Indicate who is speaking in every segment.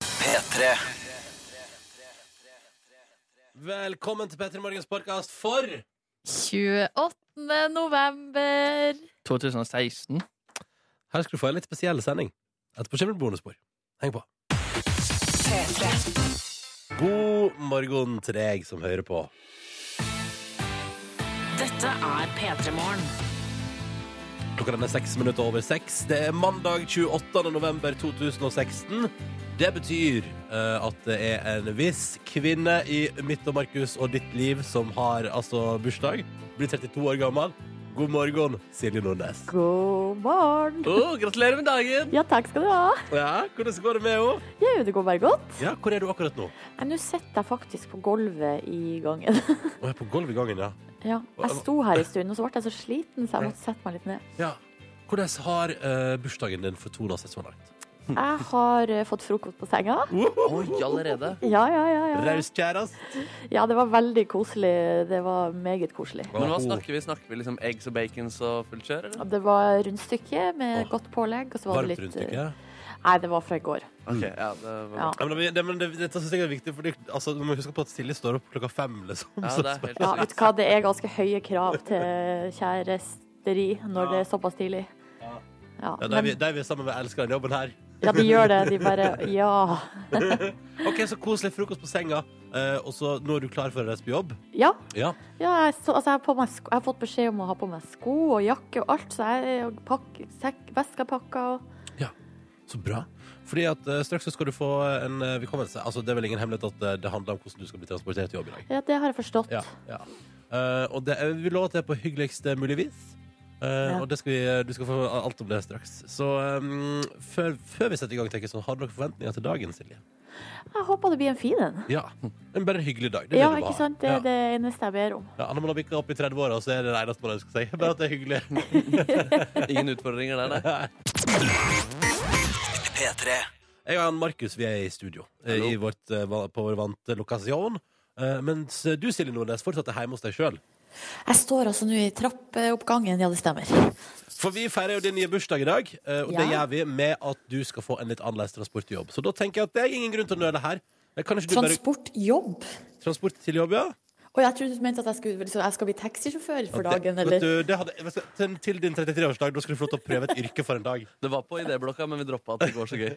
Speaker 1: P3
Speaker 2: Velkommen til Petter Morgens podkast for
Speaker 3: 28. november.
Speaker 4: 2016.
Speaker 2: Her skal du få en litt spesiell sending. Etterpå kommer det bonusspor. Heng på. God morgen til deg som hører på.
Speaker 5: Dette er P3 Morgen.
Speaker 2: Klokka den er seks minutter over seks. Det er mandag 28. november 2016. Det betyr eh, at det er en viss kvinne i mitt og Markus og ditt liv som har altså bursdag. Blir 32 år gammel. God morgen, Silje Nordnes.
Speaker 6: God morgen.
Speaker 4: Oh, gratulerer med dagen!
Speaker 6: Ja, takk skal du ha.
Speaker 2: Ja, Hvordan går det med henne?
Speaker 6: Jau, det går bare godt.
Speaker 2: Ja, Hvor er du akkurat nå?
Speaker 6: Nei, Nå sitter jeg faktisk på gulvet i gangen.
Speaker 2: Å, jeg er på gulvet i gangen, ja.
Speaker 6: Ja, jeg sto her en stund, og så ble jeg så sliten, så jeg måtte sette meg litt ned.
Speaker 2: Ja. Hvordan har eh, bursdagen din fortona seg så langt?
Speaker 6: Jeg har eh, fått frokost på senga.
Speaker 4: Oi, allerede.
Speaker 6: Ja, ja, ja. Ja,
Speaker 2: Raus kjærest.
Speaker 6: ja det var veldig koselig. Det var meget koselig.
Speaker 4: Men hva snakker vi? Snakker vi liksom eggs og bacons og fullt kjør, eller?
Speaker 6: Det var rundstykke
Speaker 2: Åh.
Speaker 6: med godt pålegg, og så var det
Speaker 2: Varmt
Speaker 6: litt eh,
Speaker 2: rundstykke?
Speaker 6: Nei, det var fra i går.
Speaker 4: Ok, ja, det var...
Speaker 6: Ja.
Speaker 2: Ja, men det, det, men det, dette synes jeg er viktig, fordi altså, du må huske på at Silje står opp klokka fem. Liksom,
Speaker 4: Ja,
Speaker 2: Så-
Speaker 4: det er helt
Speaker 6: Ja,
Speaker 4: sykt.
Speaker 6: vet du hva, det er ganske høye krav til kjæresteri når det er såpass tidlig. Ja,
Speaker 2: ja, de,
Speaker 6: men,
Speaker 2: vi- de vi er sammen med, elsker den jobben her.
Speaker 6: ja, de gjør det. De bare Ja.
Speaker 2: OK, så koselig frokost på senga, eh, og så nå er du klar for å reise på jobb.
Speaker 6: Ja,
Speaker 2: Ja.
Speaker 6: Ja, jeg, så, altså, jeg, har på meg sko, jeg har fått beskjed om å ha på meg sko og jakke og alt, så jeg og pakk, sekk, veska er pakka og
Speaker 2: Så bra. Fordi at eh, straks så skal du få en eh, velkommense. Altså, det er vel ingen hemmelighet at eh, det handler om hvordan du skal bli transportert til jobb i dag.
Speaker 6: Ja, det har jeg forstått.
Speaker 2: Ja, ja. Eh, og det, er- vi lover at det er på hyggeligst mulig vis. Eh,
Speaker 6: Ja.
Speaker 2: Og det skal vi, du skal få alt om det straks. Så um, før, før vi setter i gang, tenker jeg sånn, har du noen forventninger til dagen, Silje?
Speaker 6: Jeg håper det blir en fin en.
Speaker 2: Ja. Men bare en hyggelig dag. Det er
Speaker 6: Ja,
Speaker 2: det du må
Speaker 6: ikke
Speaker 2: ha.
Speaker 6: sant? Det
Speaker 2: Ja.
Speaker 6: er det eneste jeg ber om.
Speaker 2: Ja, når man har bikka opp i 30-åra, så er det det eneste man ønsker seg. Bare at det er hyggelig.
Speaker 4: Ingen utfordringer der, nei.
Speaker 1: P3
Speaker 2: Jeg og han Markus vi er i studio eh,
Speaker 4: Hallo.
Speaker 2: i vårt, eh, va- på vår vante lokasjon. Eh, mens du, Silje Nordnes, fortsatt er hjemme hos deg sjøl.
Speaker 3: Jeg står altså nå i trappeoppgangen, ja, det stemmer.
Speaker 2: For vi feirer jo din nye bursdag i dag, eh, og det
Speaker 3: Ja.
Speaker 2: gjør vi med at du skal få en litt annerledes transportjobb. Så da tenker jeg at det er ingen grunn til å nøle her. Det kan ikke du bare
Speaker 3: Transportjobb.
Speaker 2: Transport til jobb, ja.
Speaker 3: Og jeg trodde du mente at jeg, skulle, liksom, jeg skal bli taxisjåfør for
Speaker 2: det,
Speaker 3: dagen,
Speaker 2: vet
Speaker 3: eller?
Speaker 2: du, det hadde, vet du, til, til din 33-årsdag, da skulle du få lov til å prøve et yrke for en dag.
Speaker 4: Det var på idéblokka, men vi droppa at det går så gøy.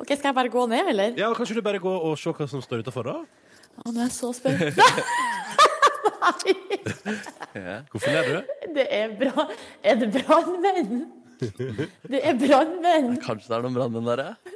Speaker 3: Ok, Skal jeg bare gå ned, eller?
Speaker 2: Ja, Kanskje du bare gå og se hva som står utafor, da?
Speaker 3: Å, nå er jeg så spent.
Speaker 2: Hvorfor ler du?
Speaker 3: Det er bra. Er det brannmenn? Det er brannmenn.
Speaker 4: Kanskje det er noen brannmenn der, ja?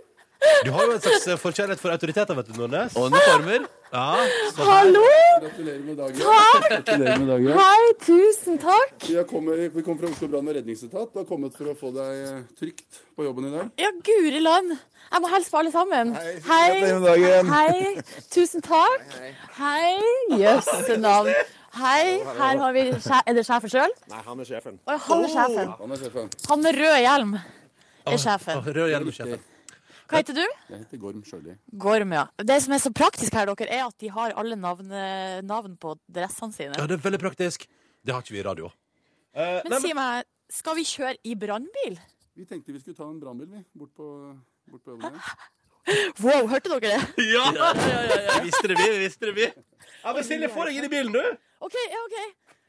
Speaker 2: Du har jo en slags eh, forkjærlighet for autoriteter, vet du, Nordnes.
Speaker 4: Og uniformer.
Speaker 2: Ja, så her.
Speaker 3: Hallo!
Speaker 7: Gratulerer med dagen. Gratulerer med dagen.
Speaker 3: Hei, tusen takk.
Speaker 7: Vi, har kommet, vi kom fra Oslo brann- og redningsetat. Du har kommet for å få deg eh, trygt på jobben i dag.
Speaker 3: Ja, guri land. Jeg må hilse på alle sammen.
Speaker 8: Gratulerer med dagen.
Speaker 3: Hei, tusen takk. Hei. Jøsse navn. Hei, her har vi sje- Er det sjefen sjøl?
Speaker 8: Nei, han er sjefen.
Speaker 3: Å, han er sjefen.
Speaker 7: Han er sjefen.
Speaker 3: Han med rød hjelm er sjefen.
Speaker 2: Rød hjelm, sjefen.
Speaker 3: Hva heter du?
Speaker 7: Jeg heter Gorm Sjøli.
Speaker 3: Gorm, ja. Det som er så praktisk her, dere, er at de har alle navn, navn på dressene sine.
Speaker 2: Ja, det er veldig praktisk. Det har ikke vi i radio. Eh,
Speaker 3: Men
Speaker 2: nei,
Speaker 3: si meg, skal vi kjøre i brannbil?
Speaker 7: Vi tenkte vi skulle ta en brannbil, vi. Bort på, bort på jobben her.
Speaker 3: Wow, hørte dere det?
Speaker 2: ja, ja, ja, ja. Vi visste det, vi. vi visste det, vi. Ja, men Silje, få deg inn i bilen, du.
Speaker 3: OK, ja, OK.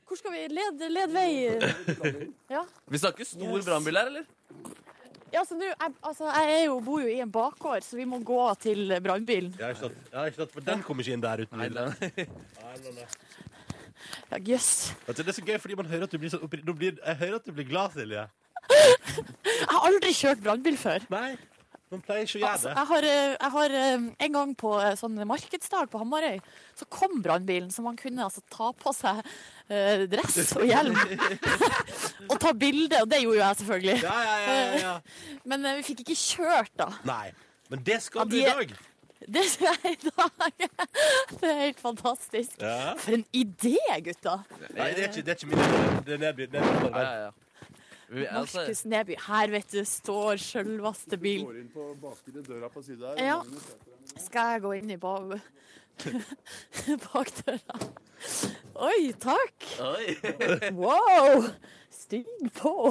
Speaker 3: Hvor skal vi? Led, led vei.
Speaker 4: Vi snakker stor brannbil her, eller?
Speaker 3: Ja, så nå, jeg, altså, jeg er jo, bor jo i en bakgård, så vi må gå til brannbilen.
Speaker 2: Ja, ikke sant. Ja, ikke sant, for den kommer ikke inn der uten videre.
Speaker 3: Ja, Jøss.
Speaker 2: Vet du, Det er så gøy, fordi man hører at du blir så oppri- nå blir- Jeg hører at du blir glad, Silje.
Speaker 3: Jeg har aldri kjørt brannbil før.
Speaker 2: Nei, man pleier ikke å gjøre
Speaker 3: Altså,
Speaker 2: det.
Speaker 3: jeg har, eh, jeg har eh, en gang på eh, sånn markedsdag på Hamarøy, så kom brannbilen, så man kunne altså ta på seg eh, dress og hjelm og ta bilde, og det gjorde jo jeg selvfølgelig.
Speaker 2: Ja, ja, ja, ja, ja.
Speaker 3: Men eh, vi fikk ikke kjørt, da.
Speaker 2: Nei, men det skal
Speaker 3: Ja,
Speaker 2: du i
Speaker 3: de-
Speaker 2: dag.
Speaker 3: Det ser jeg i dag. Det er helt fantastisk.
Speaker 2: Ja.
Speaker 3: For en idé, gutta.
Speaker 2: Nei, det er ikke, det er ikke min idé. Det er nedby- nedby-
Speaker 4: Ja, ja, ja. Vi, altså,
Speaker 3: Markus Neby, her vet du, står sjølvaste bilen.
Speaker 7: Går inn på bakre døra på sida her.
Speaker 3: Ja. Skal jeg gå inn i ba bakdøra? Oi, takk!
Speaker 4: oi.
Speaker 3: Wow! Stig på!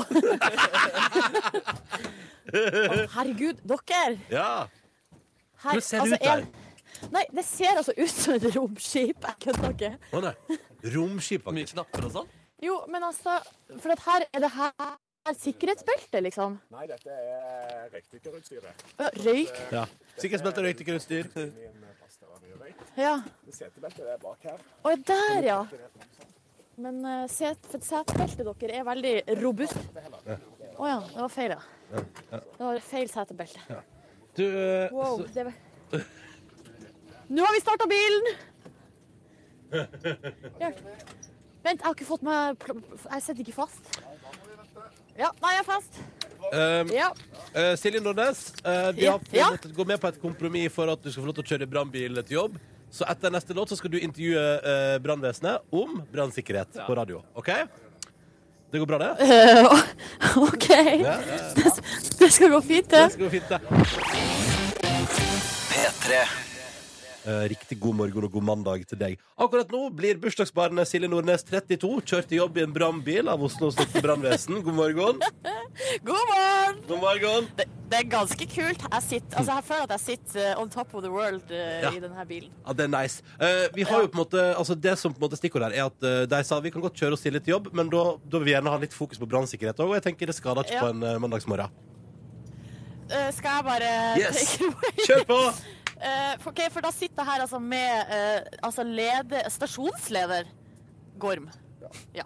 Speaker 3: Å, herregud, dere!
Speaker 2: Ja.
Speaker 3: Her-
Speaker 2: Hvordan ser det ut
Speaker 3: jeg- Nei, det ser altså ut som et romskip. Jeg kødder ikke.
Speaker 2: Å nei. Romskip,
Speaker 4: Mye
Speaker 2: faktisk.
Speaker 4: knapper og sånn.
Speaker 3: Jo, men altså For at her er det her er sikkerhetsbeltet, liksom.
Speaker 9: Nei, dette er røykdykkerutstyret.
Speaker 3: Ja, Røyk.
Speaker 2: Ja. Sikkerhetsbelte, røykdykkerutstyr.
Speaker 3: Ja.
Speaker 9: Setebeltet er bak her.
Speaker 3: Og er der, ja. Men uh, set, for setebeltet deres er veldig robust. Å ja, det var feil, ja. Det var feil setebelte.
Speaker 2: Du, eh,
Speaker 3: Wow.
Speaker 2: så,
Speaker 3: Det var... Nå har vi starta bilen! Hjelp. Vent, jeg har ikke fått meg pl- Jeg sitter ikke fast. Ja, nei, jeg er fast.
Speaker 2: eh,
Speaker 3: Ja.
Speaker 2: eh, Silje Nordnes, eh, vi
Speaker 3: Ja.
Speaker 2: har vi
Speaker 3: Ja.
Speaker 2: har måttet gå med på et kompromiss for at du skal få lov til å kjøre brannbil til jobb. Så etter neste låt så skal du intervjue eh, brannvesenet om brannsikkerhet på radio. OK? Det går bra, det?
Speaker 3: Eh, OK. Det, det skal gå fint, det.
Speaker 2: Det skal gå fint, det. Eh, Riktig god morgen og god mandag til deg. Akkurat nå blir bursdagsbarnet Silje Nordnes 32 kjørt til jobb i en brannbil av Oslo State brannvesen. God morgen.
Speaker 3: God morgen!
Speaker 2: God morgen.
Speaker 3: Det, det er ganske kult. Jeg, sitter, altså jeg føler at jeg sitter eh, on top of the world eh,
Speaker 2: Ja.
Speaker 3: i denne bilen.
Speaker 2: Ja, det er nice. Eh, vi har jo på en måte, altså Det som på en måte er stikkordet her, er at eh, de sa vi kan godt kjøre oss til litt jobb, men da, da vil vi gjerne ha litt fokus på brannsikkerhet òg, og jeg tenker det skader ikke
Speaker 3: Ja.
Speaker 2: på en eh, mandagsmorgen.
Speaker 3: Eh, skal jeg bare
Speaker 2: Yes!
Speaker 3: take it away?
Speaker 2: Kjør på!
Speaker 3: Eh, for- ok, for da sitter jeg her altså med eh, altså leder, stasjonsleder Gorm.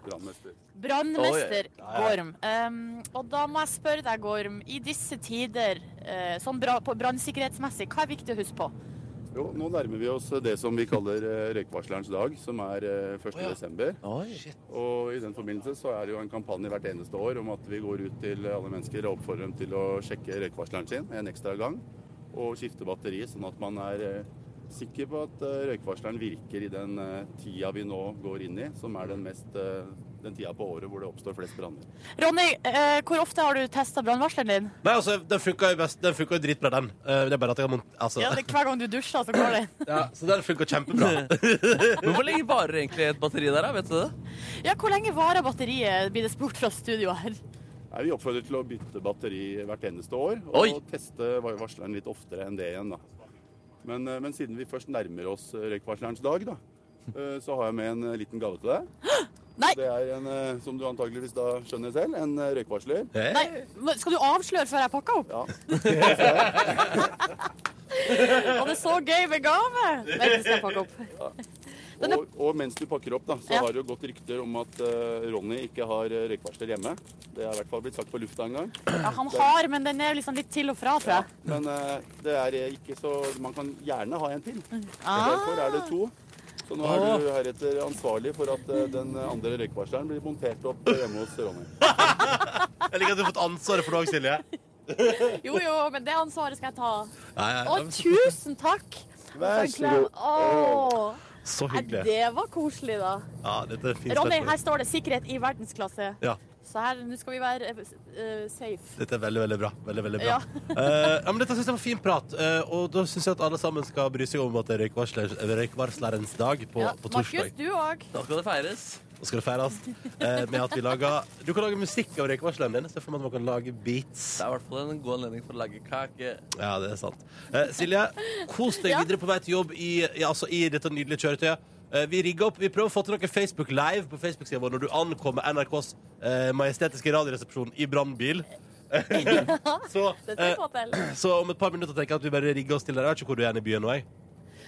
Speaker 7: Brannmester.
Speaker 3: Brannmester Gorm. Em, og da må jeg spørre deg, Gorm, i disse tider, eh, sånn bra, på brannsikkerhetsmessig, hva er viktig å huske på?
Speaker 7: Jo, nå nærmer vi oss det som vi kaller eh, røykvarslerens dag, som er eh, 1. desember. Og i den forbindelse så er det jo en kampanje hvert eneste år om at vi går ut til alle mennesker og oppfordrer dem til å sjekke røykvarsleren sin en ekstra gang, og skifte batteri, sånn at man er eh, sikker på at eh, røykvarsleren virker i den eh, tida vi nå går inn i, som er den mest eh, den tida på året hvor det oppstår flest branner.
Speaker 3: Ronny, eh, hvor ofte har du testa brannvarsleren din?
Speaker 2: Nei, altså, Den funka jo best, den funka jo dritbra, den. Eh, det er bare at jeg har mont... Altså.
Speaker 3: Ja, det er Hver gang du dusjer, så går den.
Speaker 2: Ja, så den funka kjempebra.
Speaker 4: Men hvor lenge varer egentlig et batteri der, da? Vet du det?
Speaker 3: Ja, hvor lenge varer batteriet, blir det spurt fra studio her.
Speaker 7: Nei, vi oppfordrer til å bytte batteri hvert eneste år, og
Speaker 4: Oi!
Speaker 7: teste var- varsleren litt oftere enn det igjen. Da. Men, eh, men siden vi først nærmer oss eh, røykvarslerens dag, da, eh, så har jeg med en eh, liten gave til deg.
Speaker 3: Nei.
Speaker 7: Det er en, eh, som du antageligvis da skjønner selv, en eh, røykvarsler.
Speaker 2: Hey.
Speaker 3: Nei, men skal du avsløre før jeg pakker opp?
Speaker 7: Ja.
Speaker 3: Og det er så gøy med gave! Vent, jeg skal pakke opp.
Speaker 7: Og, og mens du pakker opp, da, så
Speaker 3: Ja.
Speaker 7: har det jo gått rykter om at eh, Ronny ikke har eh, røykvarsler hjemme. Det har i hvert fall blitt sagt på lufta en gang.
Speaker 3: Ja, han har, men den er liksom litt til og fra, tror jeg.
Speaker 7: Men eh, det er eh, ikke så Man kan gjerne ha en til.
Speaker 9: Ah.
Speaker 7: Derfor er det to. Så nå er du heretter ansvarlig for at eh, den andre røykvarsleren blir montert opp eh, hjemme hos Ronny.
Speaker 2: Jeg liker at du har fått ansvaret for det òg, Silje.
Speaker 3: Jo, jo, men det ansvaret skal jeg ta.
Speaker 2: Nei, nei,
Speaker 3: Å,
Speaker 2: nei,
Speaker 3: tusen takk!
Speaker 7: Vær så god.
Speaker 3: Åh,
Speaker 2: så
Speaker 3: nei,
Speaker 2: hyggelig.
Speaker 3: det var koselig, da.
Speaker 2: Ja, dette er fint.
Speaker 3: Ronny,
Speaker 2: dette.
Speaker 3: her står det 'sikkerhet i verdensklasse'.
Speaker 2: Ja,
Speaker 3: Så her, nå skal vi være eh, safe.
Speaker 2: dette er veldig, veldig bra. Veldig, veldig bra.
Speaker 3: Ja.
Speaker 2: Eh, ja, men dette synes jeg var fin prat, eh, og da synes jeg at alle sammen skal bry seg om at det er røykvarsler, røykvarslerens dag på,
Speaker 3: Ja,
Speaker 2: på
Speaker 3: Markus,
Speaker 2: torsdag.
Speaker 3: du òg.
Speaker 4: Da skal det feires.
Speaker 2: Nå skal det feires eh, med at vi lager Du kan lage musikk av røykvarsleren din. Se for meg at man kan lage beats.
Speaker 4: Det er i hvert fall en god anledning for å lage kake.
Speaker 2: Ja, det er sant. Eh, Silje, kos deg
Speaker 3: Ja.
Speaker 2: videre på vei til jobb i, ja, altså, i dette nydelige kjøretøyet. Eh, vi rigger opp, vi prøver å få til noe Facebook Live på Facebook-siden vår når du ankommer NRKs eh, majestetiske radioresepsjon i brannbil. så,
Speaker 3: Det skal
Speaker 2: eh,
Speaker 3: vi få til.
Speaker 2: så om et par minutter tenker jeg at vi bare rigger oss til der. Jeg vet ikke hvor du er i byen nå, jeg.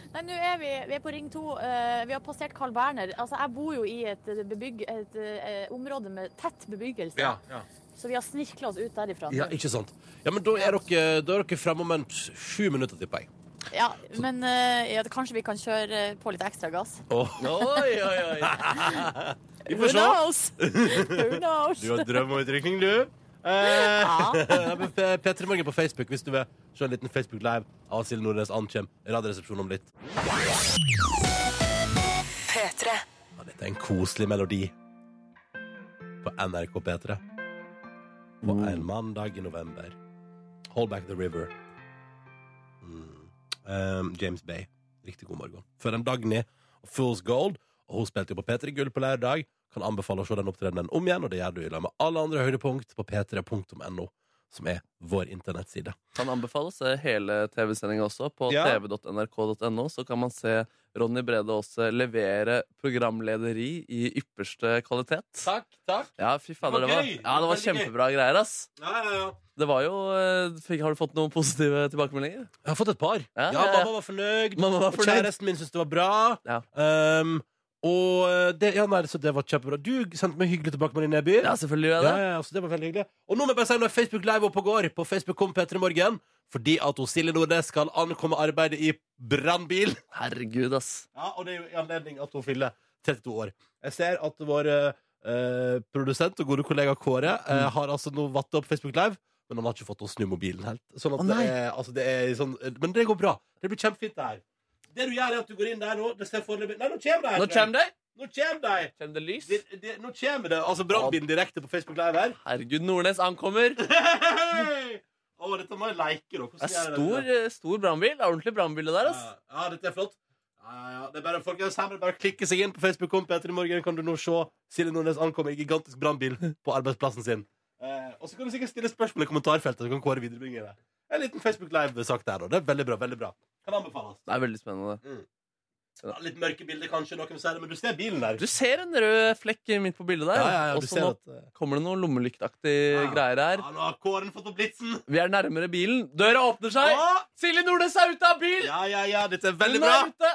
Speaker 3: Nei, nå er vi, vi er på Ring 2. eh, vi har passert Carl Berner. Altså, jeg bor jo i et, eh, bebygg, et eh, område med tett bebyggelse, så vi har snirkla oss ut derifra.
Speaker 2: Ja, ikke sant. Ja, men da er dere, da er dere fremme om en sju minutter, tipper jeg.
Speaker 3: Ja, men eh, ja, kanskje vi kan kjøre eh, på litt ekstra gass.
Speaker 2: Åh,
Speaker 4: Oi, oi, oi.
Speaker 2: vi
Speaker 3: Who
Speaker 2: får se.
Speaker 3: knows? Who knows?
Speaker 2: Du har drøm om utrykning, du. Eh, ja, men P- P3 Morgen på Facebook hvis du vil se en liten Facebook Live av Silje Nordnes Ankjem. Radioresepsjonen om litt. Ja, dette er en koselig melodi på NRK P3 på en mandag i november. Hold back the river. Mm. Um, James Bay. Riktig god morgen. Før en Dagny og Fool's Gold. Og hun spilte jo på P3 Gull på lørdag. Kan anbefale å se den opptredenen om igjen, og det gjør du i lag med alle andre høydepunkt på p3.no. som er vår internettside.
Speaker 4: Kan anbefales eh, hele TV-sendinga også på
Speaker 2: Ja.
Speaker 4: tv.nrk.no. Så kan man se Ronny Brede Aase levere programlederi i ypperste kvalitet.
Speaker 2: Takk, takk.
Speaker 4: Ja, fy fader,
Speaker 2: Det
Speaker 4: det
Speaker 2: var
Speaker 4: var,
Speaker 2: gøy.
Speaker 4: ja, det var
Speaker 2: Veldig gøy.
Speaker 4: kjempebra greier, ass.
Speaker 2: Ja, ja, ja.
Speaker 4: Det var jo eh, fikk, Har du fått noen positive tilbakemeldinger?
Speaker 2: Jeg har fått et par.
Speaker 4: Ja, ja,
Speaker 2: Ja,
Speaker 4: ja.
Speaker 2: Mamma var fornøyd.
Speaker 4: Mamma var
Speaker 2: og
Speaker 4: fornøyd.
Speaker 2: Kjæresten min syntes det var bra.
Speaker 4: Ja.
Speaker 2: Um, og eh, det, ja, nei, så det var kjempebra. Du sendte meg hyggelig tilbake med din nedby.
Speaker 4: Ja, selvfølgelig gjør jeg
Speaker 2: Ja,
Speaker 4: det.
Speaker 2: ja, ja, så det var veldig hyggelig. Og nå må jeg bare si når Facebook Live opp og går på Facebook kom Petter i morgen, fordi at hos Silje Nordnes skal ankomme arbeidet i brannbil.
Speaker 4: Herregud, ass.
Speaker 2: Ja, og det er jo i anledning at hun fyller 32 år. Jeg ser at vår eh, produsent og gode kollega Kåre eh,
Speaker 4: Mm.
Speaker 2: har altså nå vatt opp Facebook Live, men han har ikke fått å snu mobilen helt. Sånn at
Speaker 4: Å,
Speaker 2: det
Speaker 4: nei.
Speaker 2: er, altså det er sånn, men det går bra. Det blir kjempefint, det her. Det du gjør, er at du går inn der nå. Det ser foreløpig Nei, nå kommer de!
Speaker 4: Nå kommer det!
Speaker 2: Nå kommer de!
Speaker 4: Kommer det lys?
Speaker 2: De- de- Nå kommer det! Altså brannbilen direkte på Facebook Live her.
Speaker 4: Herregud, Nordnes ankommer. Det
Speaker 2: Hei! Å, dette må jeg like, da. Hvordan
Speaker 4: er
Speaker 2: gjør jeg
Speaker 4: stor, eh, stor brannbil. Det er Ordentlig brannbil, det der, ass.
Speaker 2: Ja, ja, dette er flott. Ja, ja, ja. Det er bare, folkens, her må det bare klikke seg inn på Facebook kom Peter i morgen. Kan du nå se Silje Nordnes ankomme i gigantisk brannbil på arbeidsplassen sin. Eh, og så kan du sikkert stille spørsmål i kommentarfeltet. Så kan Kåre viderebringe det. En liten Facebook Live-sak der, da. Det er veldig bra. veldig bra Kan anbefales.
Speaker 4: Det er veldig spennende.
Speaker 2: Ja, litt mørke bilder, kanskje, noen sier det, men du ser bilen der.
Speaker 4: Du ser en rød flekk midt på bildet der.
Speaker 2: Ja, ja, ja,
Speaker 4: og
Speaker 2: du
Speaker 4: så
Speaker 2: ser
Speaker 4: nå
Speaker 2: at eh,
Speaker 4: kommer det noen lommelyktaktig
Speaker 2: Ja.
Speaker 4: greier her.
Speaker 2: ja, Nå har Kåren fått opp blitsen.
Speaker 4: Vi er nærmere bilen. Døra åpner seg.
Speaker 2: Å!
Speaker 4: Silje Nordnes er ute av bil!
Speaker 2: Ja, ja, ja. Dette er
Speaker 4: Hun
Speaker 2: veldig
Speaker 4: er
Speaker 2: bra.
Speaker 4: ute.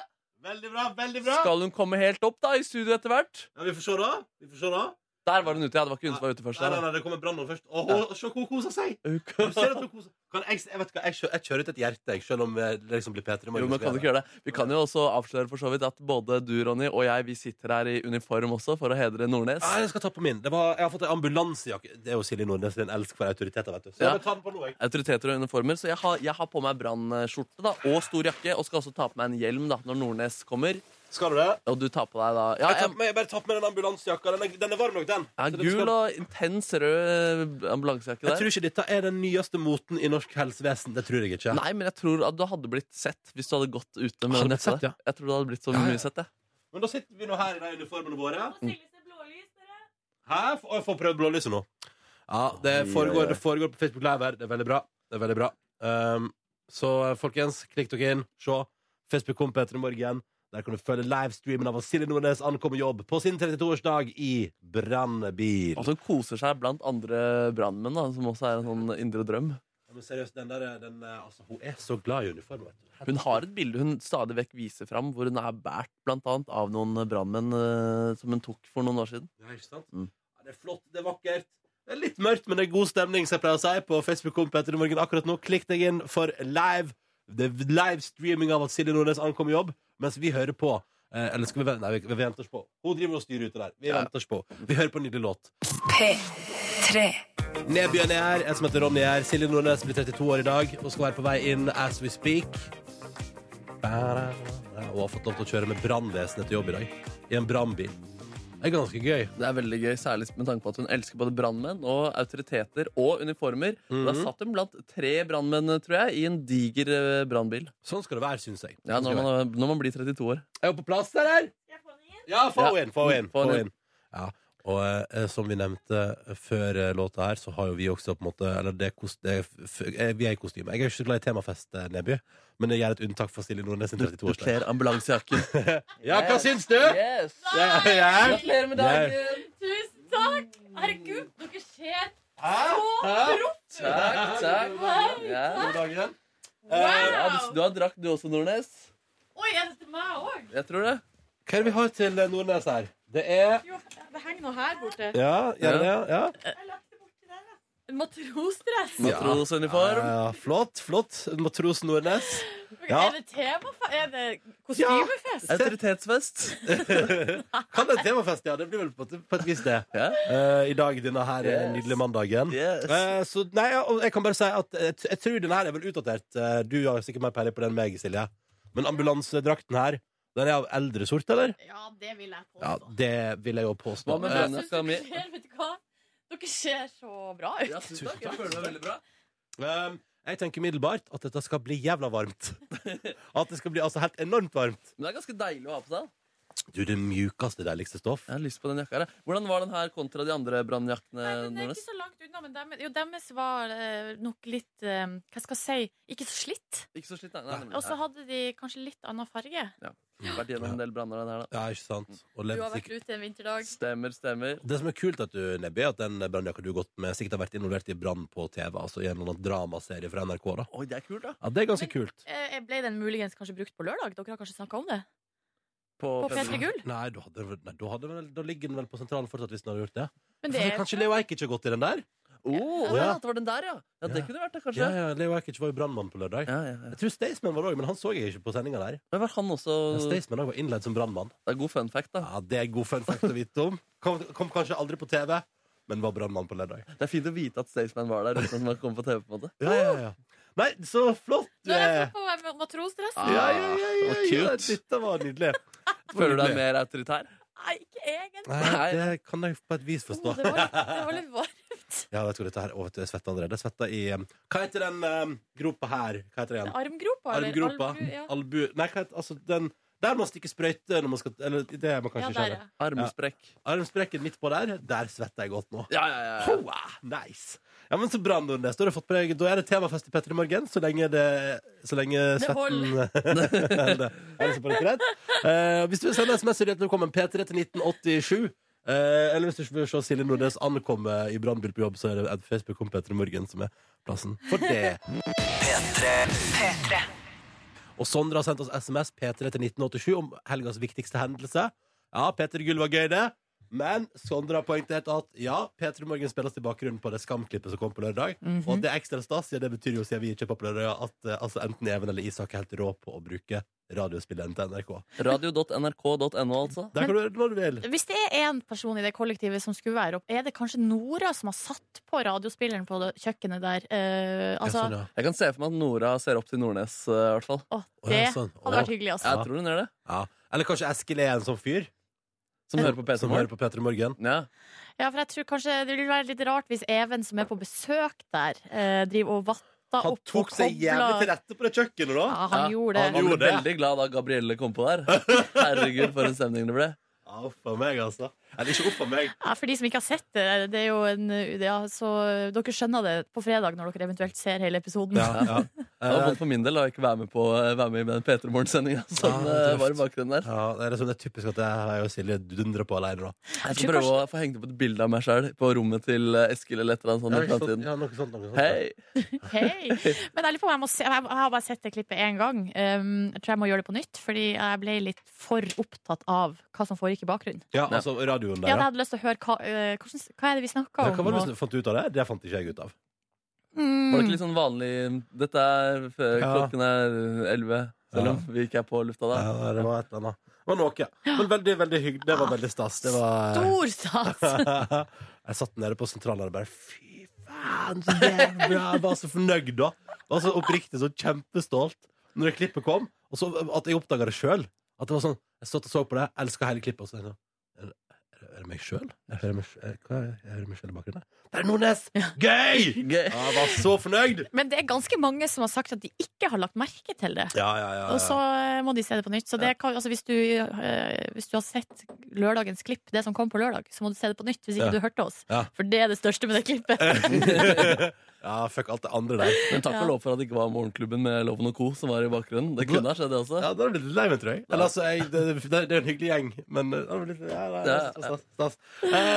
Speaker 2: Veldig bra, veldig bra.
Speaker 4: Skal hun komme helt opp da i studio etter hvert?
Speaker 2: Ja, vi får se, da. Vi får se da.
Speaker 4: Der var hun ute. Ja, det var ikke hun som var ute først.
Speaker 2: Nei, nei,
Speaker 4: Der, da.
Speaker 2: nei, det kommer brann nå først. Å, ho- se hvor hun koser seg! Du ser at hun koser kan jeg, jeg, vet ikke, jeg, kjø- jeg kjører ut et hjerte, jeg, selv om jeg liksom blir Peter
Speaker 4: Jo,
Speaker 2: i morgen.
Speaker 4: men kan du ikke gjøre det? Vi kan jo også avsløre for så vidt at både du, Ronny, og jeg vi sitter her i uniform også for å hedre Nordnes.
Speaker 2: Nei, jeg skal ta på min. Det var, jeg har fått en ambulansejakke. Det er jo Silje Nordnes sin elsk for autoriteter, vet du. Så
Speaker 4: Ja.
Speaker 2: jeg må ta den på nå, jeg.
Speaker 4: Autoriteter og uniformer. Så jeg har, jeg har på meg brannskjorte da, og stor jakke, og skal også ta på meg en hjelm da, når Nordnes kommer.
Speaker 2: Skal du det?
Speaker 4: Og du tar på deg da ja,
Speaker 2: Jeg, tar
Speaker 4: jeg,
Speaker 2: på meg, jeg bare tar på meg den ambulansejakka. Den, er- den er varm nok, den.
Speaker 4: ja,
Speaker 2: Så den
Speaker 4: Gul
Speaker 2: skal-
Speaker 4: og intens rød ambulansejakke
Speaker 2: Jeg
Speaker 4: der.
Speaker 2: tror ikke dette er den nyeste moten i norsk helsevesen. Det tror jeg ikke.
Speaker 4: Nei, men jeg tror at du hadde blitt sett hvis du hadde gått ute med den
Speaker 2: Hadde blitt
Speaker 4: jakka
Speaker 2: sett,
Speaker 4: der. Jeg tror du hadde blitt så
Speaker 2: Ja, ja.
Speaker 4: mye sett, jeg.
Speaker 2: Men da sitter vi nå her i de uniformene våre. Hæ? F- å, Jeg får prøvd blålyset nå. Ja, det
Speaker 7: Oi, oi,
Speaker 2: foregår,
Speaker 7: oi.
Speaker 2: det foregår på Facebook Live her. Det er veldig bra. Det er veldig bra. Um, så folkens, klikk dere inn. Se. Facebook kom på etter i morgen. Der kan du følge livestreamen av at Silje Nordnes ankommer jobb på sin 32-årsdag i brannbil.
Speaker 4: Og som Altså, koser seg blant andre brannmenn, da, som også er en sånn indre drøm.
Speaker 2: Ja, Men seriøst, den der, den, eh, altså, hun er så glad i uniform, vet du.
Speaker 4: Hun har et bilde hun stadig vekk viser fram, hvor hun er båret blant annet av noen brannmenn eh, som hun tok for noen år siden.
Speaker 2: Ja, ikke sant?
Speaker 4: Mm.
Speaker 2: Ja, det er flott, det er vakkert. Det er litt mørkt, men det er god stemning, som jeg pleier å si på Facebook kom på etter i morgen akkurat nå. Klikk deg inn for live. Det er live streaming av at Silje Nordnes ankommer jobb, mens vi hører på. Eh, eller skal vi vente? Nei, vi, vi venter oss på. Hun driver og styrer ute der. Vi venter oss på. Vi hører på en nydelig låt. Nebyen er her, jeg som heter Ronny er her. Silje Nordnes blir 32 år i dag og skal være på vei inn as we speak. Og har fått lov til å kjøre med brannvesenet til jobb i dag. I en brannbil. Det er ganske gøy.
Speaker 4: Det er veldig gøy, særlig med tanke på at hun elsker både brannmenn og autoriteter og uniformer.
Speaker 2: Mhm.
Speaker 4: Og Da satt hun blant tre brannmenn, tror jeg, i en diger eh, brannbil.
Speaker 2: Sånn skal det være, syns jeg.
Speaker 4: Ja,
Speaker 2: Sånn
Speaker 4: når
Speaker 2: skal det være.
Speaker 4: man, når man blir 32 år.
Speaker 2: Er hun på plass der, her? Ja, Ah, få
Speaker 4: Ja.
Speaker 2: henne inn! Få henne inn.
Speaker 4: Få
Speaker 2: Få
Speaker 4: henne
Speaker 2: henne inn. Ja. Og eh, som vi nevnte før eh, låta her, så har jo vi også på en måte Eller det, kos- det er f- eh, vi er i kostyme. Jeg er jo ikke så glad i temafest, eh, Neby, men jeg gjør et unntak for Silje Nordnes sin
Speaker 4: Du, du
Speaker 2: 32-årsdag.
Speaker 4: kler ambulansejakken.
Speaker 2: Ja, hva syns du?
Speaker 4: Yes!
Speaker 2: Ja, ja.
Speaker 4: Gratulerer med
Speaker 2: Ja.
Speaker 4: dagen!
Speaker 3: Tusen takk! Herregud, dere ser
Speaker 2: Hæ?
Speaker 4: Takk, takk. Ja.
Speaker 2: God dag igjen.
Speaker 4: Ja, du, du har drakt du også, Nordnes.
Speaker 3: Oi, er det til meg òg?
Speaker 4: Jeg tror det.
Speaker 2: Hva er det vi har til eh, Nordnes her? Det er
Speaker 3: Jo, det henger noe her borte.
Speaker 2: Ja, gjør det? Ja.
Speaker 3: En matrosdress.
Speaker 2: Ja.
Speaker 4: Matrosuniform.
Speaker 2: Ja, flott, flott. Matros Nordnes. Ja.
Speaker 3: Er det tema? Er det kostymefest?
Speaker 4: Autoritetsfest.
Speaker 2: Kan det temafest, ja. Det blir vel på, på et vis det.
Speaker 4: Ja.
Speaker 2: Eh, I dag, denne her eh,
Speaker 4: Yes.
Speaker 2: nydelige mandagen.
Speaker 4: Yes.
Speaker 2: Eh, så nei, ja, og jeg kan bare si at jeg, t- jeg tror denne her er vel utdatert. Eh, du har sikkert mer peiling på den enn meg, Silje. Men ambulansedrakten her, den er av eldre sort, eller?
Speaker 3: Ja, det vil jeg
Speaker 2: Ja,
Speaker 3: påstå.
Speaker 2: det vil jeg jo påstå.
Speaker 4: Hva med
Speaker 2: Eh,
Speaker 4: den?
Speaker 3: Jeg synes dere ser, vet du hva? Dere ser så bra ut.
Speaker 4: Ja, tusen takk. Jeg føler meg veldig bra.
Speaker 2: eh, jeg tenker umiddelbart at dette skal bli jævla varmt. At det skal bli altså helt enormt varmt.
Speaker 4: Men det er ganske deilig å ha på seg.
Speaker 2: Du, det mjukeste, deiligste stoff.
Speaker 4: Jeg har lyst på den jakka. her, jeg. Hvordan var den her kontra de andre brannjakkene?
Speaker 3: Den er
Speaker 4: Nordnes?
Speaker 3: ikke så langt unna, men dem, jo, deres var eh, nok litt eh, Hva skal jeg si Ikke så slitt.
Speaker 4: Ikke så slitt, nei. nei,
Speaker 3: Og så
Speaker 4: nei,
Speaker 3: hadde de kanskje litt annen farge.
Speaker 4: nei. Vært gjennom en del branner, den her, da.
Speaker 2: Ja, ikke sant? Og
Speaker 3: Du
Speaker 2: levd
Speaker 3: har vært
Speaker 2: sikkert-
Speaker 3: ute en vinterdag.
Speaker 4: Stemmer, stemmer.
Speaker 2: Det som er kult, at du, Nebbi, er at den brannjakka du har gått med, sikkert har vært involvert i brann på TV. Altså i en eller annen dramaserie fra NRK. da
Speaker 4: Oi, det er kult, da.
Speaker 2: Ja, Det er ganske
Speaker 3: Men-
Speaker 2: kult.
Speaker 3: Eh, ble den muligens kanskje brukt på lørdag? Dere har kanskje snakka om det? På P3 Gull?
Speaker 2: Nei, da, hadde, nei da, hadde vel, da ligger den vel på sentralen fortsatt, hvis den hadde gjort det.
Speaker 3: Men det
Speaker 2: For
Speaker 3: er
Speaker 2: Kanskje Leo Ajkic har gått i den der?
Speaker 4: Å,
Speaker 2: Ja.
Speaker 4: ja. det var den der, ja. Ja, Det
Speaker 2: Ja.
Speaker 4: kunne vært det, kanskje.
Speaker 2: Ja, ja, Leo Ajkic var jo brannmann på lørdag.
Speaker 4: Ja, ja, ja.
Speaker 2: Jeg tror Staysman var det òg, men han så jeg ikke på sendinga der.
Speaker 4: Men var han også
Speaker 2: Men
Speaker 4: Det
Speaker 2: Staysman også var innleid som brannmann.
Speaker 4: er god fun fact, da.
Speaker 2: Ja, det er god fun fact å vite om. Kom, kom kanskje aldri på TV, men var brannmann på lørdag.
Speaker 4: Det er fint å vite at Staysman var der. uten at man kom på TV på en måte
Speaker 2: Ja, ja, ja. Nei, så flott!
Speaker 3: Nå har jeg
Speaker 2: eh.
Speaker 3: fått på meg matrosdressen.
Speaker 2: Ja, ja, ja, ja,
Speaker 4: Det
Speaker 2: ja,
Speaker 4: var cute.
Speaker 2: dette var nydelig.
Speaker 4: Føler du deg mer autoritær?
Speaker 3: Nei, ikke egentlig.
Speaker 2: Nei, det kan jeg på et vis forstå.
Speaker 3: Det var litt, det var litt varmt.
Speaker 2: Ja, vet du hva dette her Å, vet du, jeg svetter allerede. Jeg svetter i um, Hva heter den um, gropa her? Hva heter det igjen?
Speaker 3: Armgropa? eller
Speaker 2: Armgropa?
Speaker 3: albu- ja.
Speaker 2: Albu... Nei, hva heter altså den Der man stikker sprøyte når man skal Eller det er man
Speaker 3: Ja,
Speaker 2: kanskje ikke
Speaker 3: der, ja.
Speaker 2: ja.
Speaker 4: Armsprekk.
Speaker 2: Armsprekken midt på der, der svetter jeg godt nå.
Speaker 4: Ja, ja, ja, ja.
Speaker 2: Hoa, nice! Ja, men så bra, Nordnes. Da har du fått på deg Da er det temafest i Petter i morgen, så lenge det Så lenge
Speaker 3: Det
Speaker 2: svetten Eller, Er det så på det greit? Eh, hvis du vil sende SMS, så er det hjertelig velkommen P3 til 1987. Eh, eller hvis du ikke vil se Silje Nordnes ankomme i brannbil på jobb, så er det at Facebook kom Petter i morgen som er plassen for det. Og Sondre har sendt oss SMS P3 til 1987 om helgas viktigste hendelse. Ja, Peter Gull var gøy, det. Men Sondre har poengtert at ja, P3 Morgen spilles i bakgrunnen på det skamklippet som kom på lørdag.
Speaker 4: Mhm.
Speaker 2: Og at det er ekstra stas, ja, det betyr jo siden vi ikke er på på lørdag, at eh, altså, enten Even eller Isak er helt rå på å bruke radiospilleren til NRK.
Speaker 4: Radio.nrk.no, altså.
Speaker 2: Der kan du gjøre hva du vil.
Speaker 3: Hvis det er én person i det kollektivet som skulle være opp, er det kanskje Nora som har satt på radiospilleren på det kjøkkenet der? Eh,
Speaker 2: Ja,
Speaker 3: altså,
Speaker 2: sånn, ja.
Speaker 4: Jeg kan se for meg at Nora ser opp til Nordnes. eh, i hvert fall
Speaker 3: å,
Speaker 2: Å,
Speaker 3: det
Speaker 2: ja,
Speaker 3: hadde
Speaker 2: sånn. Å,
Speaker 3: vært hyggelig, altså.
Speaker 2: Ja.
Speaker 4: Jeg tror hun gjør det.
Speaker 2: ja. Eller kanskje Eskil er en sånn fyr
Speaker 4: Som hører på
Speaker 2: som
Speaker 4: PC Morgen.
Speaker 2: hører på P3 Morgen.
Speaker 4: Ja.
Speaker 3: Ja, for jeg tror kanskje det ville være litt rart hvis Even, som er på besøk der, eh, driver og vatter
Speaker 2: Han
Speaker 3: opp
Speaker 2: tok
Speaker 3: og
Speaker 2: seg jævlig til
Speaker 3: kobler
Speaker 2: rette på det kjøkkenet,
Speaker 3: ja,
Speaker 2: da.
Speaker 3: han
Speaker 4: Ja,
Speaker 3: gjorde
Speaker 4: Han
Speaker 3: det.
Speaker 2: han
Speaker 4: ble
Speaker 2: gjorde det.
Speaker 4: veldig glad da Gabrielle kom på der. Herregud, for en stemning det ble.
Speaker 2: Ja, opp av meg, altså. Eller ikke opp av meg.
Speaker 3: Ja, for de som ikke har sett det, det er jo en ja, så Dere skjønner det på fredag når dere eventuelt ser hele episoden.
Speaker 2: Ja,
Speaker 4: Det var
Speaker 2: ja.
Speaker 4: vondt for min del å ikke være med, på, eh, være med i den P3 Morgen-sendinga som
Speaker 2: Ja, det er
Speaker 4: eh, var i
Speaker 2: tøft.
Speaker 4: bakgrunnen der.
Speaker 2: Ja, det er, liksom, det er typisk at jeg og Silje dundrer på alene, da.
Speaker 4: Jeg
Speaker 3: tror
Speaker 4: skal prøve å få hengt opp et bilde av meg sjøl på rommet til eh, Eskil eller et eller annet sånt. i
Speaker 2: Ja, ikke sant?
Speaker 4: fremtiden.
Speaker 2: Ja, noe sånt, noe sånt.
Speaker 4: Hei!
Speaker 3: Hei. Men jeg lurer på om jeg må se Jeg jeg har bare sett det klippet én gang. Um, jeg tror jeg må gjøre det på nytt, fordi jeg ble litt for opptatt av hva som foregikk i bakgrunnen.
Speaker 2: Ja, altså radioen der,
Speaker 3: Ja, jeg
Speaker 2: ja.
Speaker 3: hadde lyst til å høre hva, eh, hvordan, hva er det vi snakka
Speaker 2: Men
Speaker 3: om.
Speaker 2: Hva var det
Speaker 3: og-
Speaker 2: du fant ut av det? Det fant ikke jeg ut av.
Speaker 4: Var det
Speaker 3: Mm.
Speaker 4: ikke litt sånn vanlig Dette er før
Speaker 2: Ja.
Speaker 4: klokken er elleve, selv om vi ikke er på lufta da.
Speaker 2: Ja, det var et eller annet. Det var noe. Men veldig, veldig hyggelig. Det var veldig stas. Det var
Speaker 3: Ah, Stor sats!
Speaker 2: Jeg satt nede på sentralen og bare Fy faen, så jævlig bra! Jeg var så fornøyd da. Jeg var så oppriktig så kjempestolt når det klippet kom. Og så at jeg oppdaga det sjøl. At det var sånn Jeg satt og så på det, elska hele klippet. Og så tenkte jeg sånn, er det- er det meg sjøl? Jeg hører meg sjøl i bakgrunnen. her. Det er Nordnes! Gøy!
Speaker 4: Gøy.
Speaker 2: Ja, jeg var så fornøyd!
Speaker 3: Men det er ganske mange som har sagt at de ikke har lagt merke til det.
Speaker 2: Ja, ja, ja.
Speaker 3: Og så eh, må de se det på nytt. Så det kan, altså hvis, du, eh, hvis du har sett lørdagens klipp, det som kom på lørdag, så må du se det på nytt hvis ikke
Speaker 2: Ja.
Speaker 3: du hørte oss.
Speaker 2: Ja.
Speaker 3: For det er det største med det klippet.
Speaker 2: ja, fuck alt det andre der.
Speaker 4: Men takk
Speaker 3: Ja.
Speaker 4: og lov for at det ikke var Morgenklubben med Loven og Co. som var i bakgrunnen. Det kunne ha skjedd, det også.
Speaker 2: Ja, da hadde jeg blitt litt lei meg, tror jeg. Eller, altså, jeg det, det, det er en hyggelig gjeng, men eh, da hadde jeg blitt, ja, nei,
Speaker 4: Ja,
Speaker 2: stas, stas, stas.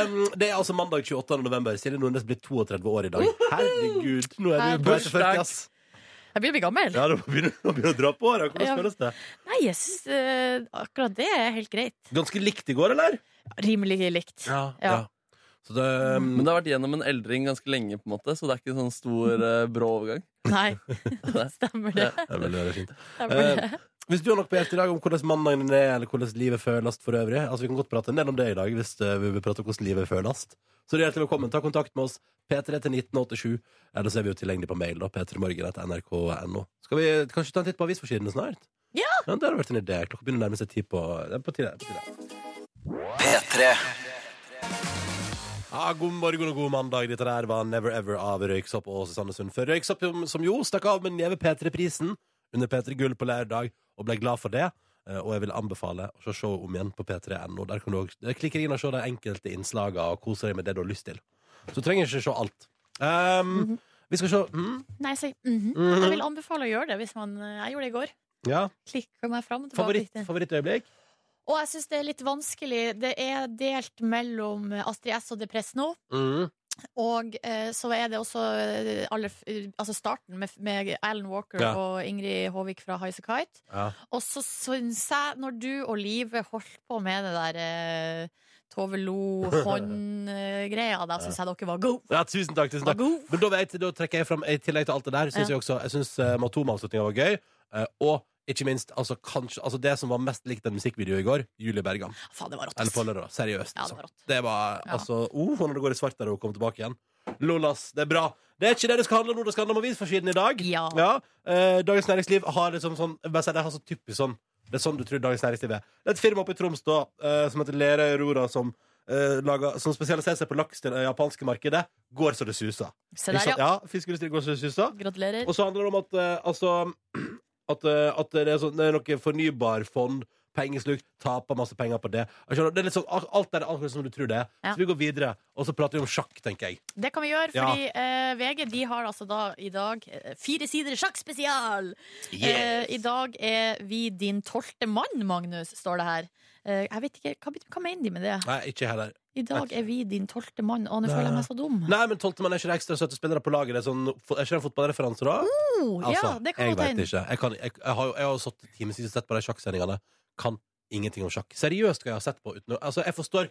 Speaker 2: Um, Det er altså mandag 28. november. Silje Nordnes blir 32 år i dag. Herregud, nå er du på vei til 40, ass.
Speaker 3: Jeg begynner å bli gammel.
Speaker 2: Ja, du begynner nå begynner du å dra på åra. Hvordan
Speaker 3: Ja.
Speaker 2: føles det?
Speaker 3: Nei, jeg synes eh, akkurat det er helt greit.
Speaker 2: Ganske likt i går, eller?
Speaker 3: Rimelig likt. Ja.
Speaker 2: Så det, um,
Speaker 4: Men det har vært gjennom en eldring ganske lenge, på en måte så det er ikke en sånn stor, eh, brå overgang.
Speaker 3: Nei, stemmer det.
Speaker 2: det er veldig, veldig fint.
Speaker 3: Stemmer
Speaker 4: Eh,
Speaker 3: det.
Speaker 2: Eh, Hvis du har noe på hjertet i dag om hvordan mandagen din er, eller hvordan livet føles for øvrig Altså, Vi kan godt prate en del om det i dag, hvis eh, vi vil prate om hvordan livet føles. Så det er hjertelig velkommen. Ta kontakt med oss. P3 til 1987. Eller så er vi jo tilgjengelig på mail, da. p3morgen.nrk.no. Skal vi kanskje ta en titt på avisforsidene snart?
Speaker 3: Ja!
Speaker 2: ja! Det hadde vært en idé. Klokka begynner å nærme seg ti på det er På tide. På tide. Ja, god morgen og god mandag. Dette der var Never Ever av Røyksopp og Susanne Sundfør. Røyksopp som jo stakk av med Neve P3-prisen under P3 Gull på lørdag og ble glad for det. Eh, Og jeg vil anbefale å se showet om igjen på p3.no. Der kan du også, der klikker inn og se de enkelte innslagene og kose deg med det du har lyst til. Så du trenger ikke se alt. Ehm, Vi skal se mm,
Speaker 3: Nei, jeg sier mhm.
Speaker 2: Mhm.
Speaker 3: Jeg vil anbefale å gjøre det hvis man eh, Jeg gjorde det i går.
Speaker 2: ja.
Speaker 3: Klikka meg fram. og tilbake.
Speaker 2: Favoritt, favorittøyeblikk?
Speaker 3: Og jeg syns det er litt vanskelig. Det er delt mellom Astrid S og Depress nå.
Speaker 2: Mm.
Speaker 3: Og eh, så er det også eh, aller, f- altså starten med, med Alan Walker
Speaker 2: Ja.
Speaker 3: og Ingrid Håvik fra Highasakite.
Speaker 2: Ja.
Speaker 3: Og så syns jeg, når du og Live holdt på med det der eh, Tove Lo-hånd-greia, da syns jeg dere var gode.
Speaker 2: Ja, tusen takk. tusen takk
Speaker 3: God.
Speaker 2: Men da, vet, jeg- da trekker jeg fram I tillegg til alt det der syns
Speaker 3: Ja.
Speaker 2: jeg også Jeg syns uh, Matoma-avslutninga var gøy. eh, og ikke minst altså, kanskje, altså det som var mest likt en musikkvideo i går, Julie Bergan.
Speaker 3: Faen, det var rått.
Speaker 2: Eller på
Speaker 3: ass.
Speaker 2: lørdag. Seriøst.
Speaker 3: Ja, det
Speaker 2: altså.
Speaker 3: var rått.
Speaker 2: Det var
Speaker 3: Ja.
Speaker 2: altså oh, Når det går i svart der og kommer tilbake igjen. Lolas, det er bra. Det er ikke det det skal handle om nå. Det skal handle om avisforsiden i dag.
Speaker 3: Ja.
Speaker 2: eh, Dagens Næringsliv har liksom sånn jeg bare sier, Det har så typisk sånn Det er sånn du tror Dagens Næringsliv er. Det er et firma oppe i Troms da eh, som heter Lerøy Aurora, som, eh, lager, som spesialiserer seg på laks til det japanske markedet. Går så det suser.
Speaker 3: Se
Speaker 2: Ikke
Speaker 3: der,
Speaker 2: sant?
Speaker 3: ja.
Speaker 2: ja Fiskeindustrien går så det suser.
Speaker 3: Gratulerer.
Speaker 2: Og så handler det om at eh, altså, at, eh, at det, er sånn, det er noe fornybarfond, pengesluk, taper masse penger på det. Jeg skjønner, Det er litt sånn, al- alt er akkurat som du tror det er.
Speaker 3: Ja.
Speaker 2: Så vi går videre, og så prater vi om sjakk, tenker jeg.
Speaker 3: Det kan vi gjøre,
Speaker 2: Ja.
Speaker 3: fordi eh, VG de har altså da i dag eh, fire sider sjakkspesial! Eh, I dag er vi din tolvte mann, Magnus, står det her. Eh, jeg vet ikke, hva, bet- hva mener de med det?
Speaker 2: Nei, ikke heller.
Speaker 3: I dag er vi din tolvte mann. Å, nå føler jeg meg så dum.
Speaker 2: Nei, men tolvtemann er ikke det ekstra søte spillere på laget? Det er, sånn, fo- er ikke det en fotballreferanse, da?
Speaker 3: Oh, ja,
Speaker 2: Altså,
Speaker 3: det kan
Speaker 2: jeg
Speaker 3: godt
Speaker 2: vet
Speaker 3: hende.
Speaker 2: ikke. Jeg, kan, jeg, jeg har jo jeg har satt timevis og sett på de sjakksendingene. Kan ingenting om sjakk. Seriøst hva jeg har sett på uten å Altså, jeg forstår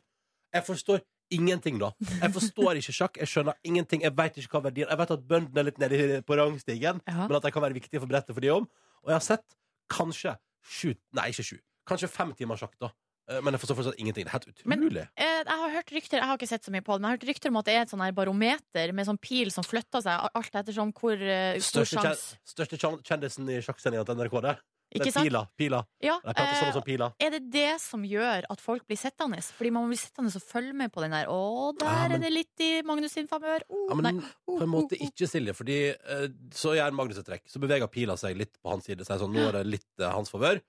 Speaker 2: Jeg forstår ingenting, da. Jeg forstår ikke sjakk. Jeg skjønner ingenting. Jeg vet ikke hva verdien Jeg vet at bøndene er litt nede i- på rangstigen,
Speaker 3: Ja.
Speaker 2: men at de kan være viktige for brettet for de om. Og jeg har sett kanskje sju Nei, ikke sju. Kanskje fem timer sjakk, da. Eh, Men jeg forstår fortsatt ingenting. Det er helt
Speaker 3: Men-
Speaker 2: utrolig.
Speaker 3: Eh, jeg har hørt rykter Jeg har ikke sett så mye på det, men jeg har hørt rykter om at det er et sånn her barometer med sånn pil som flytter seg, a- alt ettersom hvor eh, stor
Speaker 2: Største, kjen,
Speaker 3: sjanse
Speaker 2: største kjen- kjendisen i sjakksendinga til NRK, det.
Speaker 3: Ikke
Speaker 2: Det er
Speaker 3: sant?
Speaker 2: Pila. Pila.
Speaker 3: Ja,
Speaker 2: De prater sånn
Speaker 3: eh,
Speaker 2: og sånn pila.
Speaker 3: er det det som gjør at folk blir sittende? Fordi man blir sittende og følge med på den der. Å, der
Speaker 2: Ja, men-
Speaker 3: er det litt i Magnus sin favør. Oh,
Speaker 2: Ja,
Speaker 3: nei.
Speaker 2: men
Speaker 3: Oh,
Speaker 2: på en
Speaker 3: oh,
Speaker 2: måte
Speaker 3: oh.
Speaker 2: ikke, Silje, fordi eh, så gjør Magnus et trekk. Så beveger pila seg litt på hans side. Så er det sånn, nå er det litt eh, hans favør.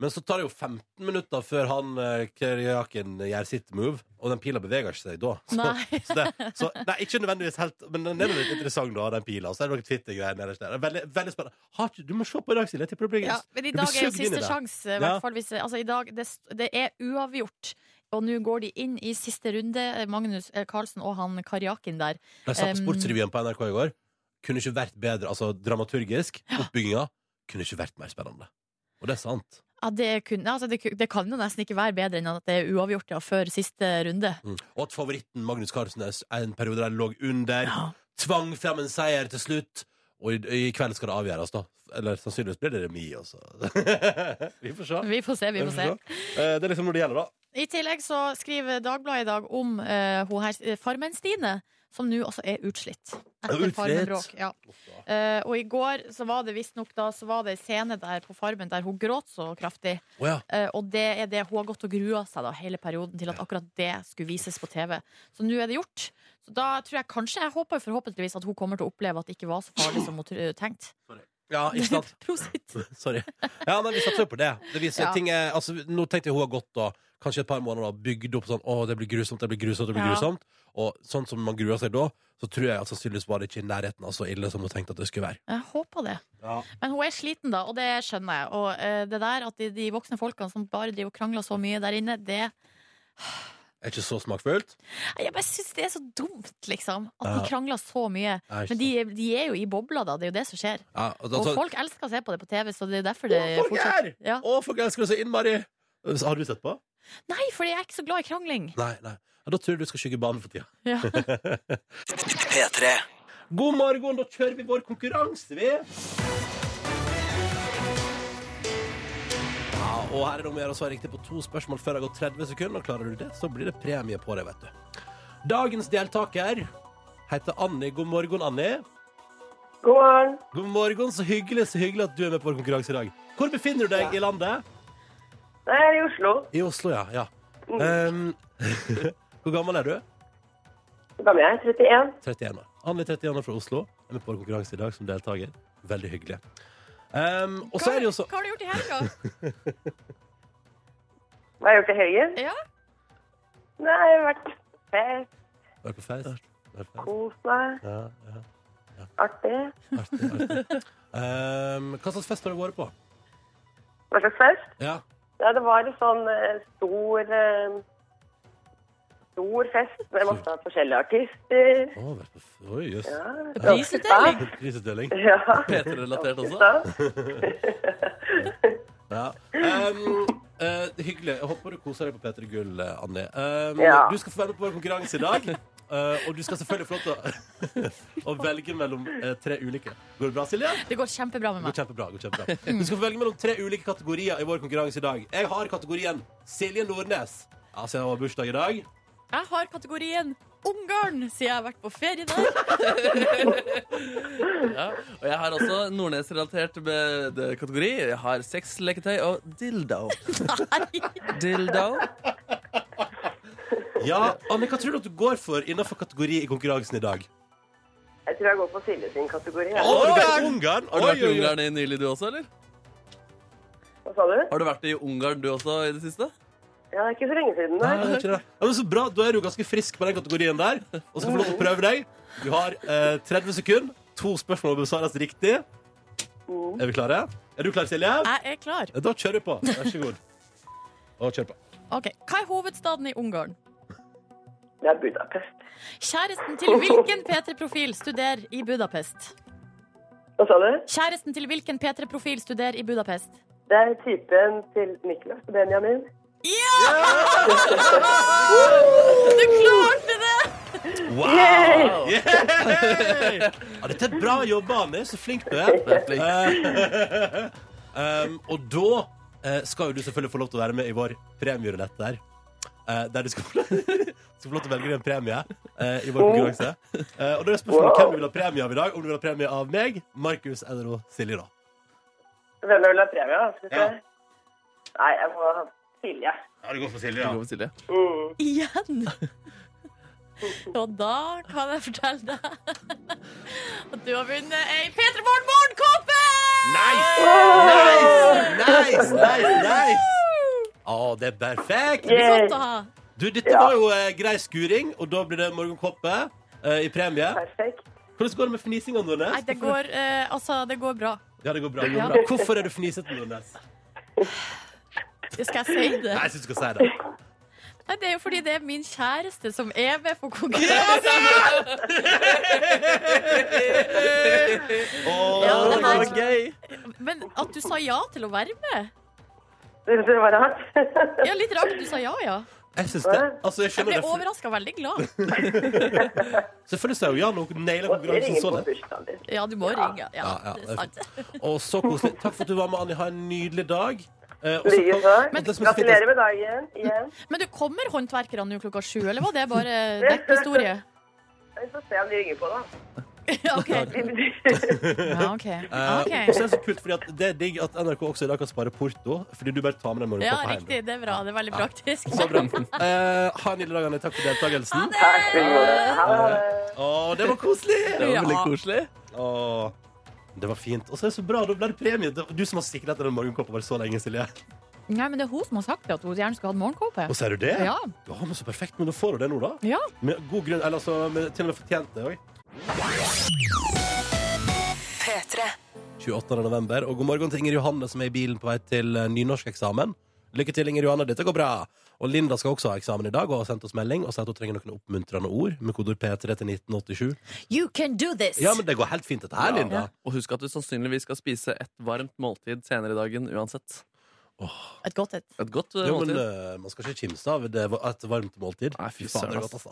Speaker 2: Men så tar det jo 15 minutter før han eh, Keriakin gjør sitt move, og den pila beveger ikke seg da. Så,
Speaker 3: Nei.
Speaker 2: så, det, så nei, ikke nødvendigvis helt Men den er jo litt interessant, da, den pila. Og så er det noen Twitter-greier nederst der. Veldig, veldig spennende. Har ikke, du må se på i dag, Silje. Jeg tipper det blir
Speaker 3: Ja, men i
Speaker 2: du blir
Speaker 3: dag er jo
Speaker 2: sugd inn i
Speaker 3: siste
Speaker 2: det.
Speaker 3: sjanse. i
Speaker 2: Ja.
Speaker 3: hvert fall hvis- Altså, i dag, det, st- det er uavgjort. Og nå går de inn i siste runde, eh, Magnus eh, Carlsen og han Karjakin der.
Speaker 2: De satte
Speaker 3: Um,
Speaker 2: Sportsrevyen på NRK i går. Kunne ikke vært bedre. Altså dramaturgisk. Oppbygginga kunne ikke vært mer spennende. Og det er sant.
Speaker 3: Ja, det, kunne, altså, det, ku- det kan jo nesten ikke være bedre enn at det er uavgjort ja, før siste runde.
Speaker 2: Mm. Og at favoritten Magnus Carlsen er s- er en periode der han lå under. Tvang frem en seier til slutt. Og i, i kveld skal det avgjøres, da. Eller sannsynligvis blir det remis også. vi får se.
Speaker 3: Vi får se, vi får se.
Speaker 2: Eh, Det er liksom når det gjelder, da.
Speaker 3: I tillegg så skriver Dagbladet i dag om eh, hun her, eh, Farmen-Stine, som nå altså er utslitt. Etter
Speaker 2: utslitt?
Speaker 3: Farmen-bråk. Ja. Eh, og i går så var det visstnok da, så var det en scene der på Farmen der hun gråt så kraftig.
Speaker 2: Å ja.
Speaker 3: Eh, og det er det hun har gått og grua seg da hele perioden til at akkurat det skulle vises på TV. Så nå er det gjort. Så da tror jeg kanskje, jeg håper forhåpentligvis at hun kommer til å oppleve at det ikke var så farlig som hun tr- tenkte.
Speaker 2: Ja, ikke sant?
Speaker 3: Prosit.
Speaker 2: Sorry. Ja, nei, vi satser jo på det. det viser,
Speaker 3: Ja.
Speaker 2: ting er, altså, nå tenkte jeg hun har gått da, kanskje et par måneder da, bygd opp sånn Å, det blir grusomt, det blir grusomt, det blir
Speaker 3: Ja.
Speaker 2: grusomt. Og sånn som man gruer seg da, så tror jeg at sannsynligvis var det ikke i nærheten av så ille som hun tenkte at det skulle være.
Speaker 3: Jeg håper det.
Speaker 2: Ja.
Speaker 3: Men hun er sliten, da, og det skjønner jeg. Og eh, det der at de, de voksne folkene som bare driver og krangler så mye der inne, det
Speaker 2: Er ikke så smakfullt?
Speaker 3: Nei, Jeg bare syns det er så dumt, liksom. At
Speaker 2: Ja.
Speaker 3: de krangler så mye.
Speaker 2: Nei, ikke
Speaker 3: Men de, de er jo i bobla, da. Det er jo det som skjer.
Speaker 2: Ja, og da-
Speaker 3: Og folk elsker å se på det på TV, så det er derfor det
Speaker 2: Å, folk
Speaker 3: fortsatt
Speaker 2: er!
Speaker 3: ja.
Speaker 2: Å, folk elsker det så innmari! Har du sett på?
Speaker 3: Nei, for jeg er ikke så glad i krangling.
Speaker 2: Nei, nei. Ja, da tror jeg du skal skygge banen for tida.
Speaker 3: Ja.
Speaker 2: God morgen, da kjører vi vår konkurranse, vi! Ja, og her er det om å gjøre å svare riktig på to spørsmål før det har gått 30 sekunder. Og klarer du det, så blir det premie på det, vet du. Dagens deltaker heter Anni. God morgen, Anni.
Speaker 10: God morgen.
Speaker 2: God morgen, så hyggelig, så hyggelig at du er med på vår konkurranse i dag. Hvor befinner du deg i landet?
Speaker 10: Jeg er i Oslo. Mm.
Speaker 2: I Oslo, ja. ja. Ehm, hvor gammel er du?
Speaker 10: Hvor gammel er jeg? 31.
Speaker 2: 31 år. Anne 31 år fra Oslo er med på vår konkurranse i dag som deltaker. Veldig hyggelig. Ehm, og så
Speaker 3: Hva,
Speaker 2: er det jo så
Speaker 3: hva har du gjort i helga?
Speaker 10: Hva har jeg gjort i helgen?
Speaker 3: Ja.
Speaker 10: Nei, jeg har vært fest,
Speaker 2: Vært på fest? Vært på fest?
Speaker 10: kost meg,
Speaker 2: Ja, ja.
Speaker 10: artig.
Speaker 2: Artig, artig. Ehm, hva slags fest har du vært på?
Speaker 10: Hva slags fest?
Speaker 2: Ja.
Speaker 10: Ja, det var en sånn eh, stor eh, Stor fest med masse forskjellige artister.
Speaker 2: Å, vært på f Oi, jøss.
Speaker 10: Ja,
Speaker 3: Prisutdeling.
Speaker 10: stas.
Speaker 2: Prisutdeling.
Speaker 10: Ja,
Speaker 4: P3-relatert også.
Speaker 10: stas.
Speaker 2: Ja. Ehm, eh, hyggelig. Jeg håper du koser deg på P3 Gull, eh, Anni. Ehm,
Speaker 10: Ja.
Speaker 2: Du skal få være med på vår konkurranse i dag. Eh, og du skal selvfølgelig få lov til å, å velge mellom eh, tre ulike. Går det bra, Silje?
Speaker 3: Det går kjempebra
Speaker 2: Går
Speaker 3: med meg.
Speaker 2: kjempebra, går kjempebra. Du skal få velge mellom tre ulike kategorier i vår konkurranse i dag. Jeg har kategorien Silje Nordnes. Ja, siden hun har bursdag i dag.
Speaker 3: Jeg har kategorien Ungarn, siden jeg har vært på ferie der.
Speaker 4: Ja. Og jeg har også Nordnes-relatert med- det- kategori. Jeg har sex, leketøy og dildo.
Speaker 3: Nei.
Speaker 4: Dildo?
Speaker 2: Ja, Anne, hva tror du at du går for innenfor kategori i konkurransen i dag?
Speaker 10: Jeg tror jeg går for Silje sin kategori. jeg.
Speaker 2: Å, du vet Ungarn!
Speaker 4: Har du vært i
Speaker 2: Oi, oi, oi.
Speaker 4: Ungarn i nylig, du også? eller?
Speaker 10: Hva sa du?
Speaker 4: Har du vært i Ungarn du også i det siste?
Speaker 10: Ja, det er ikke så lenge siden.
Speaker 2: Nei,
Speaker 10: Nei.
Speaker 2: det er ikke det. Ja, men så bra, Da er du ganske frisk på den kategorien der. Og så får du lov til å prøve deg. Du har eh, 30 sekunder. To spørsmål må besvares riktig. Er vi klare? Er du klar, Silje?
Speaker 3: Jeg er klar.
Speaker 2: Da kjører vi på. Vær så god. Og kjør på.
Speaker 3: Ok, Hva er hovedstaden i Ungarn?
Speaker 10: Det er Budapest.
Speaker 3: Kjæresten til hvilken P3-profil studerer i Budapest?
Speaker 10: Hva sa du?
Speaker 3: Kjæresten til hvilken P3-profil studerer i Budapest?
Speaker 10: Det er typen til Niklas og Benjamin.
Speaker 3: Du klarte det!
Speaker 2: Wow! Yeah! Ja, dette er bra jobba, Anne. Så flink du er.
Speaker 4: Det er flink.
Speaker 2: Eh, um, og da eh, skal jo du selvfølgelig få lov til å være med i vår premierulett der. Eh, der du skal få, skal få lov til å velge deg en premie eh, i vår konkurranse. Eh, og da er spørsmålet hvem du vil ha premie av i dag. Om du vil ha premie av meg, Markus eller og Silje, da.
Speaker 10: Hvem vil ha premie? da? Skal vi se.
Speaker 2: Ja.
Speaker 10: altså, Nei, jeg må ha Silje.
Speaker 2: Ja, det går for Silje,
Speaker 4: Du går med Silje.
Speaker 10: Mm.
Speaker 3: Igjen! Og da kan jeg fortelle deg at du har vunnet ei P3 Morgen Morgenkåpe!
Speaker 2: Nice! Nice! Nice! nice, nice. Å, det er perfekt!
Speaker 10: Yay.
Speaker 3: Godt å ha.
Speaker 2: Du, dette
Speaker 10: Ja.
Speaker 2: var jo eh, grei skuring, og da blir det morgenkoppe eh, i premie.
Speaker 10: Perfekt.
Speaker 2: Hvordan går det med fnisinga, Nordnes?
Speaker 3: Nei, det går, eh, altså, det går bra.
Speaker 2: Ja, det går bra.
Speaker 3: Ja.
Speaker 2: bra. Hvorfor er du fnisete, Nordnes?
Speaker 3: Skal jeg si det?
Speaker 2: Nei, jeg syns du skal si det.
Speaker 3: Nei, det er jo fordi det er min kjæreste som er med på konkurransen.
Speaker 2: Åh,
Speaker 3: Ja, det
Speaker 4: Det
Speaker 3: her-
Speaker 4: var gøy!
Speaker 3: Men at du sa ja til å være med?
Speaker 10: Synes du det var rart?
Speaker 3: Ja, litt rart at du sa ja, ja.
Speaker 2: jeg syns det. Altså, jeg
Speaker 3: Jeg
Speaker 2: skjønner
Speaker 3: ble
Speaker 2: det. for-
Speaker 3: overraska veldig glad.
Speaker 2: Selvfølgelig sa jeg jo ja når hun naila
Speaker 10: Og jeg
Speaker 2: konkurransen
Speaker 10: ringer
Speaker 2: så
Speaker 10: på
Speaker 2: det.
Speaker 10: bursdagen din.
Speaker 3: Ja, du må ringe. Ja,
Speaker 2: Ja, ja,
Speaker 3: det er sant.
Speaker 2: Og så koselig. Takk for at du var med, Anni. Ha en nydelig dag. Eh, og så-
Speaker 10: Likeså.
Speaker 2: Men-
Speaker 10: Gratulerer med dagen igjen.
Speaker 3: Men du kommer håndverkerne nå klokka sju, eller var det bare dekkhistorie?
Speaker 10: Vi får se om de ringer på, da.
Speaker 3: Ja, OK. Ja, ok. Ja,
Speaker 2: Eh,
Speaker 3: ok.
Speaker 2: og så er det så kult, fordi at det er digg at NRK også i dag kan spare porto, fordi du bare tar med deg
Speaker 3: Ja,
Speaker 2: morgenkåpa hjem.
Speaker 3: riktig. Det er bra. Det er veldig praktisk.
Speaker 2: Så bra. Eh, ha en nydelig dag, Anni. Takk for deltakelsen.
Speaker 10: Takk for det. Ha det.
Speaker 2: Å, det var koselig!
Speaker 4: Det var veldig
Speaker 3: Ja.
Speaker 4: koselig.
Speaker 2: Å, det var fint. Og så er det så bra, da ble det premie. Det var Du som har siklet etter den morgenkåpa bare så lenge, Silje.
Speaker 3: Nei, men det er hun som har sagt det, at hun gjerne skulle hatt morgenkåpe.
Speaker 2: Og ser du det?
Speaker 3: Ja.
Speaker 2: Å, men så perfekt. Men da får du det nå, da.
Speaker 3: Ja.
Speaker 2: Med god grunn. Eller altså, med, til og med fortjent det òg. 28. november, og god morgen til Inger Johanne som er i bilen på vei til eh, nynorskeksamen. Lykke til, Inger Johanne. Dette går bra. Og Linda skal også ha eksamen i dag og har sendt oss melding og sier at hun trenger noen oppmuntrende ord med kodeord P3 til 1987.
Speaker 3: You can do this!
Speaker 2: Ja, men det går helt fint, dette her, Linda.
Speaker 4: Og husk at du sannsynligvis skal spise et varmt måltid senere i dagen uansett.
Speaker 3: Et godt et.
Speaker 4: Et godt eh,
Speaker 2: Jo, men
Speaker 4: måltid.
Speaker 2: eh, Man skal ikke kimse av det var et varmt måltid.
Speaker 4: Nei, fy
Speaker 2: Faen, det
Speaker 4: søren,
Speaker 2: er godt,
Speaker 4: ass.
Speaker 2: ass.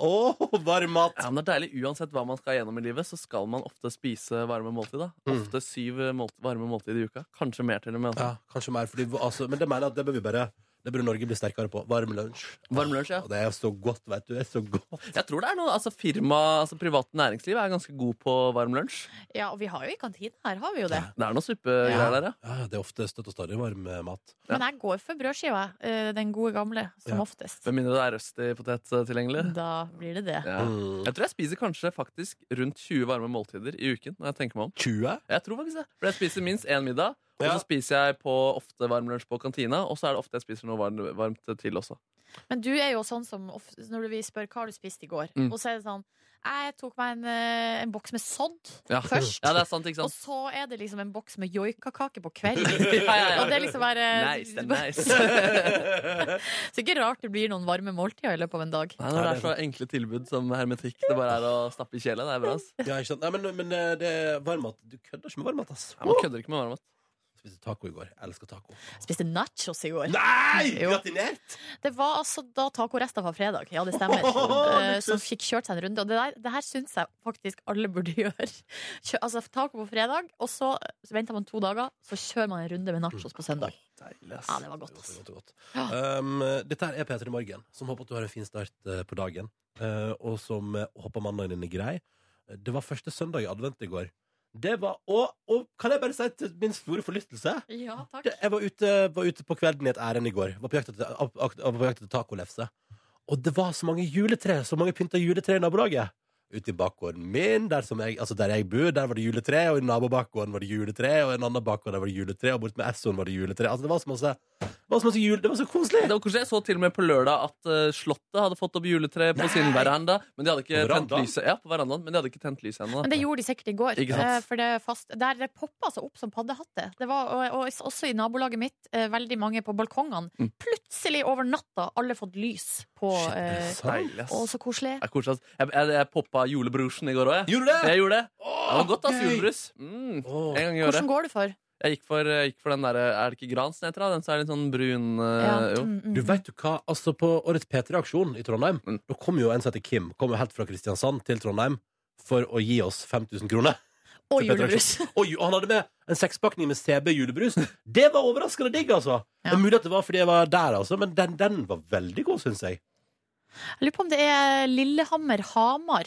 Speaker 2: Åh, varm mat!
Speaker 4: Ja, men det er deilig. Uansett hva man skal gjennom i livet, så skal man ofte spise varme måltid. da.
Speaker 2: Mm.
Speaker 4: Ofte syv eh, målt- varme måltid i uka. Kanskje mer til og med.
Speaker 2: Ja,
Speaker 4: Altså.
Speaker 2: kanskje mer, fordi, altså, men det mener jeg at det bør vi bare Det burde Norge bli sterkere på. Varm lunsj.
Speaker 4: Varm lunsj, ja.
Speaker 2: Og det er så godt, vet du. Det er så godt.
Speaker 4: Jeg tror det er noe, altså firma, altså Privat næringsliv er ganske god på varm lunsj.
Speaker 3: Ja, og vi har jo i kantina her, har vi jo det.
Speaker 4: Det er noe suppegreier der, ja.
Speaker 2: Ja, det er ofte støtt og stadig varm eh, mat.
Speaker 3: Men jeg går for brødskiva, eh, den gode gamle, som
Speaker 2: Ja.
Speaker 3: oftest.
Speaker 4: Med mindre det er røstig potet eh, tilgjengelig.
Speaker 3: Da blir det det.
Speaker 4: Ja.
Speaker 2: Mm.
Speaker 4: Jeg tror jeg spiser kanskje faktisk rundt 20 varme måltider i uken. når jeg tenker meg om.
Speaker 2: 20?
Speaker 4: Jeg tror faktisk det. For jeg spiser minst én middag, Og så spiser jeg på ofte varm lunsj på kantina, og så er det ofte jeg spiser noe varm- varmt til også.
Speaker 3: Men du er jo sånn som of- når vi spør hva har du spist i går,
Speaker 4: Mm.
Speaker 3: og så er det sånn jeg tok meg en, eh, en boks med sodd
Speaker 4: Ja.
Speaker 3: først.
Speaker 4: Ja, det er sant, ikke
Speaker 3: Og
Speaker 4: sant?
Speaker 3: så er det liksom en boks med joikakake på kvelden.
Speaker 4: Ja, ja, ja.
Speaker 3: Og det er liksom bare
Speaker 4: Nice, det er nice.
Speaker 3: Så ikke rart det blir noen varme måltider i løpet av en dag.
Speaker 4: Nei, når det er så enkle tilbud som hermetikk, det bare er å stappe i kjelen. Det er bra, ass.
Speaker 2: Ja, ikke sant? Nei, men, men eh, det er varmmat. Du kødder ikke med varmmat, ass.
Speaker 4: Nei, Man kødder ikke med varmmat.
Speaker 2: Spiste taco i går. Jeg elsker taco.
Speaker 3: Spiste nachos i går.
Speaker 2: Nei!
Speaker 3: Jo.
Speaker 2: Gratinert!
Speaker 3: Det var altså da tacorester fra fredag, ja det stemmer, eh, som fikk kjørt seg en runde. Og det, der, det her syns jeg faktisk alle burde gjøre. Kjø, altså taco på fredag, og så venter man to dager, så kjører man en runde med nachos på søndag.
Speaker 4: Deilig, ass.
Speaker 3: Ja, det var godt, ass.
Speaker 2: Godt, godt, godt. Um, dette her er Peter i morgen, som håper at du har en fin start eh, på dagen. eh, og som eh, håper mandagen din er grei. Det var første søndag i advent i går. Det var, og, og kan jeg bare si til min store forlyttelse
Speaker 3: Ja, takk.
Speaker 2: det, Jeg var ute, var ute på kvelden i et ærend i går. Var på jakt etter, ak- ak- var på jakt etter tacolefse. Og det var så mange juletre, så mange pynta juletre i nabolaget. Ute i bakgården min, der, som jeg, altså der jeg bor, der var det juletre, og i nabobakgården var det juletre, og i en annen bakgård der var det juletre, og bort med Essoen var det juletre. Altså, det var så masse, det var så masse jul, det var så koselig!
Speaker 4: Det var kanskje Jeg så til og med på lørdag at eh, Slottet hadde fått opp juletre på sin veranda. Men de hadde ikke
Speaker 2: På
Speaker 4: tent
Speaker 2: verandaen?
Speaker 4: lyset Ja, på verandaen, men de hadde ikke tent lyset ennå.
Speaker 3: Men det gjorde de sikkert i går.
Speaker 4: Ikke sant?
Speaker 3: eh, For det er fast, der det poppa seg opp som paddehatter. Det var, og, og også i nabolaget mitt, eh, veldig mange på balkongene.
Speaker 4: Mm.
Speaker 3: Plutselig over natta, alle fått lys på eh,
Speaker 2: sant.
Speaker 4: Deilig, ass.
Speaker 3: Å, så koselig.
Speaker 4: Det er koselig, ass. Jeg, jeg, jeg poppa julebrusen i går òg, jeg.
Speaker 2: Gjorde du det?
Speaker 4: Jeg gjorde det. Det var godt, ass.
Speaker 2: gøy!
Speaker 4: Julebrus. Mm.
Speaker 2: Åh.
Speaker 4: En gang i året.
Speaker 3: Hvordan går det for?
Speaker 4: Jeg gikk for, jeg gikk for den der, Er det ikke Grans den heter? da? Den som er litt sånn brun eh, jo.
Speaker 3: Mm, mm.
Speaker 2: Du vet jo hva, altså På årets P3-aksjon i Trondheim
Speaker 4: Mm.
Speaker 2: Da kom jo en som heter Kim, kom jo helt fra Kristiansand til Trondheim for å gi oss 5000 kroner.
Speaker 3: Og
Speaker 2: til Peter
Speaker 3: julebrus.
Speaker 2: Og ju- han hadde med en sekspakning med CB julebrus. Det var overraskende digg, altså! Det
Speaker 3: Ja.
Speaker 2: er mulig at det var fordi jeg var der, altså, men den, den var veldig god, syns jeg.
Speaker 3: Jeg lurer på om det er Lillehammer-Hamar.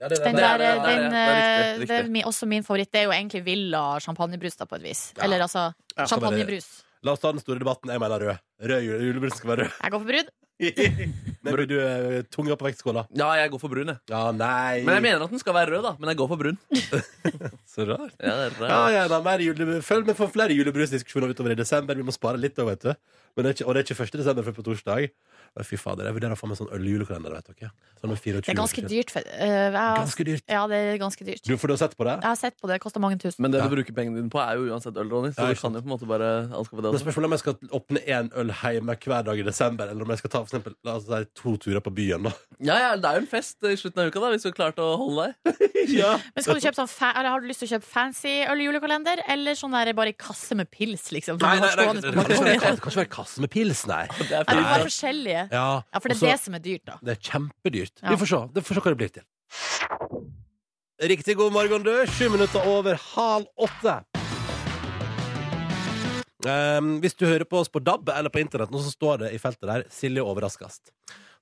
Speaker 3: Den
Speaker 4: det er
Speaker 3: der,
Speaker 4: det, det er det.
Speaker 3: den,
Speaker 4: Det er
Speaker 3: eh,
Speaker 4: riktig,
Speaker 3: det
Speaker 4: riktig.
Speaker 3: er mi- også min favoritt. Det er jo egentlig Villa champagnebrus, da, på et vis.
Speaker 2: Ja.
Speaker 3: Eller altså
Speaker 2: Ja.
Speaker 3: champagnebrus.
Speaker 2: La oss ta den store debatten. Jeg mener rød. Rød jule, Julebrus skal være rød.
Speaker 3: Jeg går for brudd.
Speaker 2: Men blir du eh, tunga på vektskåla?
Speaker 4: Ja, jeg går for brun, jeg.
Speaker 2: Ja, nei
Speaker 4: Men jeg mener at den skal være rød, da. Men jeg går for brun.
Speaker 2: Så rart.
Speaker 4: Ja, det er rød.
Speaker 2: Ja, ja, da, mer jule, følg med for flere julebrusdiskusjoner utover i desember. Vi må spare litt da, vet du. Men det er ikke, og det er ikke 1. desember, før på torsdag. Å, Fy fader, jeg vurderer å få meg sånn øljulekalender, vet dere. Sånn med 24
Speaker 3: Det er ganske
Speaker 2: forskjell.
Speaker 3: dyrt. For, eh, jeg har-
Speaker 2: Ganske dyrt.
Speaker 3: Ja, det er ganske dyrt.
Speaker 2: Du, for du har sett på det?
Speaker 3: Jeg har sett på det. det Koster mange tusen.
Speaker 4: Men det du bruker pengene dine på, er jo uansett øl, Ronny. Så
Speaker 2: Ja,
Speaker 4: du
Speaker 2: ikke
Speaker 4: kan jo på en måte bare alt skal på det
Speaker 2: Men
Speaker 4: også.
Speaker 2: spørsmålet er om jeg skal åpne én øl hjemme hver dag i desember, eller om jeg skal ta for eksempel, la oss si, to turer på byen. da
Speaker 4: Ja, ja, det er jo en fest i slutten av uka, da, hvis du klarte å holde deg.
Speaker 3: Men skal du kjøpe sånn fa eller Har du lyst til å kjøpe fancy øl-julekalender, eller sånn der bare i kasse med pils, liksom? Som du har stående på
Speaker 2: Kanskje det sånn-
Speaker 3: balkongen?
Speaker 2: kan ikke være kasse med pils, nei.
Speaker 4: Det er
Speaker 3: Ja, det må
Speaker 4: fint,
Speaker 3: være forskjellige.
Speaker 2: Ja,
Speaker 3: Ja, for det
Speaker 2: og så-
Speaker 3: er det som er dyrt, da.
Speaker 2: Det er kjempedyrt.
Speaker 3: Ja.
Speaker 2: Vi får se. Det får se hva det blir til. Riktig god morgen, du. Sju minutter over halv åtte. Ehm, hvis du hører på oss på DAB eller på internett, nå, så står det i feltet der 'Silje overraskast'.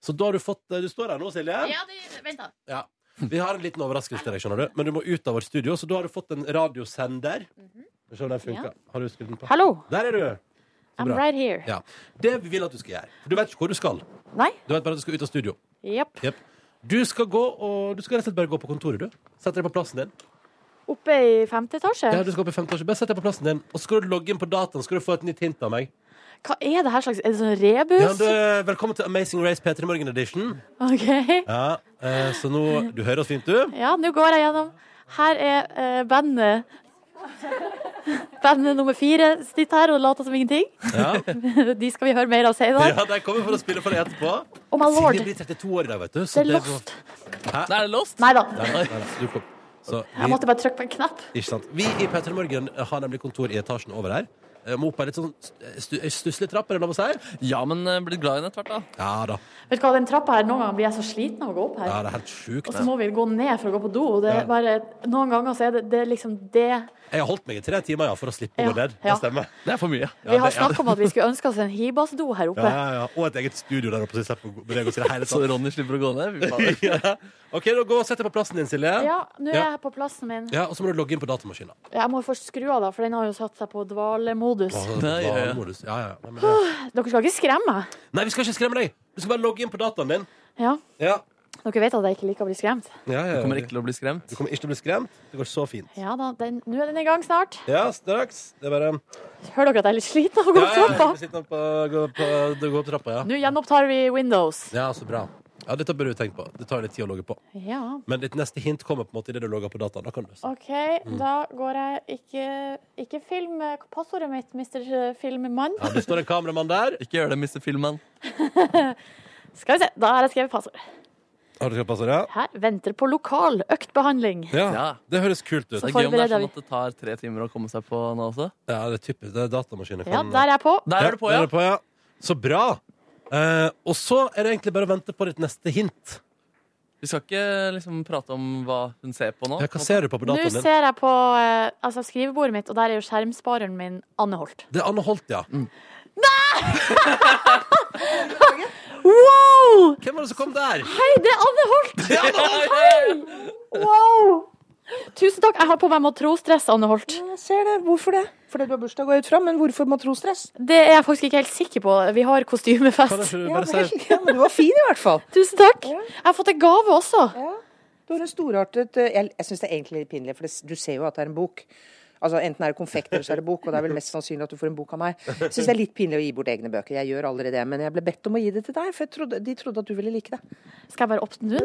Speaker 2: Så da har du fått eh, Du står her nå, Silje.
Speaker 3: Ja, det, vent da.
Speaker 2: Ja. Vi har en liten overraskelse til deg, skjønner du. Men du må ut av vårt studio, så da har du fått en radiosender. Skal vi se om den funker. Har du skrudd den på?
Speaker 6: Mhm. Hallo,
Speaker 2: Der er du! Så
Speaker 6: I'm
Speaker 2: bra.
Speaker 6: right here.
Speaker 2: Ja. Det vi vil at du skal gjøre. For du vet ikke hvor du skal.
Speaker 6: Nei?
Speaker 2: Du vet bare at du skal ut av studio.
Speaker 6: Jepp.
Speaker 2: Jep. Du skal gå og Du skal rett og slett bare gå på kontoret, du. Sette deg på plassen din.
Speaker 6: Oppe i femte etasje?
Speaker 2: Ja, du skal opp i femte etasje. Bare sett deg på plassen din, og så skal du logge inn på dataen. Skal du få et nytt hint av meg.
Speaker 6: Hva er det her slags Er det sånn rebus?
Speaker 2: Ja, du, er velkommen til Amazing Race P3 Morgen Edition.
Speaker 6: OK.
Speaker 2: Ja, eh, så nå Du hører oss fint, du?
Speaker 6: Ja, nå går jeg gjennom. Her er eh, bandet. Bandet nummer fire sitter her og later som ingenting.
Speaker 2: Ja,
Speaker 6: De skal vi høre mer av senere.
Speaker 2: ja de kommer for å spille for deg etterpå.
Speaker 6: Oh my lord,
Speaker 2: Silje blir 32 år i dag, vet du.
Speaker 6: det
Speaker 2: Så
Speaker 6: er lost.
Speaker 4: Nei, er det lost?
Speaker 6: Nei da,
Speaker 2: Nei, nei, nei, så du kom. Så
Speaker 6: jeg
Speaker 2: vi,
Speaker 6: måtte bare trykke på en knapp.
Speaker 2: ikke sant. vi i P3 Morgen har nemlig kontor i etasjen over her. Eh, Må opp ei litt sånn stu- stusslig trapp, er det lov å si?
Speaker 4: Ja, men eh, blitt glad i den etter hvert, da.
Speaker 2: Ja da.
Speaker 6: Vet du hva, den trappa her, Noen ganger blir jeg så sliten av å gå opp
Speaker 2: Ja,
Speaker 6: her.
Speaker 2: det er helt sjukt.
Speaker 6: Og så må vi gå ned for å gå på do. og Det er bare, noen ganger så er det, det er liksom det
Speaker 2: Jeg har holdt meg i tre timer ja, for å slippe å
Speaker 6: Ja,
Speaker 2: gå ned. Det
Speaker 6: ja.
Speaker 2: stemmer.
Speaker 4: Det er for mye.
Speaker 6: Vi har
Speaker 2: det- ja.
Speaker 6: snakka om at vi skulle ønske oss en hibasdo her
Speaker 2: Ja,
Speaker 6: oppe.
Speaker 2: ja, ja. Og et eget studio der oppe. Så jeg slipper å bevege oss i det hele
Speaker 4: Så
Speaker 2: tatt.
Speaker 4: Ronny slipper å gå ned. Fy fader.
Speaker 2: Ja. OK, da gå og sett deg på plassen din, Silje.
Speaker 6: Ja, nå er
Speaker 2: Ja.
Speaker 6: jeg på plassen min.
Speaker 2: Ja, Og så må du logge inn på datamaskinen.
Speaker 6: Jeg må først skru av, da, for den har jo satt seg på dvalemodus.
Speaker 2: Å,
Speaker 4: Nei, ja, ja.
Speaker 2: vanmodus. Ja, ja. Nei, men det-
Speaker 6: Dere skal ikke skremme meg.
Speaker 2: Nei, vi skal ikke skremme deg! Du skal bare logge inn på dataen din.
Speaker 6: Ja.
Speaker 2: Ja.
Speaker 3: Dere vet at jeg ikke liker å bli skremt.
Speaker 2: Du
Speaker 4: kommer ikke til å bli skremt?
Speaker 2: Du kommer ikke til å bli skremt. Det går så fint.
Speaker 3: Ja da, den- Nå er den i gang snart.
Speaker 2: Ja, straks. Det er bare
Speaker 3: Hører dere at jeg er litt sliten av å gå
Speaker 2: Ja,
Speaker 3: opp
Speaker 2: ja, ja,
Speaker 3: trappa?
Speaker 2: vi sitter på, går på, du går på trappa, ja.
Speaker 3: Nå gjenopptar vi Windows.
Speaker 2: Ja, så bra. Ja, Dette bør du tenke på. Det tar litt tid å logge på.
Speaker 3: Ja.
Speaker 2: Men ditt neste hint kommer på en måte idet du logger på dataen. Da kan du
Speaker 3: OK, da går jeg ikke Ikke film eh, passordet mitt, Mr. Filmmann.
Speaker 2: ja, Det står en kameramann der.
Speaker 4: Ikke gjør det, Mr. Filmmann.
Speaker 3: Skal vi se, da har jeg skrevet passord.
Speaker 2: Har du skrevet ja?
Speaker 3: Her venter på lokal øktbehandling.
Speaker 2: ja. Det høres kult ut.
Speaker 3: Så
Speaker 4: Det er gøy om det er
Speaker 3: forbereder
Speaker 4: sånn at det tar tre timer å komme seg på nå også.
Speaker 2: Ja, det er typisk. Det er datamaskiner.
Speaker 3: Ja, der er jeg på.
Speaker 4: Der er du på,
Speaker 2: der
Speaker 4: ja.
Speaker 2: er du på, ja. Så bra. Eh, og så er det egentlig bare å vente på ditt neste hint.
Speaker 4: Vi skal ikke liksom prate om hva hun ser på nå.
Speaker 2: Ja, hva ser du på på
Speaker 3: Nå
Speaker 2: dataen din?
Speaker 3: ser jeg på eh, altså skrivebordet mitt, og der er jo skjermspareren min Anne Holt.
Speaker 2: Det er Anne Holt, ja.
Speaker 3: Mm. Wow!
Speaker 2: Hvem var det som kom der?
Speaker 3: Hei, det er Anne Holt!
Speaker 2: Det er Anne Holt!
Speaker 3: Wow! Tusen takk. Jeg har på meg matrosdress, Anne Holt.
Speaker 9: Jeg ser det. Hvorfor det? Fordi du har bursdag, går jeg ut fra. Men hvorfor matrosdress?
Speaker 3: Det er jeg faktisk ikke helt sikker på. Vi har
Speaker 2: Kan
Speaker 3: kostymefest.
Speaker 2: ikke du
Speaker 9: Ja,
Speaker 2: bare
Speaker 9: vel,
Speaker 2: si
Speaker 9: ja, men du var fin i hvert fall.
Speaker 3: Tusen takk. Jeg har fått en gave også.
Speaker 9: Du har en storartet eh, Jeg, jeg syns det er egentlig litt pinlig, for det, s- du ser jo at det er en bok. Altså Enten er det konfekt eller så er det bok, og det er vel mest sannsynlig at du får en bok av meg. Jeg syns det er litt pinlig å gi bort egne bøker. Jeg gjør aldri det. Men jeg ble bedt om å gi det til deg, for jeg trodde, de trodde at du ville like det.
Speaker 3: Skal jeg bare åpne nå,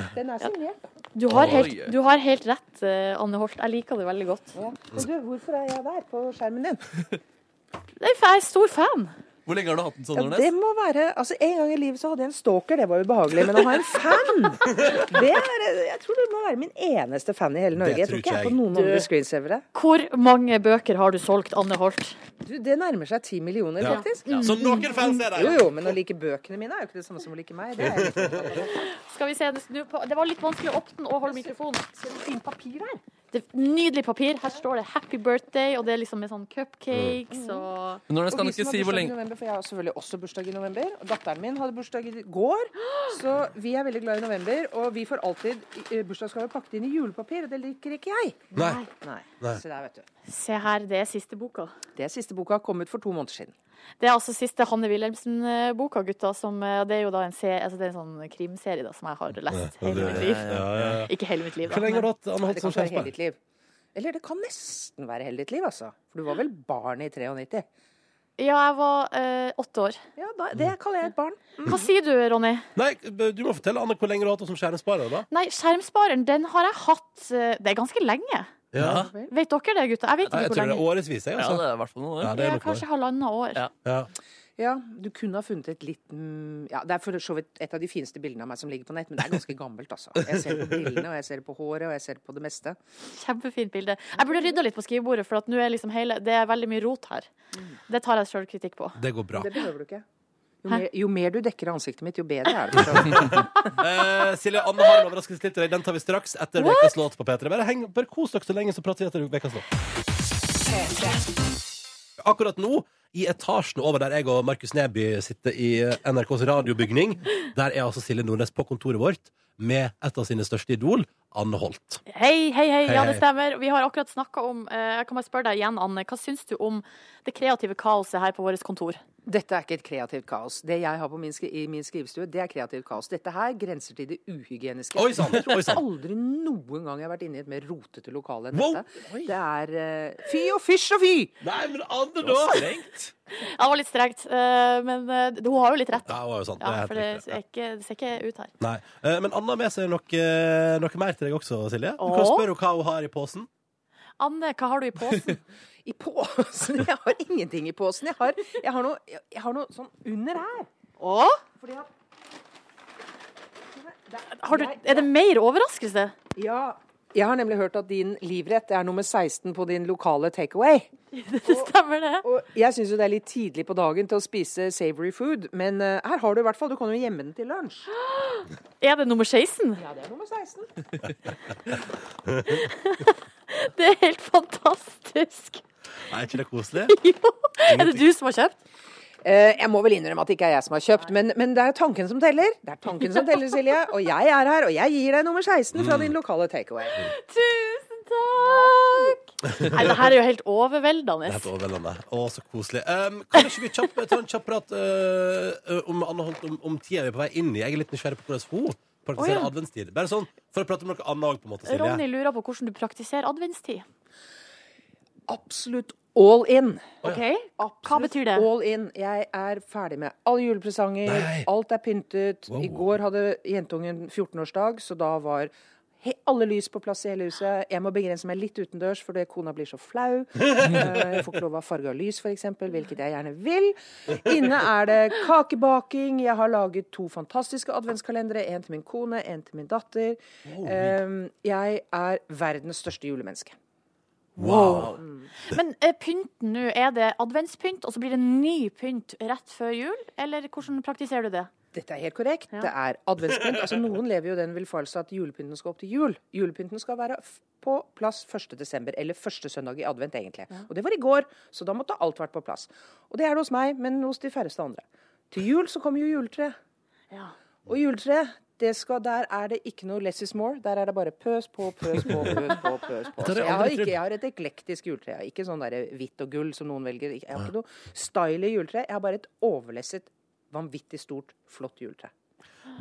Speaker 3: da?
Speaker 9: Den er signert.
Speaker 3: Du har
Speaker 4: Oi.
Speaker 3: helt, du har helt rett, eh, Anne Holt. Jeg liker det veldig godt.
Speaker 9: Ja. Men du, hvorfor er jeg der på skjermen din?
Speaker 3: Nei, for Jeg er stor fan.
Speaker 4: Hvor lenge har du hatt den sånn,
Speaker 9: Ja, det
Speaker 4: Nordnes?
Speaker 9: må være Altså, en gang i livet så hadde jeg en stalker, det var ubehagelig. Men å ha en fan, det er Jeg tror det må være min eneste fan i hele Norge. Jeg tror
Speaker 2: tror
Speaker 9: ikke jeg er
Speaker 2: ikke
Speaker 9: på noen
Speaker 3: Du-
Speaker 9: andre screensavere.
Speaker 3: Hvor mange bøker har du solgt, Anne Holt?
Speaker 9: Du, det nærmer seg ti millioner,
Speaker 2: Ja.
Speaker 9: faktisk.
Speaker 2: Så noen fans er der!
Speaker 9: Jo, jo, men å like bøkene mine er jo ikke det samme som å like meg. Det er litt
Speaker 3: Skal vi se, nå på- Det var litt vanskelig å åpne og holde mikrofonen.
Speaker 9: fint papir her.
Speaker 3: Det er nydelig papir. Her står det 'Happy Birthday', og det er liksom med sånn
Speaker 9: Mm.
Speaker 3: cupcakes og
Speaker 4: Men Nordnes
Speaker 9: Og
Speaker 4: kan
Speaker 9: vi som har
Speaker 4: du ikke si hvor
Speaker 9: bursdag i
Speaker 4: lenge
Speaker 9: november, for jeg har selvfølgelig også bursdag i november. Og datteren min hadde bursdag i går, så vi er veldig glad i november. Og vi får alltid eh, bursdagsgaver pakket inn i julepapir, og det liker ikke jeg.
Speaker 2: Nei.
Speaker 9: Nei.
Speaker 2: Nei.
Speaker 9: Så der, vet du.
Speaker 3: Se her, det er siste boka.
Speaker 9: Det siste boka kom ut for to måneder siden.
Speaker 3: Det er altså siste Hanne Wilhelmsen-boka, gutta. Som, eh, det er jo da en, se, altså det er en sånn krimserie da, som jeg har lest hele mitt liv.
Speaker 2: Ja, ja, ja.
Speaker 3: Ikke hele mitt liv, da.
Speaker 2: Hvor lenge har
Speaker 3: men-
Speaker 2: du hatt Anne
Speaker 9: Det
Speaker 2: Holt
Speaker 9: kan ikke
Speaker 2: som
Speaker 9: være hele
Speaker 2: kjæreste?
Speaker 9: ditt liv. Eller det kan nesten være hele ditt liv, altså. For du var vel barn i 93?
Speaker 3: Ja, jeg var eh, åtte år.
Speaker 9: Ja, da, det kaller jeg et barn.
Speaker 3: Hva sier du, Ronny?
Speaker 2: Nei, du må fortelle Anne hvor lenge du har hatt henne som skjæresparer, da.
Speaker 3: Nei, skjermspareren, den har jeg hatt eh, Det er ganske lenge.
Speaker 2: Ja.
Speaker 3: Vet dere det, gutta? Jeg vet
Speaker 2: Nei,
Speaker 3: ikke
Speaker 2: jeg tror
Speaker 3: hvor
Speaker 2: det er
Speaker 3: lenge.
Speaker 2: årevis, jeg,
Speaker 4: Ja,
Speaker 2: altså.
Speaker 4: det er i hvert fall noen
Speaker 2: Ja,
Speaker 4: år.
Speaker 2: det er
Speaker 3: Ja,
Speaker 2: nok noe.
Speaker 3: kanskje halvannet år.
Speaker 4: Ja.
Speaker 2: Ja.
Speaker 9: Ja, du kunne ha funnet et litt mm, Ja, det er for så vidt et av de fineste bildene av meg som ligger på nett, men det er ganske gammelt, altså. Jeg ser på brillene, og jeg ser på håret, og jeg ser på det meste.
Speaker 3: Kjempefint bilde. Jeg burde rydda litt på skrivebordet, for at nå er liksom hele, det er veldig mye rot her. Det tar jeg sjøl kritikk på.
Speaker 2: Det går bra.
Speaker 9: Det behøver du ikke. Jo
Speaker 3: Hæ?
Speaker 9: mer, jo mer du dekker ansiktet mitt, jo bedre er det. for så vidt.
Speaker 2: Eh, Silje, Anne har en overraskelse til deg. Den tar vi straks etter ukas låt på P3. Bare, heng, bare kos dere så lenge, så prater vi etter ukas låt. Akkurat nå, i etasjen over der jeg og Markus Neby sitter i eh, NRKs radiobygning, der er altså Silje Nordnes på kontoret vårt med et av sine største idol, Anne Holt.
Speaker 3: Hei, hei, hei.
Speaker 2: Hei,
Speaker 3: Ja,
Speaker 2: hei.
Speaker 3: det stemmer. Vi har akkurat snakka om eh, Jeg kan bare spørre deg igjen, Anne. Hva syns du om det kreative kaoset her på vårt kontor?
Speaker 9: Dette er ikke et kreativt kaos. Det jeg har på min, skri i min skrivestue, det er kreativt kaos. Dette her grenser til det uhygieniske.
Speaker 2: Oi sann! Oi
Speaker 9: Jeg
Speaker 2: sann!
Speaker 9: tror aldri noen gang jeg har vært inne i et mer rotete lokale enn
Speaker 2: Wow.
Speaker 9: dette. Det er eh, fy og fysj og fy!
Speaker 2: Nei, men Anne, da!
Speaker 3: Ja, det var litt strengt, eh, men eh, hun har jo litt rett.
Speaker 2: Ja, det var jo sant. Det er
Speaker 3: Ja,
Speaker 2: helt
Speaker 3: for det
Speaker 2: riktig.
Speaker 3: ser ikke, det ser ikke ut her.
Speaker 2: Nei. Eh, Men Anne har med seg noe, noe mer til deg også, Silje. Du kan
Speaker 3: Åh.
Speaker 2: spørre henne hva hun har i posen.
Speaker 3: Anne, hva har du i posen?
Speaker 9: I posen? Jeg har ingenting i posen. Jeg har, jeg har, noe, jeg, jeg har noe sånn under her.
Speaker 3: Å?
Speaker 9: Fordi at Det er-
Speaker 3: Har du,
Speaker 9: jeg-
Speaker 3: er det mer overraskelse?
Speaker 9: Ja. Jeg har nemlig hørt at din livrett er nummer 16 på din lokale takeaway.
Speaker 3: Det stemmer, det.
Speaker 9: Og jeg syns jo det er litt tidlig på dagen til å spise savory food, men eh, her har du i hvert fall. Du kan jo gjemme den til lunsj.
Speaker 3: Er det nummer 16?
Speaker 9: Ja, det er nummer 16.
Speaker 3: Det er helt fantastisk.
Speaker 2: Er ikke det koselig?
Speaker 3: Jo. Er det du som har kjøpt?
Speaker 9: Eh, jeg må vel innrømme at det ikke er jeg som har kjøpt, men, men det er tanken som teller. Det er tanken som teller, Silje. Og jeg er her, og jeg gir deg nummer 16 fra din lokale takeaway.
Speaker 3: Tusen takk! Nei, det her er jo helt
Speaker 2: Det
Speaker 3: overveldende.
Speaker 2: er helt overveldende. Å, så koselig. Um, kan ikke vi eh, kjappe, ta en kjapp prat øh, øh, om Anne Holt om, om tida vi er på vei inn i? Jeg er litt nysgjerrig på hvordan hun Praktisere
Speaker 6: Å, ja.
Speaker 2: adventstid. Bare sånn, for å prate om noe annet òg, på en måte, Silje.
Speaker 6: Ronny lurer på hvordan du praktiserer adventstid.
Speaker 9: Absolutt all in.
Speaker 6: Ok, Hva betyr det?
Speaker 9: All in. Jeg er ferdig med alle julepresanger. Alt er pyntet. I går hadde jentungen 14-årsdag, så da var he alle lys på plass i hele huset. Jeg må begrense meg litt utendørs, fordi kona blir så flau. Eh, Jeg får ikke lov av farge av lys, f.eks., hvilket jeg gjerne vil. Inne er det kakebaking. Jeg har laget to fantastiske adventskalendere. En til min kone, en til min datter. Eh, Jeg er verdens største julemenneske. Mm.
Speaker 2: Wow.
Speaker 6: Men eh, pynten nå, er det adventspynt, og så blir det ny pynt rett før jul? Eller hvordan praktiserer du det?
Speaker 9: Dette er helt korrekt. Det er adventspynt. Altså, noen lever jo i den villfarelse at julepynten skal opp til jul. Julepynten skal være f- på plass 1. desember, eller første søndag i advent, egentlig.
Speaker 6: Ja.
Speaker 9: Og det var i går, så da måtte alt vært på plass. Og det er det hos meg, men hos de færreste andre. Til jul så kommer jo juletreet. Og juletreet, det skal, der er det ikke noe less is more. Der er det bare pøs på, pøs på, pøs på. pøs på.
Speaker 11: Dette har jeg
Speaker 9: Så jeg,
Speaker 11: aldri
Speaker 9: har ikke,
Speaker 11: trodd.
Speaker 9: jeg har et eklektisk juletre. Jeg har ikke sånn der hvitt og gull som noen velger. Jeg har ikke noe style i juletre. Jeg har bare et overlesset, vanvittig stort, flott juletre.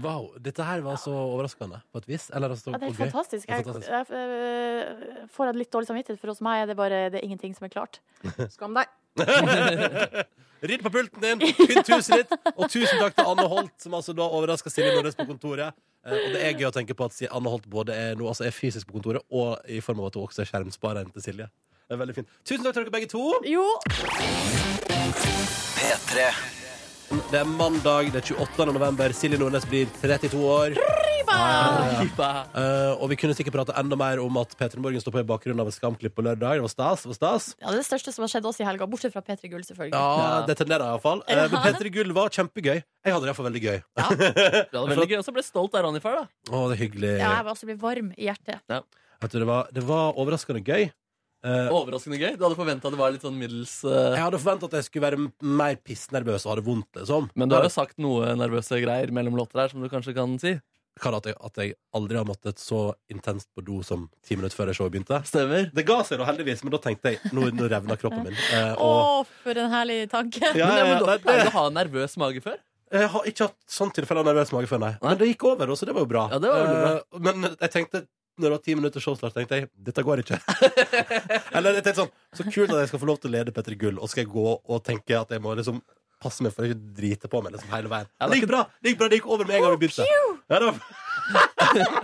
Speaker 2: wow. Dette her var så overraskende, på et vis. Eller, altså,
Speaker 6: Ja, det er
Speaker 2: og
Speaker 6: helt
Speaker 2: gøy.
Speaker 6: fantastisk.
Speaker 2: Det er
Speaker 6: Jeg, jeg, eh, får en litt dårlig samvittighet, for hos meg er det bare det er ingenting som er klart.
Speaker 9: Skam deg.
Speaker 2: Rydd på pulten din, pynt huset ditt, og tusen takk til Anne Holt, som altså da overraska Silje Nordnes på kontoret. Eh, og det er gøy å tenke på at si- Anne Holt både er, nå, altså er fysisk på kontoret, og i form av at hun også er skjermspareren til Silje. Det er veldig fint. Tusen takk til dere begge to. P3. Det er mandag, det er 28. november. Silje Nordnes blir 32 år. Ja, ja, ja. Eh, og vi kunne sikkert prate enda mer om at P3 Morgen står på i bakgrunnen av et skamklipp på lørdag. Det var stas. Det var stas.
Speaker 3: Ja, det er det største som har skjedd oss i helga, bortsett fra P3 Gull, selvfølgelig.
Speaker 2: Ja, det tenderer jeg iallfall. Uh, men
Speaker 3: Ja.
Speaker 2: Petter i Gull var kjempegøy. Jeg hadde det iallfall veldig gøy. Ja.
Speaker 4: Det var veldig gøy, og så ble jeg stolt av Ronny far, da.
Speaker 2: Å, det er hyggelig.
Speaker 3: Ja, jeg vil også bli varm i hjertet.
Speaker 2: Vet du, det var, det var overraskende gøy. Eh,
Speaker 4: Overraskende gøy. Du hadde forventa det var litt sånn middels eh,
Speaker 2: jeg hadde forventa at jeg skulle være m- mer pissnervøs og ha det vondt. Liksom.
Speaker 4: Men du har jo sagt noe nervøse greier mellom låter her, som du kanskje kan si.
Speaker 2: Kan at jeg, at jeg aldri har måttet så intenst på do som ti minutter før showet begynte.
Speaker 4: Stemmer.
Speaker 2: Det ga seg da heldigvis, men da tenkte jeg nå, nå revna kroppen min. Eh,
Speaker 3: Å,
Speaker 2: og
Speaker 3: for en herlig tanke.
Speaker 2: Ja,
Speaker 4: Men, ja, men
Speaker 2: ja,
Speaker 4: da
Speaker 2: nei,
Speaker 4: pleier
Speaker 2: det-
Speaker 4: du å ha en nervøs mage før?
Speaker 2: Jeg har ikke hatt sånn tilfelle av nervøs mage før, nei. Men det gikk over, og så det var jo bra.
Speaker 4: det var veldig bra.
Speaker 2: Eh, Men jeg tenkte når det var ti minutter showstart, tenkte jeg dette går ikke. Eller jeg tenkte sånn Så kult at jeg skal få lov til å lede Petter Gull, og skal jeg gå og tenke at jeg må liksom passe meg for å ikke drite på meg liksom hele veien. det, gikk bra, det gikk bra, det gikk over med en gang vi begynte. Ja, det var...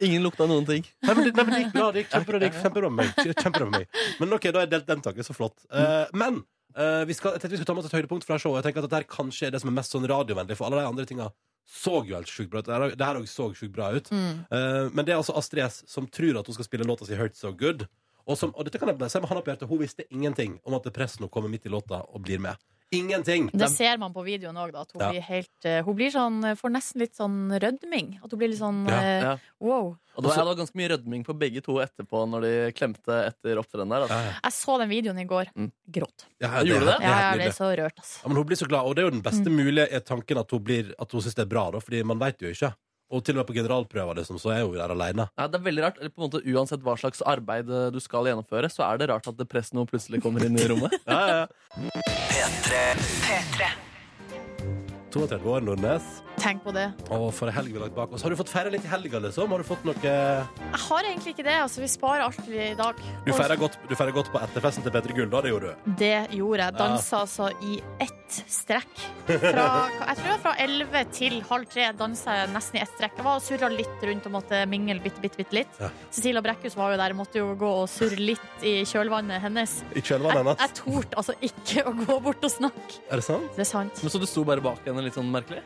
Speaker 4: Ingen lukta noen ting.
Speaker 2: Nei, men, det- nei, men det gikk bra. Det gikk kjempebra, det gikk kjempebra med meg. Kjempebra med meg. Men ok, da har jeg delt den tanken. Så flott. Eh, men eh, vi skal, jeg tenkte vi skulle ta med oss et høydepunkt fra showet. Jeg tenker at dette her kanskje er det som er mest sånn radiovennlig, for alle de andre tinga så jo helt sjukt bra ut. Det her- Det her òg så sjukt bra ut.
Speaker 12: Mm.
Speaker 2: Eh, men det er altså Astrid S som tror at hun skal spille låta si 'Hurt So Good'. Og, som, og dette kan jeg bare si med hånda på hjertet, hun visste ingenting om at pressen kommer midt i låta og blir med. Ingenting!
Speaker 3: Det ser man på videoen òg, at hun
Speaker 2: Ja.
Speaker 3: blir helt eh, Hun blir sånn, eh, får nesten litt sånn rødming. At hun blir litt sånn
Speaker 4: Ja,
Speaker 3: eh,
Speaker 4: ja.
Speaker 3: wow.
Speaker 4: Og det var,
Speaker 2: Altså-
Speaker 4: det var ganske mye rødming på begge to etterpå når de klemte etter opptredenen der. Altså.
Speaker 3: Jeg så den videoen i går. Gråt.
Speaker 2: Ja,
Speaker 4: Gjorde du det?
Speaker 2: er helt
Speaker 3: Ja, jeg
Speaker 2: nydelig.
Speaker 3: ble så rørt, altså.
Speaker 2: Ja, men hun blir så glad, og det er jo den beste mulige er tanken at hun, blir, at hun synes det er bra, da, fordi man vet jo ikke. Og til og med på generalprøver liksom, så er hun der alene.
Speaker 4: Ja, det er veldig rart, eller på en måte Uansett hva slags arbeid eh, du skal gjennomføre, så er det rart at pressen nå plutselig kommer inn i rommet.
Speaker 2: ja, ja. 32 år, Nordnes.
Speaker 3: Tenk på det.
Speaker 2: Og for en helg vi har lagt bak oss. Har du fått feire litt i helga, liksom? Har du fått noe
Speaker 3: Jeg har egentlig ikke det. altså Vi sparer alt i dag.
Speaker 2: Du
Speaker 3: Og
Speaker 2: feira godt, du feirer godt på etterfesten til Petter Gull, da? Det gjorde du?
Speaker 3: Det gjorde jeg. Dansa altså i ett strekk. Fra, jeg tror det var fra elleve til halv tre dansa jeg nesten i ett strekk. Jeg var og surra litt rundt og måtte mingle bitte, bitte, bitte litt.
Speaker 2: Ja.
Speaker 3: Cecilia Brekkhus var jo der, måtte jo gå og surre litt i kjølvannet hennes.
Speaker 2: I kjølvannet hennes?
Speaker 3: Jeg torde altså ikke å gå bort og snakke.
Speaker 2: Er det sant?
Speaker 3: Det er sant.
Speaker 4: Men Så du sto bare bak henne litt sånn merkelig?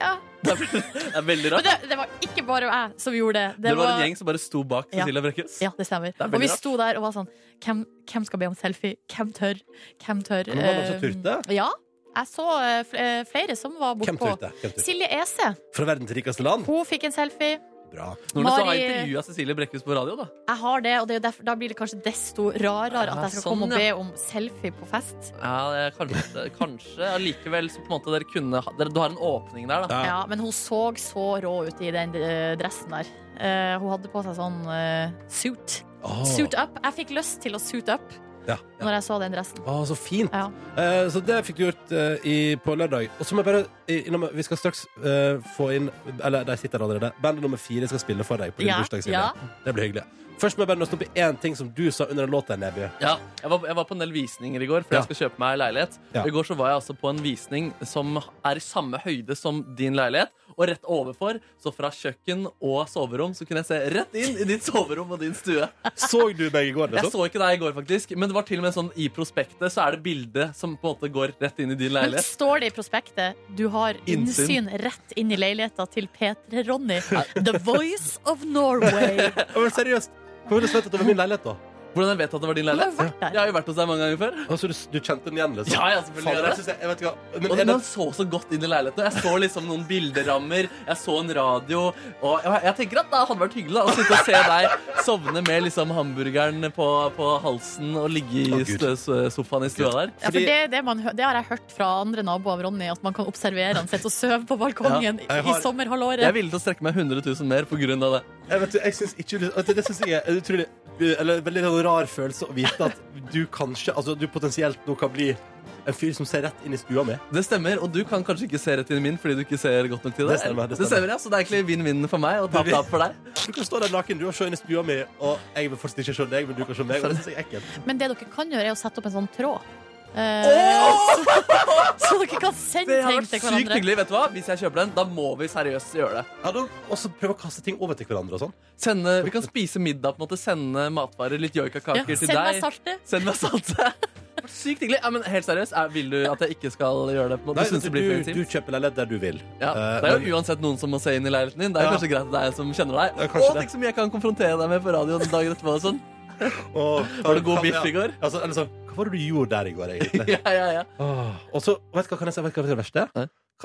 Speaker 3: Ja.
Speaker 4: Det er, det er veldig
Speaker 3: Men
Speaker 4: rart.
Speaker 3: det, det var ikke bare jeg som gjorde det.
Speaker 4: Det var en gjeng som bare sto bak Cecilia Brekkhus.
Speaker 3: Ja, det stemmer.
Speaker 4: er veldig
Speaker 3: og vi
Speaker 4: rart.
Speaker 3: sto der og var sånn Hvem, hvem skal be om selfie? Hvem tør? Hvem tør?
Speaker 2: Men var det noen som
Speaker 3: Eh,
Speaker 2: turte?
Speaker 3: Ja. Jeg så eh, fl- eh, flere som var
Speaker 2: Hvem
Speaker 3: bortpå.
Speaker 2: turte? Hvem turte?
Speaker 3: Silje Ese.
Speaker 2: Fra verdens rikeste land?
Speaker 3: Hun fikk en selfie.
Speaker 2: Bra.
Speaker 4: Nordnes har
Speaker 3: Mari-
Speaker 4: intervjua Cecilie Brekkhus på radio, da.
Speaker 3: Jeg har det, og det er jo derfor, da blir det kanskje desto rarere at
Speaker 4: Ja,
Speaker 3: jeg skal
Speaker 4: sånn,
Speaker 3: komme og be
Speaker 4: ja.
Speaker 3: om selfie på fest.
Speaker 4: Ja, det er kanskje, kanskje allikevel så på en måte dere kunne ha- dere, Du har en åpning der, da.
Speaker 3: Ja. Men hun så så rå ut i den eh, dressen der. Eh, hun hadde på seg sånn eh, suit.
Speaker 4: Åh.
Speaker 3: Suit up. Jeg fikk lyst til å suit up. når jeg så den dressen.
Speaker 2: Å, så fint.
Speaker 3: Ja.
Speaker 2: Eh, så det fikk du gjort eh, i, på lørdag. Og så må jeg bare i- innom, Vi skal straks eh, få inn Eller de sitter der allerede. Bandet nummer fire skal spille for deg på din
Speaker 4: Ja,
Speaker 2: bursdag. Silje.
Speaker 4: ja.
Speaker 2: Det blir hyggelig. Først må jeg bare nøste opp i én ting som du sa under en låt der, Neby.
Speaker 4: Ja, jeg var, jeg var på en del visninger i går, for jeg skal kjøpe meg leilighet.
Speaker 2: Ja.
Speaker 4: I går så var jeg altså på en visning som er i samme høyde som din leilighet. Og rett overfor, så fra kjøkken og soverom, så kunne jeg se rett inn i ditt soverom og din stue.
Speaker 2: Så du meg i går?
Speaker 4: Jeg
Speaker 2: liksom?
Speaker 4: så ikke deg i går, faktisk. Men det var til og med sånn i prospektet så er det bilde som på en måte går rett inn i din
Speaker 3: Men
Speaker 4: leilighet.
Speaker 3: står det i prospektet 'Du har
Speaker 4: Innsyn.
Speaker 3: innsyn rett inn i leiligheta til P3 Ronny'. The Voice of Norway.
Speaker 2: Men seriøst, hvordan vet du at det var min leilighet, da?
Speaker 4: Hvordan jeg vet at det var din leilighet? Jeg har jo vært hos deg mange ganger før.
Speaker 2: Altså, du, du kjente den igjen, liksom?
Speaker 4: Ja, ja, selvfølgelig.
Speaker 2: Fader,
Speaker 4: gjør
Speaker 2: jeg
Speaker 4: jeg
Speaker 2: synes jeg- jeg vet ikke hva- men
Speaker 4: og
Speaker 2: er
Speaker 4: den
Speaker 2: det-
Speaker 4: så så godt inn i leiligheten. Jeg så liksom noen bilderammer, jeg så en radio. Og jeg, jeg tenker at det hadde vært hyggelig da, å sitte og se deg sovne med liksom hamburgeren på, på halsen og ligge i stø- sofaen i stua der.
Speaker 3: Ja, for det, er det, man, hø- det har jeg hørt fra andre naboer av Ronny, at man kan observere han sitter og sover på balkongen
Speaker 4: Ja, jeg har-
Speaker 3: i sommerhalvåret.
Speaker 4: jeg er villig til å strekke meg 100 000 mer pga. det.
Speaker 2: Jeg, vet, du, jeg synes ikke at Det, det synes jeg er en utrolig Eller veldig sånn rar følelse å vite at du kanskje Altså du potensielt nå kan bli en fyr som ser rett inn i stua mi.
Speaker 4: Det stemmer, og du kan kanskje ikke se rett inn i min fordi du ikke ser godt nok til det.
Speaker 2: Det stemmer, det stemmer.
Speaker 4: ja, Så det er egentlig vinn-vinn for meg og tap-tap for deg.
Speaker 2: Du kan stå der naken du og se inn i stua mi, og jeg vil fortsatt ikke se deg, men du kan se meg. Og det synes jeg er ekkelt.
Speaker 3: Men det dere kan gjøre, er å sette opp en sånn tråd. Eh, så, så dere kan sende
Speaker 4: Det har
Speaker 3: ting
Speaker 4: vært
Speaker 3: til
Speaker 4: sykt
Speaker 3: hverandre.
Speaker 4: hyggelig. vet du hva? Hvis jeg kjøper den, da må vi seriøst gjøre det.
Speaker 2: og så prøve å kaste ting over til hverandre og sånn.
Speaker 4: Sende, vi kan spise middag, på en måte. Sende matvarer, litt joikakaker
Speaker 3: Ja,
Speaker 4: til
Speaker 3: send meg
Speaker 4: deg.
Speaker 3: saltet.
Speaker 4: Send meg saltet. Det har vært Sykt hyggelig. Ja, men helt seriøst, er, vil du at jeg ikke skal gjøre det? på en måte?
Speaker 2: Nei,
Speaker 4: du synes
Speaker 2: du,
Speaker 4: det blir for
Speaker 2: du,
Speaker 4: intimt?
Speaker 2: kjøper leilighet der du vil.
Speaker 4: Ja,
Speaker 2: Eh,
Speaker 4: det er
Speaker 2: men-
Speaker 4: jo uansett noen som må se inn i leiligheten din. Det er jo
Speaker 2: Ja.
Speaker 4: kanskje greit at det er jeg som kjenner deg.
Speaker 2: Ja, kanskje
Speaker 4: Å,
Speaker 2: det.
Speaker 4: tenk så mye jeg kan konfrontere deg med på radioen dagen etterpå og sånn.
Speaker 2: og-
Speaker 4: Var det god biff
Speaker 2: Ja.
Speaker 4: i går?
Speaker 2: Altså, eller sånn, hva var det du gjorde der i går, egentlig?
Speaker 4: Ja, ja, ja.
Speaker 2: Åh, Og så, vet du hva kan jeg si, vet du hva det er det verste?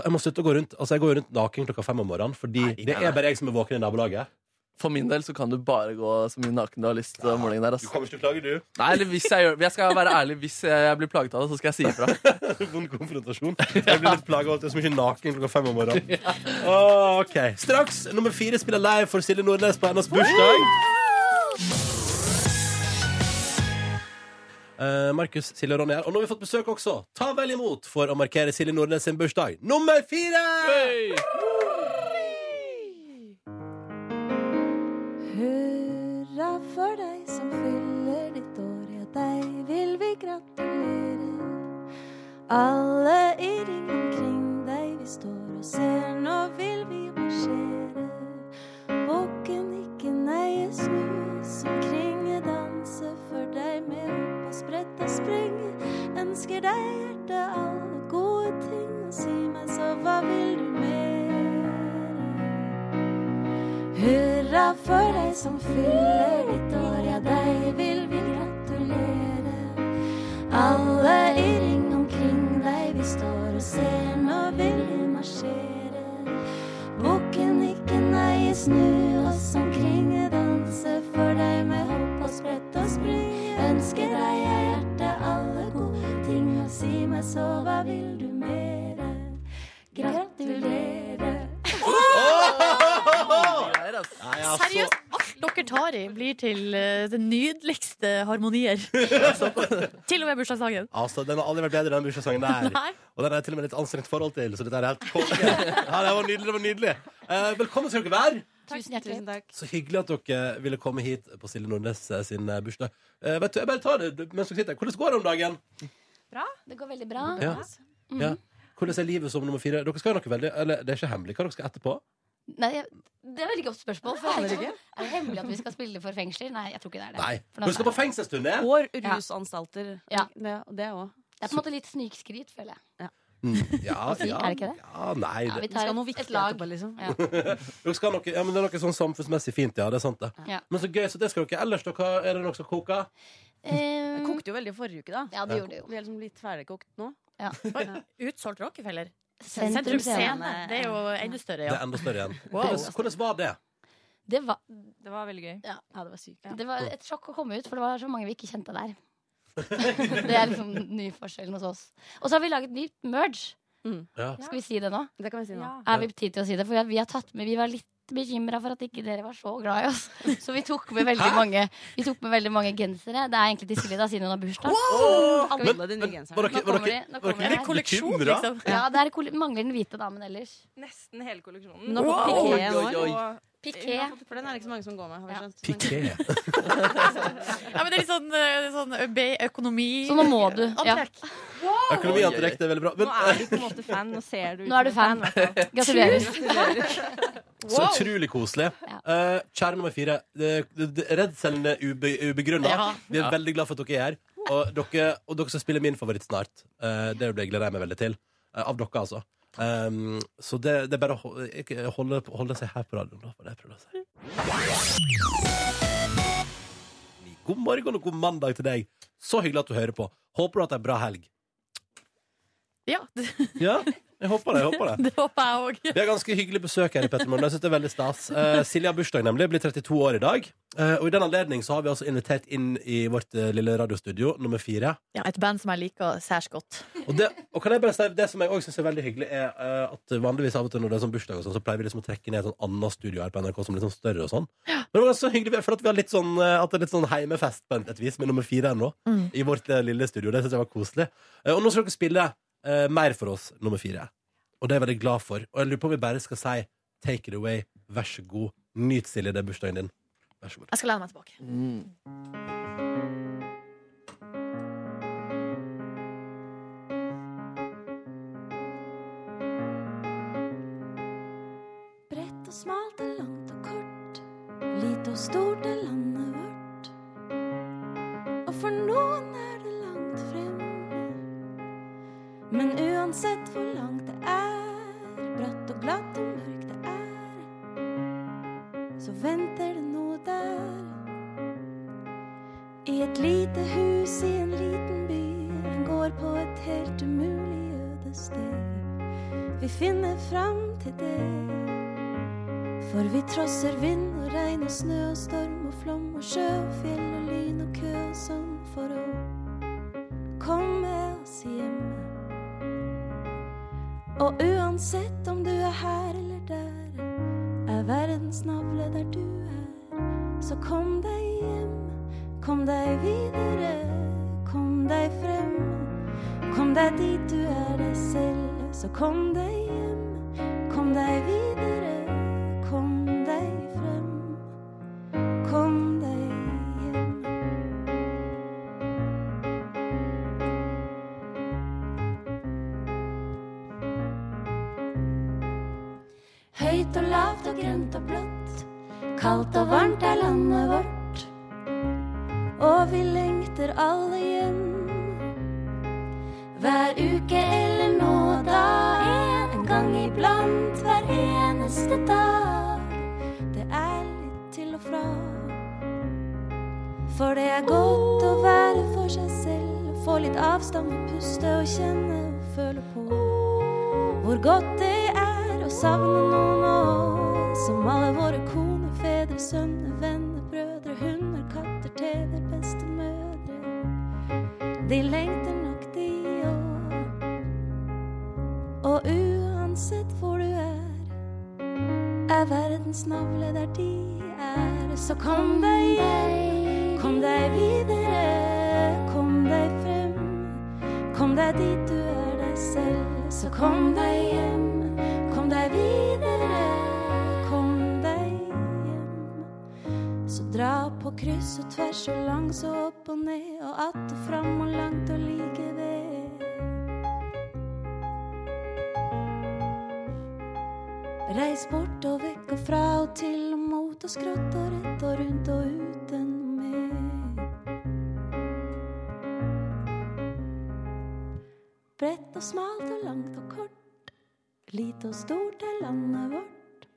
Speaker 2: Jeg må slutte å gå rundt Altså, jeg går rundt naken klokka fem om morgenen, fordi det
Speaker 4: nei.
Speaker 2: er bare jeg som er våken i nabolaget.
Speaker 4: For min del så kan du bare gå så mye naken du har lyst om morgenen der. Ass.
Speaker 2: Du kommer ikke til å klage, du.
Speaker 4: Nei, eller hvis jeg gjør Jeg skal være ærlig. Hvis jeg blir plaget av det, så skal jeg si ifra.
Speaker 2: Vond konfrontasjon. Jeg blir litt plaga av at jeg er så mye naken klokka fem om morgenen. Åh, ok. Straks nummer fire spiller live for Silje Nordnes på hennes bursdag. Eh, Markus, Silje og Ronny her. Og nå har vi fått besøk også. Ta vel imot for å markere Silje Nordnes sin bursdag. Nummer fire!
Speaker 11: Hurra for deg som fyller ditt år, ja deg vil vi gratulere. Alle i ring omkring deg vi står og ser, nå vil vi marsjere. Våken, ikke neie, snu oss omkring, danse for deg med hopp og sprett og spring. Ønsker deg hjerte alle gode ting, og si meg så hva vil du mer? Hurra for deg som fyller ditt år, ja deg vil vi gratulere. Alle i ring omkring deg vi står og ser, nå vil vi marsjere. Bukken ikke nei, snu oss omkring, danse for deg med hopp og sprett og spring. Ønsker deg av hjertet alle gode ting, og si meg så hva vil du mere? Gratulere.
Speaker 3: Seriøst, alt dere tar i, blir til eh, det nydeligste harmonier. til og med bursdagssangen.
Speaker 2: Altså, Den har aldri vært bedre, den bursdagssangen der.
Speaker 3: Nei.
Speaker 2: Og den har jeg til og med litt anstrengt forhold til, så dette er helt konge. Ja, det var nydelig. det var nydelig Eh, Velkommen skal dere være.
Speaker 12: Tusen hjertelig takk.
Speaker 2: Så hyggelig at dere ville komme hit på Silje Nordnes eh, sin eh, bursdag. Eh, vet du, jeg bare tar det du- mens dere sitter. Hvordan går det om dagen?
Speaker 12: Bra. Det går veldig bra.
Speaker 2: Ja.
Speaker 12: Mhm.
Speaker 2: Ja. Hvordan er livet som nummer fire? Dere skal jo noe veldig, eller Det er ikke hemmelig hva dere skal etterpå?
Speaker 12: Nei, jeg- det er veldig godt spørsmål. For jeg
Speaker 2: Aner
Speaker 12: er, sånn, er det hemmelig at vi skal spille for fengsler? Nei, jeg tror ikke det er det.
Speaker 2: Nei.
Speaker 12: For da-
Speaker 2: Dere skal på fengselsturné?
Speaker 13: Og rusanstalter.
Speaker 12: Ja.
Speaker 13: Det, det òg.
Speaker 12: Det er på en måte litt snikskryt, føler jeg.
Speaker 2: Mm, Ja,
Speaker 12: Å si,
Speaker 2: ja,
Speaker 12: Sånn, er det ikke det?
Speaker 2: Ja, nei.
Speaker 12: Ja, vi
Speaker 2: det-
Speaker 12: tar
Speaker 13: skal ha noe
Speaker 12: et, et
Speaker 13: viktig
Speaker 12: lag.
Speaker 13: etterpå, liksom.
Speaker 12: Ja.
Speaker 2: dere skal ha noe, ja, men det er noe sånn samfunnsmessig fint, ja. Det er sant, det.
Speaker 12: Ja.
Speaker 2: Men så gøy, så det skal dere ellers. Dere, er det noe som koker?
Speaker 13: Det kokte jo veldig i forrige uke, da.
Speaker 12: Eh, Ja,
Speaker 2: det gjorde
Speaker 12: det jo.
Speaker 13: Vi er liksom litt ferdigkokt nå.
Speaker 12: Ja.
Speaker 3: Utsolgt Rockefeller.
Speaker 12: Sentrum
Speaker 3: Sentrum Scene.
Speaker 12: Scene.
Speaker 3: Det er jo enda større,
Speaker 2: Det er
Speaker 3: ja.
Speaker 2: enda større igjen.
Speaker 3: Wow.
Speaker 2: Hvordan, hvordan var det?
Speaker 12: Det var,
Speaker 13: Det var veldig gøy.
Speaker 12: ja, det var sykt. Det var et sjokk å komme ut, for det var så mange vi ikke kjente der. det er liksom den nye forskjellen hos oss. Og så har vi laget nytt merge.
Speaker 13: Mm.
Speaker 2: Ja.
Speaker 12: Skal vi si det nå?
Speaker 13: Det kan vi si nå.
Speaker 12: Er vi tid til å si det? For vi, har- vi har tatt med Vi var litt litt bekymra for at ikke dere var så glad i oss. Så vi tok med veldig, mange, vi tok med veldig mange gensere. Det er egentlig til Silje, da, siden hun har bursdag.
Speaker 13: Wow!
Speaker 12: Skal vi-
Speaker 13: Men- men- var dere-
Speaker 12: Nå
Speaker 13: var
Speaker 12: kommer
Speaker 13: dere-
Speaker 12: de, nå kommer
Speaker 13: var dere
Speaker 12: de
Speaker 13: litt
Speaker 12: her.
Speaker 13: Kolleksjon, bekymra? liksom.
Speaker 12: Ja, det er kolle- mangler den hvite damen ellers.
Speaker 13: Nesten hele kolleksjonen.
Speaker 12: liksom. Nå får
Speaker 13: Wow!
Speaker 12: Piqué en
Speaker 13: Oi, oi, oi.
Speaker 12: år, og- Piqué.
Speaker 13: For den er det ikke så mange som går med. har vi skjønt.
Speaker 2: Piqué.
Speaker 3: Ja, men det er litt sånn, eh, sånn ø- be- økonomi
Speaker 12: Så nå må du, ja.
Speaker 3: Antrekk.
Speaker 2: Økonomiantrekk det er veldig bra. Men
Speaker 13: Nå er du på en måte fan. Nå ser du ut
Speaker 12: Nå er du
Speaker 13: som
Speaker 12: fan.
Speaker 13: en i hvert fall.
Speaker 12: Gratulerer.
Speaker 13: Gratulerer.
Speaker 2: så utrolig koselig. Eh, kjære nummer fire, det- det- det- redselen er ube, ubegrunna.
Speaker 12: Ja.
Speaker 2: Vi er
Speaker 12: Ja.
Speaker 2: veldig glad for at dere er her. Og dere, og dere skal spille min favoritt snart. Eh, det blir- gleder jeg meg veldig til. Eh, av dere, altså. Um, så det, det er bare å ho- ikke- holde, holde seg her på radioen. Da, for det jeg prøvde å si. God morgen og god mandag til deg. Så hyggelig at du hører på. Håper du har hatt ei bra helg.
Speaker 3: Ja,
Speaker 2: Ja, jeg håper det. Jeg håper det.
Speaker 3: det håper jeg òg.
Speaker 2: Vi har ganske hyggelig besøk her i Petter Morgen. Jeg synes det er veldig stas. Eh, Silje har bursdag, nemlig. Blir 32 år i dag. Eh, og i den anledning så har vi altså invitert inn i vårt eh, lille radiostudio nummer fire.
Speaker 3: Ja, et band som jeg liker særs godt.
Speaker 2: Og det, og kan jeg bare si, det som jeg også synes er veldig hyggelig, er eh, at vanligvis av og til når det er sånn bursdag, og sånn, så pleier vi liksom å trekke ned et sånn annet studio her på NRK som er litt sånn større og sånn. Men det var så hyggelig, for at vi har litt sånn, eh, at det er litt sånn heimefest på et vis med nummer fire her nå,
Speaker 3: Mm.
Speaker 2: i vårt eh, lille studio. Det synes jeg var koselig. Eh, og nå skal dere spille eh, mer for oss, nummer fire. Og det er jeg veldig glad for. Og jeg lurer på om vi bare skal si take it away, vær så god, nyt Silje, det er bursdagen din. Vær så god.
Speaker 3: Jeg skal lene meg tilbake.
Speaker 11: Bredt og smalt er langt og kort. Lite og stort er landet vårt. Og for noen er det langt frem. Men uansett hvor langt det er, bratt og glatt og mørkt det er, så venter det noe der. I et lite hus i en liten by, en gård på et helt umulig øde sted. Vi finner fram til det. For vi trosser vind og regn og snø og storm og flom og sjø og fjell og lyn og kø og sånn for å komme oss hjem. Og uansett om du er her eller der, er verdens navle der du er. Så kom deg hjem, kom deg videre, kom deg frem. Kom deg dit du er deg selv, så kom deg hjem, kom deg videre. Kom deg frem, kom deg hjem. Høyt og lavt og grønt og blått, kaldt og varmt er landet vårt. Og vi lengter alle hjem. Hver uke eller nå og da, en gang iblant, hver eneste dag. Det er litt til og fra. For det er godt å være for seg selv, få litt avstand og puste og kjenne og føle på hvor godt det er å savne noen år, som alle våre koner, fedre, sønner, venner, brødre, hunder, katter, tv, bestemødre. De lengter nok, de òg. Og uansett hvor du er, er verdens navle der de er. Så kom deg hjem, kom deg videre, kom deg frem. Kom deg dit du er deg selv, så kom deg hjem, kom deg videre, kom deg hjem. Så dra på kryss og tvers og langs og opp og ned og att og fram og langt og like ved. Reis bort og vekk og fra og til og mot og skrått og rett og rundt og uten mer. Bredt og smalt og langt og kort, lite og stort er landet vårt.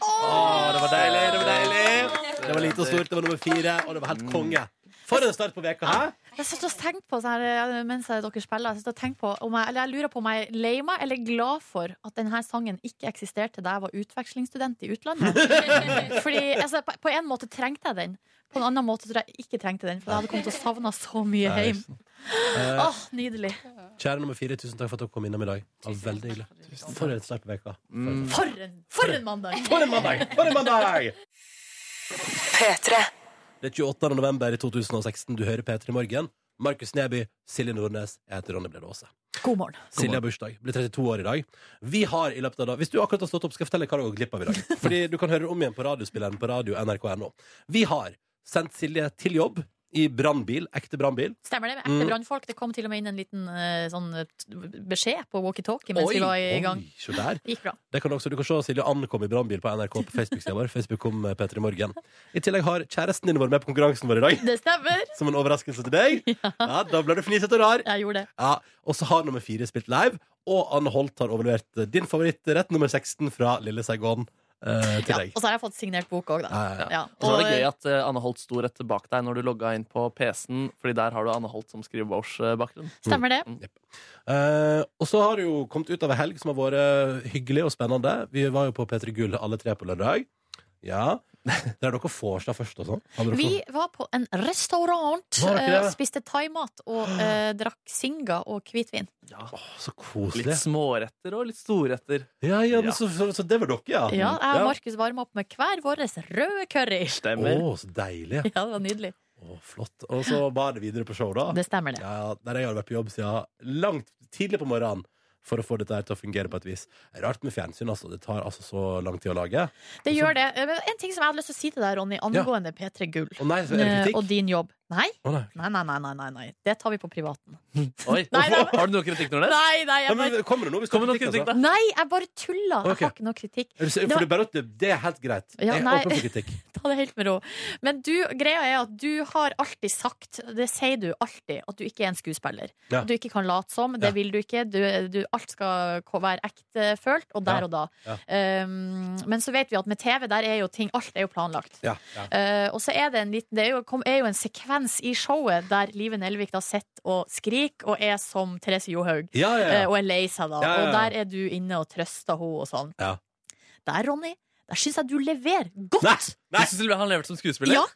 Speaker 2: Å, det var deilig, det var deilig! Mm. Det var lite og stort, det var nummer fire, og det var helt konge. For en start på veka, hæ?
Speaker 3: Jeg satt og tenkte på sånn her, eh, mens jeg- dere spiller, jeg, satt og tenkte på om jeg, eller jeg lurer på om jeg er lei meg eller glad for at denne sangen ikke eksisterte da jeg var utvekslingsstudent i utlandet. Fordi altså, på, på en måte trengte jeg den. På en annen måte tror jeg ikke trengte den, for jeg hadde kommet til å savne så mye
Speaker 2: Nei,
Speaker 3: hjem.
Speaker 2: Eh,
Speaker 3: Åh, nydelig.
Speaker 2: Kjære nummer fire, tusen takk for at dere kom innom i dag. Det var veldig hyggelig. For en sterk uke.
Speaker 3: For en, for en mandag!
Speaker 2: For en mandag! For en mandag!
Speaker 3: P3.
Speaker 2: Det er 28. november i 2016. Du hører P3 Morgen. Markus Neby, Silje Nordnes. Jeg heter Ronny Brede Aase.
Speaker 3: God morgen.
Speaker 2: Silje har bursdag. Blir 32 år i dag. Vi har i løpet av da, Hvis du akkurat har stått opp, skal jeg fortelle hva du har gått glipp av i dag. Fordi du kan høre det om igjen på radiospilleren på radio nrk.no. Vi har sendt Silje til jobb i brannbil. Ekte brannbil.
Speaker 3: Stemmer det. med Ekte
Speaker 2: Mm.
Speaker 3: brannfolk. Det kom til og med inn en liten eh, sånn eh, t- beskjed på walkietalkie mens vi var i gang.
Speaker 2: Oi, se der.
Speaker 3: Det gikk bra.
Speaker 2: Det kan du, også, du kan se Silje ankom i brannbil på NRK på Facebook-sida vår. Facebook kom Petter i morgen. I tillegg har kjæresten din vært med på konkurransen vår i dag.
Speaker 3: Det stemmer.
Speaker 2: Som en overraskelse til deg. Ja, Da ble du fnisete og rar.
Speaker 3: Jeg gjorde det.
Speaker 2: Ja, og så har nummer fire spilt live, og Anne Holt har overlevert eh, din favorittrett, nummer 16, fra Lille Saigon eh, til deg.
Speaker 3: Og så har jeg fått signert bok òg, da. Ja.
Speaker 4: Og så var det
Speaker 3: Og,
Speaker 4: gøy at eh, Anne Holt sto rett bak deg når du logga inn på PC-en, Fordi der har du Anne Holt som skrivebordsbakgrunn.
Speaker 3: Stemmer det.
Speaker 2: Mm. Eh, og så har det jo kommet ut av ei helg som har vært eh, hyggelig og spennende. Vi var jo på P3 Gull alle tre på lørdag. Ja. Der er dere vorstad først og sånn. Hadde dere-
Speaker 3: Vi var på en restaurant,
Speaker 2: Var dere
Speaker 3: eh,
Speaker 2: det?
Speaker 3: spiste thaimat og eh, drakk singa og hvitvin.
Speaker 2: Så koselig.
Speaker 4: Litt småretter og litt storretter.
Speaker 2: Ja, ja, men Så, så, så det var dere, Ah, mm. ja.
Speaker 3: Ja, jeg og Markus varma opp med hver vår røde curry.
Speaker 2: Stemmer. Å, så deilig.
Speaker 3: Ja, det var nydelig.
Speaker 2: Flott. Og så bar det videre på show, da.
Speaker 3: Det stemmer, det.
Speaker 2: Ja, der jeg har vært på jobb siden langt tidlig på morgenen for å få dette her til å fungere på et vis. Rart med fjernsyn, altså. Det tar altså så lang tid å lage.
Speaker 3: Det gjør
Speaker 2: sånn-
Speaker 3: det. Eh, men En ting som jeg hadde lyst til å si til deg, Ronny, angående P3 Gull
Speaker 2: Å nei, så er det
Speaker 3: eh,
Speaker 2: kritikk?
Speaker 3: og din jobb. Nei.
Speaker 2: Å nei.
Speaker 3: Nei, nei, nei, nei, nei, nei. Det tar vi på privaten.
Speaker 4: Oi,
Speaker 3: Nei, nei,
Speaker 4: Har du noe kritikk, Nordnes?
Speaker 3: Nei, nei, jeg bare-
Speaker 2: Kommer det noe? Hvis
Speaker 4: Kommer det noe kritikk, da?
Speaker 3: Nei, jeg bare tulla. Jeg
Speaker 2: Ok.
Speaker 3: har ikke noe kritikk.
Speaker 2: Er du sikker? For
Speaker 3: Det var-
Speaker 2: det er bare at det, det er helt greit.
Speaker 3: Ja,
Speaker 2: jeg
Speaker 3: nei.
Speaker 2: er åpen for kritikk.
Speaker 3: Ta det helt med ro. Men du, greia er at du har alltid sagt, det sier du alltid, at du ikke er en skuespiller.
Speaker 2: Ja.
Speaker 3: At Du ikke kan late som, det
Speaker 2: Ja.
Speaker 3: vil du ikke. Du, du, alt skal ko- være ektefølt, og
Speaker 2: Ja.
Speaker 3: der og da.
Speaker 2: Ja.
Speaker 3: Um, men så vet vi at med TV, der er jo ting Alt er jo planlagt.
Speaker 2: Ja, ja.
Speaker 3: Eh, og så er det en liten Det er jo, kom, er jo en sekvens i showet der Live Nelvik da sitter og skriker og er som Therese Johaug.
Speaker 2: Ja, ja, ja.
Speaker 3: Eh, og er lei seg, da.
Speaker 2: Ja, ja, ja.
Speaker 3: Og der er du inne og trøster henne og sånn.
Speaker 2: Ja.
Speaker 3: Der, Ronny, der syns jeg du leverer godt!
Speaker 4: Du syns til og med han leverte som skuespiller?
Speaker 3: Ja.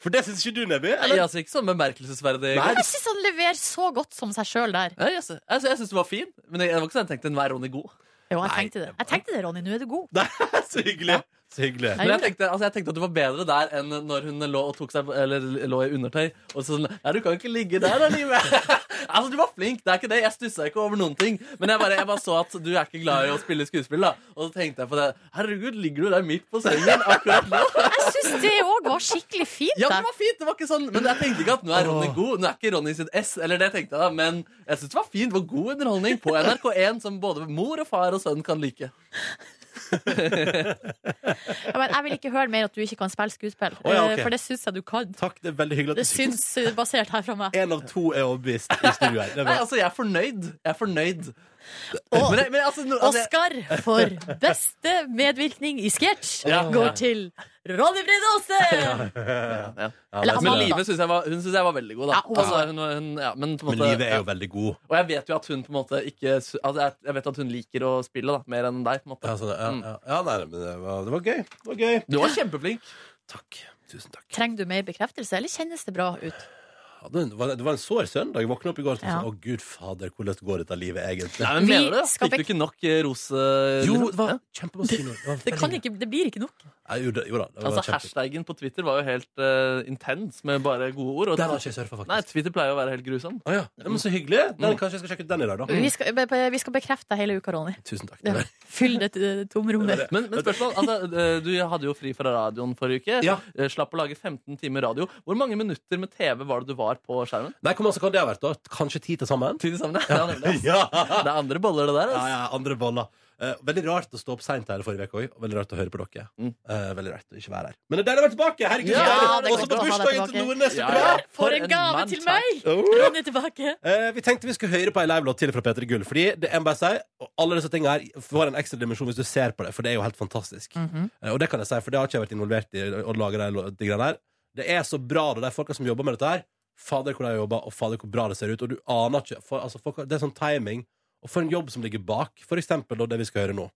Speaker 2: For det syns ikke du, Nebby?
Speaker 4: Nei, altså, ikke sånn bemerkelsesverdig.
Speaker 3: Nei,
Speaker 4: godt.
Speaker 3: Jeg syns han leverer så godt som seg sjøl der.
Speaker 4: Nei, altså, altså, jeg syns du var fin, men jeg, det var ikke sånn jeg tenkte enhver Ronny god.
Speaker 3: Jo, jeg tenkte det. Jeg tenkte det, Ronny. Nå er du god.
Speaker 2: Så hyggelig. Så hyggelig.
Speaker 4: Men jeg tenkte, altså, jeg tenkte at du var bedre der enn når hun lå, og tok seg, eller, lå i undertøy. Og så sånn Nei, du kan ikke ligge der, da, Live. altså, du var flink, det er ikke det. Jeg stussa ikke over noen ting. Men jeg bare, jeg bare så at du er ikke glad i å spille skuespill, da. Og så tenkte jeg på det. Herregud, ligger du der midt på sengen akkurat nå?
Speaker 3: Jeg syns det òg var skikkelig fint.
Speaker 4: Ja,
Speaker 3: der.
Speaker 4: det var fint, det var ikke sånn Men jeg tenkte ikke at nå er Ronny god. Nå er ikke Ronny sitt S, eller det tenkte jeg da, men jeg syns det var fint. Det var god underholdning på NRK1 som både mor og far og sønn kan like.
Speaker 3: Ja, men jeg vil ikke høre mer at du ikke kan spille skuespill,
Speaker 2: Å, ja,
Speaker 3: eh,
Speaker 2: ok.
Speaker 3: for det syns jeg du kan.
Speaker 2: Takk, det er veldig hyggelig at
Speaker 3: Det
Speaker 2: du syns.
Speaker 3: syns eh, basert her fra meg.
Speaker 2: En av to er overbevist i studio her. Det er
Speaker 4: Nei,
Speaker 2: bra.
Speaker 4: altså, jeg er fornøyd. Jeg er fornøyd.
Speaker 3: Og
Speaker 4: Men jeg- men altså, nå- altså, jeg-
Speaker 3: Oscar for beste medvirkning i sketsj
Speaker 4: Ja.
Speaker 3: går til Ronny Brede Aase!
Speaker 4: Ja.
Speaker 3: Eller
Speaker 4: men
Speaker 3: Amanda.
Speaker 4: Live synes jeg var, hun syns jeg var veldig god, da.
Speaker 3: Ja, hun var
Speaker 4: altså,
Speaker 3: god.
Speaker 4: hun, var- hun, ja, men, på en
Speaker 2: Men
Speaker 4: måte-
Speaker 2: livet er jo
Speaker 4: ja.
Speaker 2: veldig god.
Speaker 4: Og jeg vet jo at hun på en måte ikke sy- altså, jeg, jeg vet at hun liker å spille da, mer enn deg. på en måte Mm.
Speaker 2: Ja, sånn, ja, ja. ja nei, men eh, det var, det var gøy. Det var gøy.
Speaker 4: Du var kjempeflink.
Speaker 3: Trenger du mer bekreftelse, eller kjennes det bra ut?
Speaker 2: Ja, det, var, det var en sår søndag. Jeg våkna opp i går og tenkte
Speaker 3: Ja.
Speaker 2: sånn Å, gud fader, hvordan går dette livet egentlig?
Speaker 4: Nei, men
Speaker 3: Vi
Speaker 4: Mener du det?
Speaker 3: skal
Speaker 4: Fikk du ikke nok eh, rose? Jo,
Speaker 2: det var kjempemasse kinoer.
Speaker 3: Det, kan ikke, det blir ikke nok.
Speaker 2: Nei, jo, da- jo da. Det var
Speaker 4: Altså,
Speaker 2: kjempe-
Speaker 4: Hashtagen på Twitter var jo helt eh, intens med bare gode ord.
Speaker 2: Den har ikke jeg surfa, faktisk.
Speaker 4: Nei, Twitter pleier å være helt grusom. Mm.
Speaker 2: Å ja. Ja, men så hyggelig. Den, kanskje jeg skal sjekke ut den i dag, da.
Speaker 3: Vi skal, be- vi skal bekrefte deg hele uka, Ronny.
Speaker 2: Tusen takk.
Speaker 3: Ja. Fyll det eh, tomrommet.
Speaker 4: Men, men spørsmål, altså, eh, Du hadde jo fri fra radioen forrige uke. Eh, Slapp å lage 15 timer radio. Hvor mange minutter med TV var det du var på skjermen?
Speaker 2: Nei, hvor masse kan det ha vært, da? Kanskje ti til sammen?
Speaker 4: Ti til sammen, ja. Det er andre boller, det der.
Speaker 2: Ja, ja, andre boller. Eh, veldig rart å stå opp seint her forrige uke òg. Veldig rart å høre på dere.
Speaker 4: Mm.
Speaker 2: Eh, veldig rart å ikke være her. Men det er deilig å være tilbake! Herregud,
Speaker 3: Ja,
Speaker 2: så deilig.
Speaker 3: det er
Speaker 2: Også på
Speaker 3: godt å ha deg
Speaker 2: bursdagen til
Speaker 3: tilbake.
Speaker 2: Nordnes! Så
Speaker 3: Ja,
Speaker 2: bra!
Speaker 3: ja. For en gave til meg! Ronny tilbake.
Speaker 2: Eh, vi tenkte vi skulle høre på ei livelåt til fra Peter Gull. Fordi det er MBSI, og alle disse tingene her får en ekstra dimensjon hvis du ser på det, for det er jo helt fantastisk.
Speaker 4: Mm-hmm.
Speaker 2: Eh, og det kan jeg si, for det har ikke jeg vært involvert i å lage de, lo- de greiene her. Det er så bra, da, de folka som jobber med dette her. Fader, hvor de jobber, og fader, hvor bra det ser ut. Og du aner ikke for, altså, folk, har- Det er sånn timing. Og for en jobb som ligger bak. For eksempel da, det vi skal høre nå.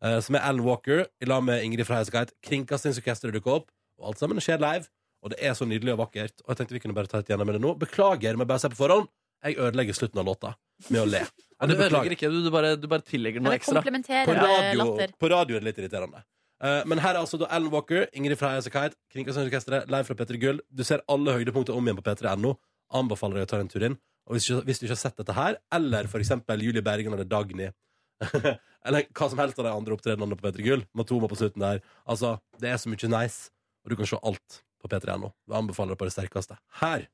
Speaker 2: Eh, som er Alan Walker i lag med Ingrid fra Heisegeit. Kringkastingsorkesteret dukker opp, og alt sammen skjer live. Og det er så nydelig og vakkert. Og jeg tenkte vi kunne bare ta et gjennom med det nå. Beklager, men bare si på forhånd. Jeg ødelegger slutten av låta. med å le. Ja,
Speaker 4: Du
Speaker 2: det beklager.
Speaker 4: ødelegger ikke, du, du, bare, du bare tillegger noe
Speaker 3: Jeg
Speaker 4: ekstra.
Speaker 3: komplementerer
Speaker 2: På radio,
Speaker 3: latter.
Speaker 2: på radio er det litt irriterende. Eh, men her er altså da Alan Walker, Ingrid Freia Sakait, Kringkastingsorkesteret, live fra P3 Gull. Du ser alle høydepunkter om igjen på p3.no. Anbefaler deg å ta en tur inn. Og hvis, ikke- hvis du ikke har sett dette her, eller for eksempel Julie Bergen eller Dagny Eller hva som helst av de andre opptredenene på P3 Gull, Matoma på slutten der Altså, det er så mye nice, og du kan se alt på p3.no. Jeg anbefaler det på det sterkeste. Her.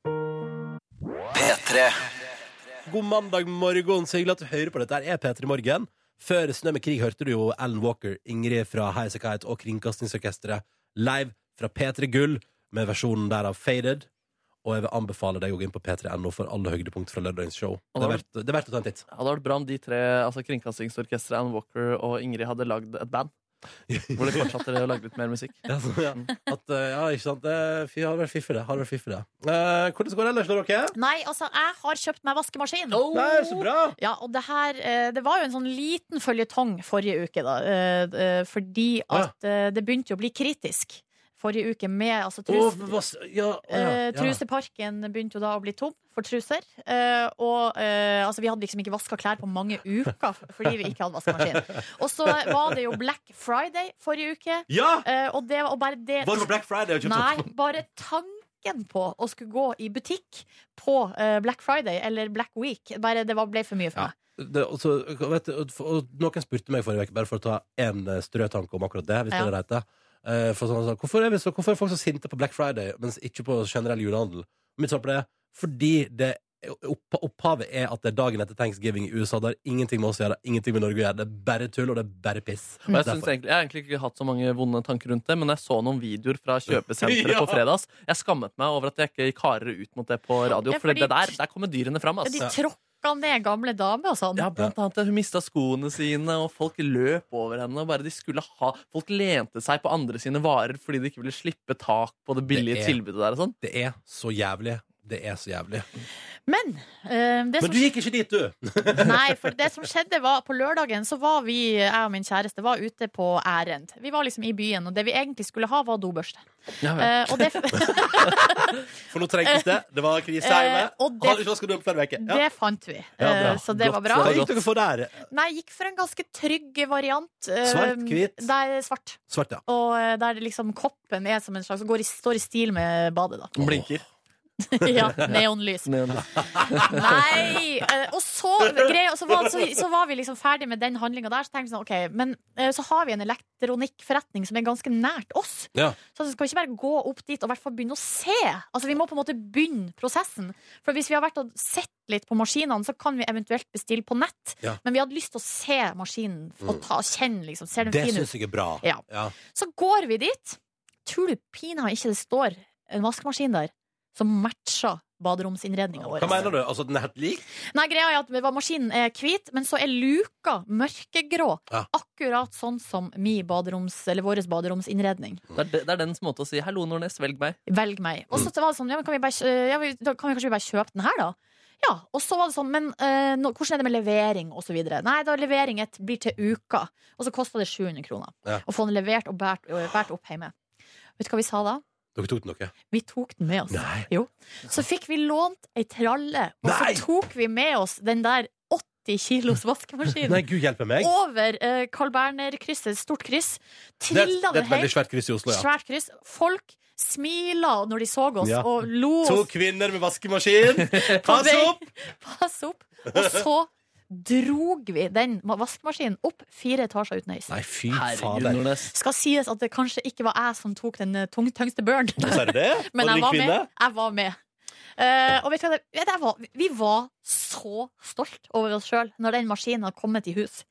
Speaker 2: God mandag morgen, så hyggelig at du hører på dette. Her er P3 Morgen. Før Snø med krig hørte du jo Alan Walker, Ingrid fra Highasakite og Kringkastingsorkesteret live fra P3 Gull med versjonen der av Faded. Og jeg vil anbefale deg å gå inn på p3.no for alle høydepunkt fra lørdagens show. Det er verdt, det er verdt å ta en titt.
Speaker 4: hadde vært bra om de tre, altså Kringkastingsorkesteret, Ann Walker og Ingrid, hadde lagd et band. Hvor de fortsatte å lage litt mer musikk. Mm.
Speaker 2: Ja, så, ja. At, eh, ja, ikke sant? Det fy- hadde vært fiffig, det. Hadde vært fiffig, det. Eh, hvordan går det ellers, da, dere?
Speaker 3: Nei, altså, jeg har kjøpt meg vaskemaskin.
Speaker 2: Nei, så bra.
Speaker 3: Ja, og det her eh, Det var jo en sånn liten føljetong forrige uke, da. eh, eh, Fordi at eh, det begynte jo å bli kritisk forrige uke med altså, trus,
Speaker 2: Å, vas- ja, å, ja, ja.
Speaker 3: Eh, truseparken begynte jo da å bli tom for truser. Eh, og eh, altså, vi hadde liksom ikke vaska klær på mange uker f- fordi vi ikke hadde vaskemaskin. Og så var det jo Black Friday forrige uke.
Speaker 2: Ja!
Speaker 3: Eh, og det var og bare det
Speaker 2: Var det på Black Friday og kjøpte
Speaker 3: Nei,
Speaker 2: opp?
Speaker 3: bare tanken på å skulle gå i butikk på eh, Black Friday eller Black Week, bare det var, ble for mye for meg.
Speaker 2: det, og så, vet, du, og- og noen spurte meg forrige uke, bare for å ta én strø tanke om akkurat det. Hvis
Speaker 3: Ja.
Speaker 2: det er det heter. Eh, for sånn, sånn, hvorfor, er vi så, hvorfor er folk så sinte på Black Friday, mens ikke på generell julehandel? Mitt svar på det er fordi det opp, opphavet er at det er dagen etter thanksgiving i USA. Det har ingenting med oss å gjøre, ingenting med Norge å gjøre. Det er bare tull, og det er bare piss.
Speaker 4: Og jeg, synes
Speaker 2: Derfor.
Speaker 4: egentlig, jeg har egentlig ikke hatt så mange vonde tanker rundt det, men jeg så noen videoer fra kjøpesenteret
Speaker 2: Ja.
Speaker 4: på fredags. Jeg skammet meg over at jeg ikke gikk hardere ut mot det på radio,
Speaker 3: Ja,
Speaker 4: for
Speaker 3: fordi-
Speaker 4: det der, der kommer dyrene fram.
Speaker 3: De
Speaker 4: Altså.
Speaker 3: tråkka ned gamle damer og sånn.
Speaker 4: Ja, blant annet at hun mista skoene sine, og folk løp over henne. Og bare de skulle ha Folk lente seg på andre sine varer fordi de ikke ville slippe tak på det billige
Speaker 2: Det er-
Speaker 4: tilbudet der. og sånn
Speaker 2: Det er så jævlig. Det er så jævlig.
Speaker 3: Men eh, det
Speaker 2: Men
Speaker 3: som
Speaker 2: du gikk ikke dit, du!
Speaker 3: Nei, for det som skjedde var På lørdagen så var vi, jeg og min kjæreste Var ute på ærend Vi var liksom i byen, og det vi egentlig skulle ha var dobørste
Speaker 2: Ja, vel.
Speaker 3: Eh, og det,
Speaker 2: For nå trengtes det. Det var krise
Speaker 3: Eh,
Speaker 2: hjemme.
Speaker 3: og det-
Speaker 2: Hadde ikke vasket opp hver uke. Ja.
Speaker 3: det fant vi
Speaker 2: Ja, bra.
Speaker 3: Eh, Så det
Speaker 2: Godt.
Speaker 3: var bra
Speaker 2: Hva gikk dere for der?
Speaker 3: Nei, jeg gikk for en ganske trygg variant eh,
Speaker 2: Svart, hvit?
Speaker 3: Der, svart
Speaker 2: Svart, ja.
Speaker 3: Og eh, der det liksom koppen er som en slags går i, Står i stil med badet da
Speaker 4: Blinker.
Speaker 3: Ja, neonlys. Nei! eh, Og så, greia, så, var, så, så var vi liksom ferdig med den handlinga der. Så tenkte vi sånn, ok, men eh, så har vi en elektronikkforretning som er ganske nært oss.
Speaker 2: Ja.
Speaker 3: Så altså, skal vi ikke bare gå opp dit og i hvert fall begynne å se? Altså Vi må på en måte begynne prosessen. For hvis vi har vært og sett litt på maskinene, så kan vi eventuelt bestille på nett.
Speaker 2: Ja.
Speaker 3: Men vi hadde lyst til å se maskinen og
Speaker 2: Mm.
Speaker 3: ta, kjenne, liksom. Ser den
Speaker 2: Det
Speaker 3: fin ut?
Speaker 2: syns jeg er bra.
Speaker 3: Ja. Så går vi dit. Tror du pinadø ikke det står en vaskemaskin der som matcher baderomsinnredninga vår?
Speaker 2: Hva mener du? Altså, den er helt lik?
Speaker 3: Nei, greia er at Maskinen er hvit, men så er luka mørkegrå.
Speaker 2: Ja.
Speaker 3: Akkurat sånn som mi baderoms, eller vår baderomsinnredning.
Speaker 4: Det er, det- det er dens måte å si 'hallo, Nordnes, velg meg'.
Speaker 3: Velg meg. Og så var det sånn, ja, men kan vi, bare, kjø- ja, vi, da kan vi kanskje bare kjøpe den her, da? Ja, og så var det sånn, men eh, nå, hvordan er det med levering og så videre? Nei, da levering et blir til uka, og så kosta det 700 kroner.
Speaker 2: Ja.
Speaker 3: Å få den levert og båret båret opp hjemme. Vet du hva vi sa da?
Speaker 2: Dere tok den, dere?
Speaker 3: Vi tok den med oss. Jo. Så fikk vi lånt ei tralle, og så tok vi med oss den der 80 kilos vaskemaskinen.
Speaker 2: Nei, gud hjelpe meg.
Speaker 3: Over eh, Carl Berner-krysset, et stort kryss.
Speaker 2: Det er, det
Speaker 3: Trilla
Speaker 2: er
Speaker 3: den
Speaker 2: et
Speaker 3: hjem.
Speaker 2: veldig svært kryss i Oslo, ja.
Speaker 3: Svært kryss. Folk smila når de så oss,
Speaker 2: Ja.
Speaker 3: og lo
Speaker 2: To
Speaker 3: oss
Speaker 2: kvinner med vaskemaskin! Pass
Speaker 3: vei.
Speaker 2: opp!
Speaker 3: pass opp. Og så drog vi den ma- vaskemaskinen opp fire etasjer uten heis.
Speaker 2: Nei, fy
Speaker 4: Herregud,
Speaker 2: fader.
Speaker 4: Nordnes.
Speaker 3: Skal sies at det kanskje ikke var jeg som tok den eh, tung, tyngste børen.
Speaker 2: Sa du det?
Speaker 3: Men
Speaker 2: Var det
Speaker 3: jeg var
Speaker 2: en
Speaker 3: med.
Speaker 2: kvinne?
Speaker 3: Jeg var med. Eh, og vet du hva, det- vet du, jeg var, vi var så stolt over oss sjøl når den maskinen hadde kommet i hus.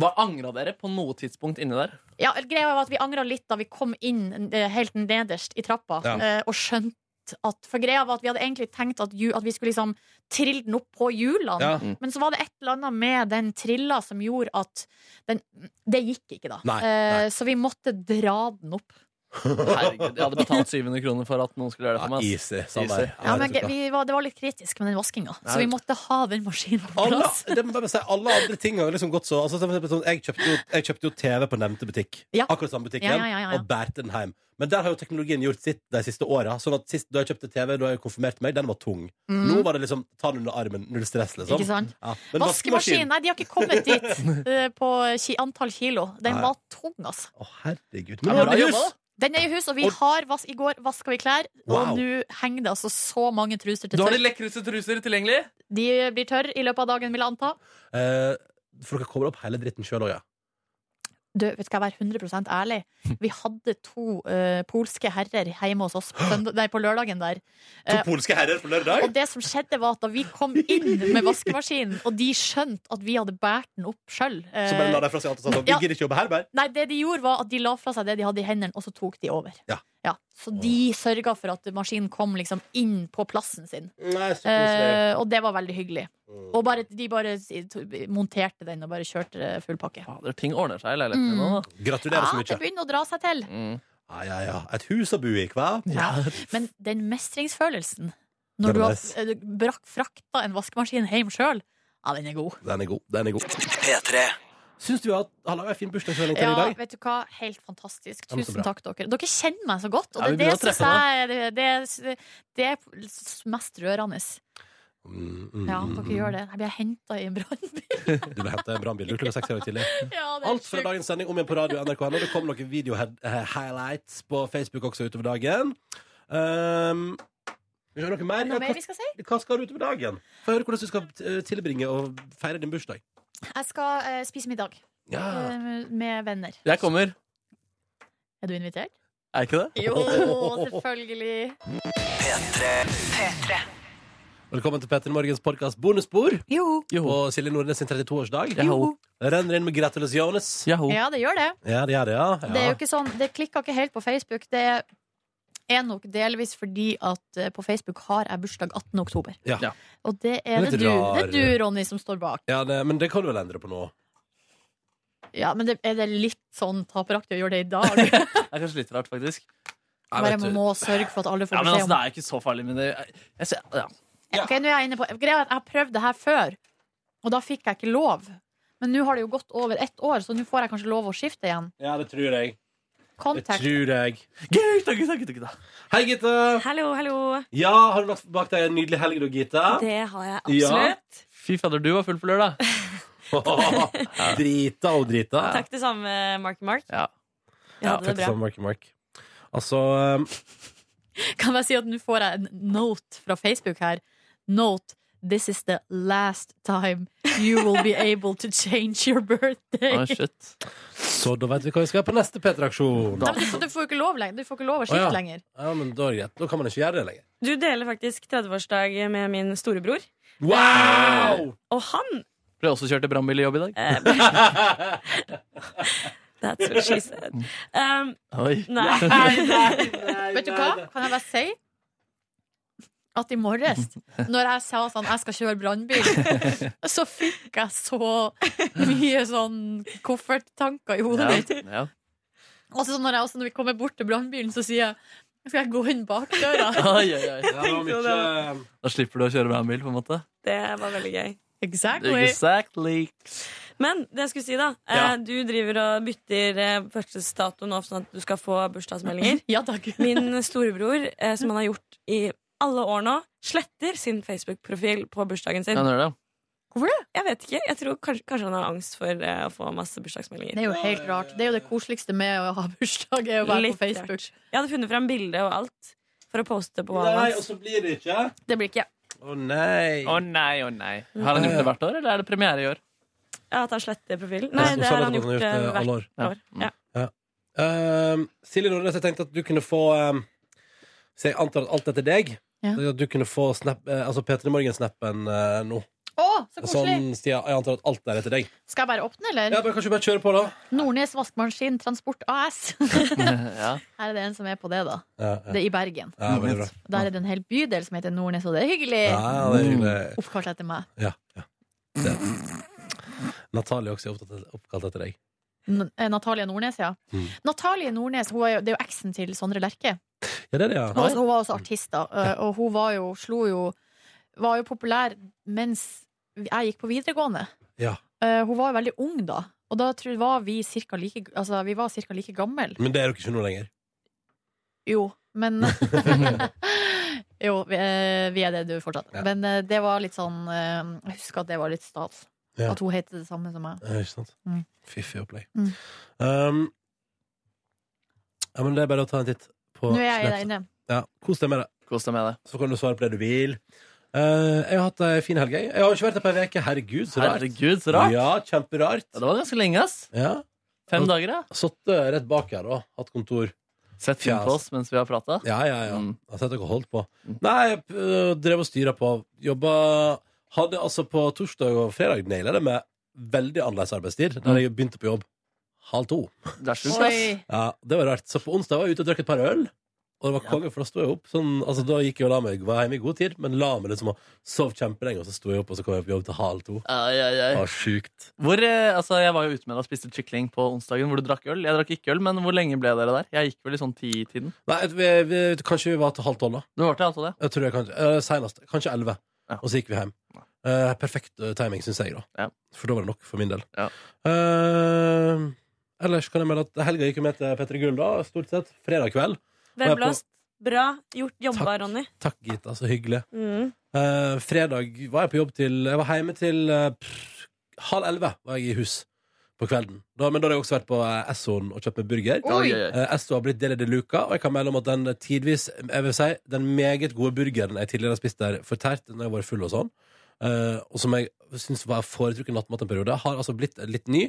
Speaker 4: Hva angra dere på noe tidspunkt inni der?
Speaker 3: Ja, greia var at Vi angra litt da vi kom inn eh, helt nederst i trappa
Speaker 4: Ja.
Speaker 3: eh, og skjønte at, for greia var at Vi hadde egentlig tenkt at, ju- at vi skulle liksom trille den opp på hjulene,
Speaker 2: Ja. Mm.
Speaker 3: men så var det et eller annet med den trilla som gjorde at den, Det gikk ikke, da.
Speaker 2: Nei,
Speaker 3: Eh, så vi måtte dra den opp.
Speaker 4: Herregud, jeg hadde betalt 700 kroner for at noen skulle gjøre det for meg. ass.
Speaker 2: easy, samme her.
Speaker 3: Ja, men ge- vi var, det var litt kritisk med den vaskinga, så
Speaker 2: Nei.
Speaker 3: vi måtte ha den maskinen på
Speaker 2: Alle,
Speaker 3: plass.
Speaker 2: det må jeg bare si, alle andre ting har liksom gått så altså, for eksempel sånn, jeg, kjøpte jo, jeg kjøpte jo TV på nevnte butikk.
Speaker 3: Ja.
Speaker 2: Akkurat samme butikken.
Speaker 3: Ja, ja, ja, ja.
Speaker 2: Og bærte den hjem. Men der har jo teknologien gjort sitt de siste åra. Sånn at sist da jeg kjøpte TV, da jeg konfirmerte meg, den var tung.
Speaker 3: Mm.
Speaker 2: Nå var det liksom ta den under armen, null stress, liksom.
Speaker 3: Ikke sant?
Speaker 2: Ja. Men
Speaker 3: Vaskemaskin! Nei, de har ikke kommet dit eh, på ki antall kilo. Den
Speaker 2: Nei.
Speaker 3: var tung, altså.
Speaker 2: Herregud.
Speaker 3: Ja,
Speaker 2: Men nå er det
Speaker 3: men-
Speaker 2: hus!
Speaker 3: Den er i hus, og vi
Speaker 2: Og-
Speaker 3: har vas I går vaska vi klær,
Speaker 4: Wow.
Speaker 3: og nå henger det altså så mange truser til
Speaker 4: Du har de
Speaker 3: tørk.
Speaker 4: lekreste truser tilgjengelig?
Speaker 3: De blir tørre i løpet av dagen, vil jeg anta.
Speaker 2: Eh, for dere kommer opp hele dritten sjøl òg, ja.
Speaker 3: Du, vet du hva, jeg være 100 ærlig. Vi hadde to eh, polske herrer hjemme hos oss på, søndag, nei, på lørdagen der. Eh,
Speaker 2: polske herrer på lørdag?
Speaker 3: og det som skjedde, var at da vi kom inn med vaskemaskinen, og de skjønte at vi hadde båret den opp sjøl
Speaker 2: Så bare la de fra seg alt og sa sånn, vi
Speaker 3: ja.
Speaker 2: gidder ikke jobbe her, bare.
Speaker 3: Nei, det de gjorde var at de la fra seg det de hadde i hendene, og så tok de over.
Speaker 2: Ja.
Speaker 3: så de sørga for at maskinen kom liksom inn på plassen sin.
Speaker 2: Nei, så
Speaker 3: Eh,
Speaker 2: koselig.
Speaker 3: og det var veldig hyggelig. Og bare, de bare s- to- monterte den og bare kjørte eh, full pakke.
Speaker 4: Fader, ting ordner seg i leiligheten din nå. da.
Speaker 2: Gratulerer så
Speaker 3: Mm. Ja, det
Speaker 2: mye. Mm.
Speaker 3: begynner å dra seg til.
Speaker 2: Ja, ja, ja. Et hus å bo i, hva?
Speaker 3: Men den mestringsfølelsen
Speaker 2: Den er
Speaker 3: når du har
Speaker 2: nice.
Speaker 3: eh, brakk frakta en vaskemaskin hjem sjøl, ja, den er god.
Speaker 2: Den er god. Den er god. P3. Syns du at han har en fin bursdagsmelding til
Speaker 3: Ja,
Speaker 2: i dag?
Speaker 3: vet du hva? Helt fantastisk.
Speaker 2: Ja, men så bra.
Speaker 3: Tusen takk, dere. Dere kjenner meg så godt, og
Speaker 2: Ja,
Speaker 3: det, er
Speaker 2: vi
Speaker 3: det,
Speaker 2: begynner å
Speaker 3: synes jeg, det, det, det er s- mest rørende.
Speaker 2: Mm,
Speaker 3: Ja, dere gjør det. Jeg blir henta i en brannbil.
Speaker 2: Du ble hentet i en brannbil du, klokka seks i dag tidlig.
Speaker 3: Ja, det er
Speaker 2: Alt fra dagens sending om igjen på radio NRK nå. Det kom noen video-highlights på Facebook også utover dagen. Um, vil du ha noe mer?
Speaker 3: Noe
Speaker 2: Ja,
Speaker 3: mer vi skal si?
Speaker 2: Hva skal du utover dagen? Få høre hvordan du skal eh, tilbringe og feire din bursdag.
Speaker 3: Jeg skal eh, spise middag
Speaker 2: Ja.
Speaker 3: eh, med venner.
Speaker 4: Jeg kommer.
Speaker 3: Er du invitert?
Speaker 4: Er jeg ikke det?
Speaker 3: Jo, selvfølgelig. P3.
Speaker 2: Velkommen til Petter Morgens podkast bonusspor.
Speaker 3: Joho.
Speaker 2: På Silje Nordnes sin 32-årsdag.
Speaker 3: Joho.
Speaker 2: Det Renner inn med gratulasjones.
Speaker 3: Ja, det gjør det.
Speaker 2: Ja, det gjør det, ja. ja.
Speaker 3: Det er jo ikke sånn, det klikka ikke helt på Facebook. Det er nok delvis fordi at eh, på Facebook har jeg bursdag 18. oktober.
Speaker 2: Ja.
Speaker 3: Og det er
Speaker 2: Det er
Speaker 3: det
Speaker 2: litt
Speaker 3: du, det
Speaker 2: rar.
Speaker 3: er du, Ronny, som står bak.
Speaker 2: Ja, det, men det kan du vel endre på nå?
Speaker 3: Ja, Men det, er det litt sånn taperaktig å gjøre det i dag?
Speaker 4: Det er kanskje litt rart, faktisk.
Speaker 3: Bare man må sørge for at alle får
Speaker 4: ja, men altså,
Speaker 3: beskjed om
Speaker 4: Det er ikke så farlig, men det jeg, jeg, ser- ja.
Speaker 3: Ok, nå er jeg inne på Greia er at jeg har prøvd det her før, og da fikk jeg ikke lov. Men nå har det jo gått over ett år, så nå får jeg kanskje lov å skifte igjen.
Speaker 2: Ja, det tror jeg.
Speaker 3: Contact.
Speaker 2: Det tror jeg. Gitta, Gitta, Gitta, Gitta. Hei, Gitta.
Speaker 13: Hallo, hallo.
Speaker 2: Ja, har du lagt bak deg en nydelig helg, da, Gitta?
Speaker 13: Det har jeg absolutt.
Speaker 4: Fy fader, du var full på lørdag.
Speaker 2: drita og drita.
Speaker 13: Takk det samme, Marky Mark.
Speaker 4: Ja.
Speaker 13: Jeg hadde
Speaker 2: takk
Speaker 13: det
Speaker 2: det samme,
Speaker 13: bra.
Speaker 2: Marky Mark. Sånn, Altså um,
Speaker 3: Kan jeg si at nå får jeg en note fra Facebook her. Note. This is the last time you will be able to change your birthday.
Speaker 2: Ah, shit. Så da vet vi hva vi skal gjøre på neste P3-aksjon.
Speaker 3: Nei, men du, får, du får jo ikke lov lenger. Du får ikke lov å skifte
Speaker 2: Å, ja.
Speaker 3: lenger.
Speaker 2: Ja, men da er det greit. Da kan man ikke gjøre det lenger.
Speaker 13: Du deler faktisk 30-årsdag med min storebror.
Speaker 2: Wow!
Speaker 13: Og han
Speaker 4: Ble også kjørt i brannbil i jobb i dag.
Speaker 13: That's what she said. Um,
Speaker 4: Oi.
Speaker 13: Nei.
Speaker 3: Vet du hva? Kan jeg bare si at i morges, når jeg sa sånn jeg skal kjøre brannbil, så fikk jeg så mye sånn kofferttanker i hodet mitt.
Speaker 4: Ja.
Speaker 3: Og så når, jeg, også når vi kommer bort til brannbilen, så sier jeg skal jeg gå inn bak døra?
Speaker 4: Oi, oi, oi.
Speaker 13: tenkte jo det.
Speaker 4: Da slipper du å kjøre brannbil, på en måte.
Speaker 13: Det var veldig gøy.
Speaker 4: Exactly.
Speaker 13: Men det jeg skulle si, da.
Speaker 4: Ja.
Speaker 13: eh, Du driver og bytter eh, fødselsdato nå, sånn at du skal få bursdagsmeldinger.
Speaker 3: Ja, takk.
Speaker 13: Min storebror, eh, som han har gjort i alle år nå, sletter sin Facebook-profil på bursdagen sin.
Speaker 4: Ja, han gjør det.
Speaker 3: Hvorfor det?
Speaker 13: Jeg vet ikke. Jeg tror kanskje, kanskje han har angst for eh, å få masse bursdagsmeldinger.
Speaker 3: Det er jo helt rart. Det er jo det koseligste med å ha bursdag, er å være
Speaker 13: Litt
Speaker 3: på Facebook.
Speaker 13: rart. Jeg hadde funnet fram bilde og alt for å poste på
Speaker 2: Nei,
Speaker 13: Valhall.
Speaker 2: og så blir det ikke.
Speaker 13: Det blir ikke
Speaker 2: Å nei.
Speaker 4: Å nei, å nei. Har han gjort det hvert år, eller er det premiere i år?
Speaker 13: ja, at han sletter profilen.
Speaker 2: Ja,
Speaker 13: Nei,
Speaker 2: så
Speaker 13: det
Speaker 2: sa
Speaker 13: har
Speaker 2: du
Speaker 13: han
Speaker 2: at han
Speaker 13: gjort,
Speaker 2: har gjort
Speaker 13: eh,
Speaker 2: det alle
Speaker 13: hvert
Speaker 2: år.
Speaker 13: år.
Speaker 2: Ja.
Speaker 13: Ja.
Speaker 2: Ja. Ehm, Silje Nordnes, jeg tenkte at du kunne få um, Så jeg antar at alt etter deg. At du kunne få snap, eh, altså P3 Morgen-snappen eh, nå.
Speaker 3: Å, så koselig!
Speaker 2: Sånn, Stia, jeg antar at alt er etter deg.
Speaker 3: Skal jeg bare åpne, eller?
Speaker 2: Ja, bare, kanskje du bare kjører på, da?
Speaker 3: Nordnes Vaskemaskin Transport AS.
Speaker 2: ja.
Speaker 3: Her er det en som er på det, da.
Speaker 2: Ja,
Speaker 3: Det er i Bergen.
Speaker 2: Ja, veldig bra.
Speaker 3: Der er det en hel bydel som heter Nordnes, og det er hyggelig.
Speaker 2: Ja, det er hyggelig.
Speaker 3: Oppkalt etter meg.
Speaker 2: Ja, ja. Det. Natalie også er opptatt- oppkalt etter deg.
Speaker 3: N- eh, Natalie Nordnes, ja.
Speaker 2: Mm.
Speaker 3: Natalie Nordnes hun er jo, det er jo eksen til Sondre Lerche.
Speaker 2: Ja, det er det, ja.
Speaker 3: Hun, var- hun var også artist, da. eh, Og hun var jo, slo jo Var jo populær mens jeg gikk på videregående.
Speaker 2: Ja.
Speaker 3: Eh, Hun var jo veldig ung da. Og da tror jeg var vi cirka like, altså, vi var cirka like gammel.
Speaker 2: Men det er dere ikke nå lenger.
Speaker 3: Jo, men Jo, vi, eh, vi er det du fortsatt.
Speaker 2: Ja.
Speaker 3: Men eh, det var litt sånn eh, Jeg husker at det var litt stas.
Speaker 2: Ja.
Speaker 3: At hun het det samme som meg.
Speaker 2: Ja, ikke sant?
Speaker 3: Mm.
Speaker 2: Fiffig opplegg.
Speaker 3: Mm.
Speaker 2: Um, ja, men det er bare å ta en titt på
Speaker 3: Nå er jeg
Speaker 2: Snapchat.
Speaker 3: der inne.
Speaker 2: Ja, kos deg med det. Så kan du svare på det du vil. Eh, jeg har hatt ei en fin helg. jeg. Jeg har jo ikke vært her på ei uke. Herregud, så rart.
Speaker 4: Herregud, så rart.
Speaker 2: Ja, kjemperart.
Speaker 4: Ja, det var ganske lenge, ass.
Speaker 2: Ja.
Speaker 4: Fem dager, ja.
Speaker 2: Sittet rett bak her og hatt kontor.
Speaker 4: Sett film på oss Mm. mens vi har prata.
Speaker 2: Ja, ja, ja. Jeg har sett dere holdt på. Nei, jeg øh, drev og styra på. Jobba Hadde altså på torsdag og fredag naila det med veldig annerledes arbeidstid. Da jeg begynte på jobb halv to.
Speaker 4: Det er
Speaker 3: sjukt, ass. Oi.
Speaker 2: Ja, det var rart. Så på onsdag var jeg ute og drakk et par øl. Og det var konge, for da sto jeg opp. Sånn, altså, da gikk jeg og la meg. Var hjemme i god tid, men la meg liksom og sov kjempelenge. Og så sto jeg opp, og så kom jeg på jobb til halv to.
Speaker 4: Ai, ai, ai.
Speaker 2: Det var sjukt.
Speaker 4: Hvor, eh, altså, jeg var jo ute med deg og spiste kykling på onsdagen, hvor du drakk øl. Jeg drakk ikke øl, men hvor lenge ble dere der? Jeg gikk vel i sånn ti-tiden.
Speaker 2: Nei, vi, vi, kanskje vi var til halv tolv, da.
Speaker 4: Du var til altså det?
Speaker 2: Jeg tror jeg kanskje, eh, senest, kanskje 11 Og så gikk vi hjem Eh, Perfekt eh, timing, synes jeg da For da var det nok for min del Eh, Ellers kan jeg melde at Helga gikk jo med til Petter Gull da Stort sett, fredag kveld Og jeg på-
Speaker 13: Velblåst. Bra gjort jobba, Ronny.
Speaker 2: Takk Gita, så hyggelig
Speaker 13: Mm.
Speaker 2: Eh, Fredag var jeg på jobb til Jeg var hjemme til eh, pff, halv 11 Var jeg i hus på kvelden da, Men da har jeg også vært på eh, Essoen og kjøpt meg burger
Speaker 4: Oi.
Speaker 2: Eh, Esso har blitt del i det luka Og jeg kan melde om at den tidvis Jeg vil si, den meget gode burgeren jeg tidligere har spist der Fortært når jeg var full og sånn eh, Og som jeg synes var foretrukken nattmatt en periode Har altså blitt litt ny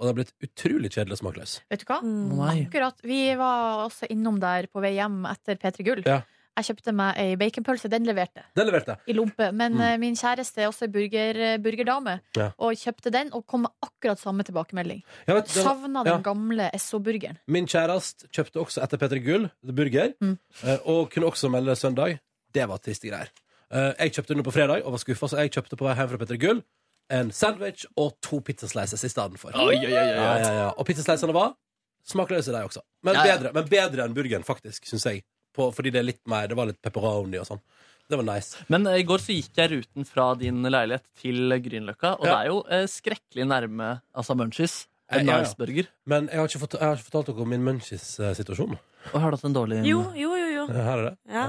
Speaker 2: Og den har blitt utrolig kjedelig og smakløs
Speaker 3: Vet du hva?
Speaker 2: Nei.
Speaker 3: Akkurat. Vi var også innom der på vei hjem etter P3 Gull.
Speaker 2: Ja.
Speaker 3: Jeg kjøpte meg ei baconpølse. Den leverte.
Speaker 2: Den leverte
Speaker 3: I lompe. Men
Speaker 2: Mm.
Speaker 3: eh, min kjæreste er også ei burger, eh, burgerdame,
Speaker 2: Ja.
Speaker 3: og kjøpte den og kom med akkurat samme tilbakemelding.
Speaker 2: Ja, vet du, den-
Speaker 3: Savna
Speaker 2: ja.
Speaker 3: den gamle SO-burgeren.
Speaker 2: Min kjærest kjøpte også etter Petter Gull The Burger,
Speaker 13: Mm.
Speaker 2: eh, og kunne også melde søndag. Det var triste greier. Eh, Jeg kjøpte den på fredag og var skuffa, så jeg kjøpte på vei hjem fra Petter Gull en sandwich og to pizzaslices i stedet for.
Speaker 4: Oi, oi, oi, oi, oi.
Speaker 2: Ja, ja, ja. Og pizzaslicene var smakløse, de også. Men,
Speaker 4: Ja, ja.
Speaker 2: Bedre, men bedre enn burgeren, faktisk, syns jeg. På, fordi det er litt mer Det var litt pepperoni og sånn. Det var nice.
Speaker 4: Men eh, i går så gikk jeg ruten fra din leilighet til Grünerløkka, og det er jo eh, skrekkelig nærme altså munchies. En
Speaker 2: Ja, ja, ja.
Speaker 4: nice burger.
Speaker 2: Men jeg har ikke, fått, jeg har ikke fortalt dere om min munchies-situasjon.
Speaker 4: Har du hatt en eh? dårlig
Speaker 13: Jo, jo, jo. jo.
Speaker 2: Her er det.
Speaker 13: Ja.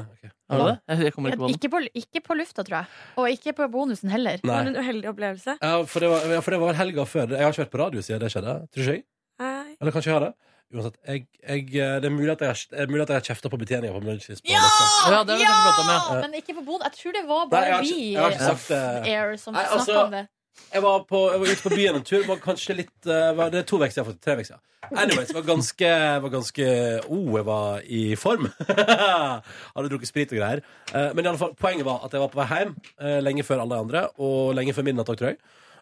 Speaker 4: Har du det? Jeg, jeg kommer ikke på den.
Speaker 3: Ikke på, ikke på lufta, tror jeg. Og ikke på bonusen heller.
Speaker 2: Nei.
Speaker 13: Var det en uheldig opplevelse?
Speaker 2: Ja, for det var, ja, for det var vel helga før. Jeg har ikke vært på radio siden det skjedde. Tror ikke jeg.
Speaker 3: Eh,
Speaker 13: Nei.
Speaker 2: Eller kanskje jeg har det. Uansett, jeg, jeg, eh, det er mulig at jeg har, det er mulig at jeg har kjefta på betjeninga på Munchies. på Løkka.
Speaker 4: Ja, det har vi kanskje pratet om, ja.
Speaker 3: Men ikke på bonusen. Jeg tror det var
Speaker 2: Nei, jeg
Speaker 3: bare
Speaker 2: har ikke-
Speaker 3: vi eh,
Speaker 2: jeg har ikke sagt det.
Speaker 3: air som
Speaker 2: Nei,
Speaker 3: snakka
Speaker 2: altså-
Speaker 3: om det.
Speaker 2: Jeg var, på, jeg var ute på byen en tur. Var kanskje litt, eh, var, det er to uker siden. jeg har fått- Tre uker siden. Anyways, var ganske, var ganske Oh, jeg var i form. Hadde drukket sprit og greier. Eh, Men i alle fall, poenget var at jeg var på vei hjem eh, lenge før alle de andre, og lenge før midnatt òg, tror jeg.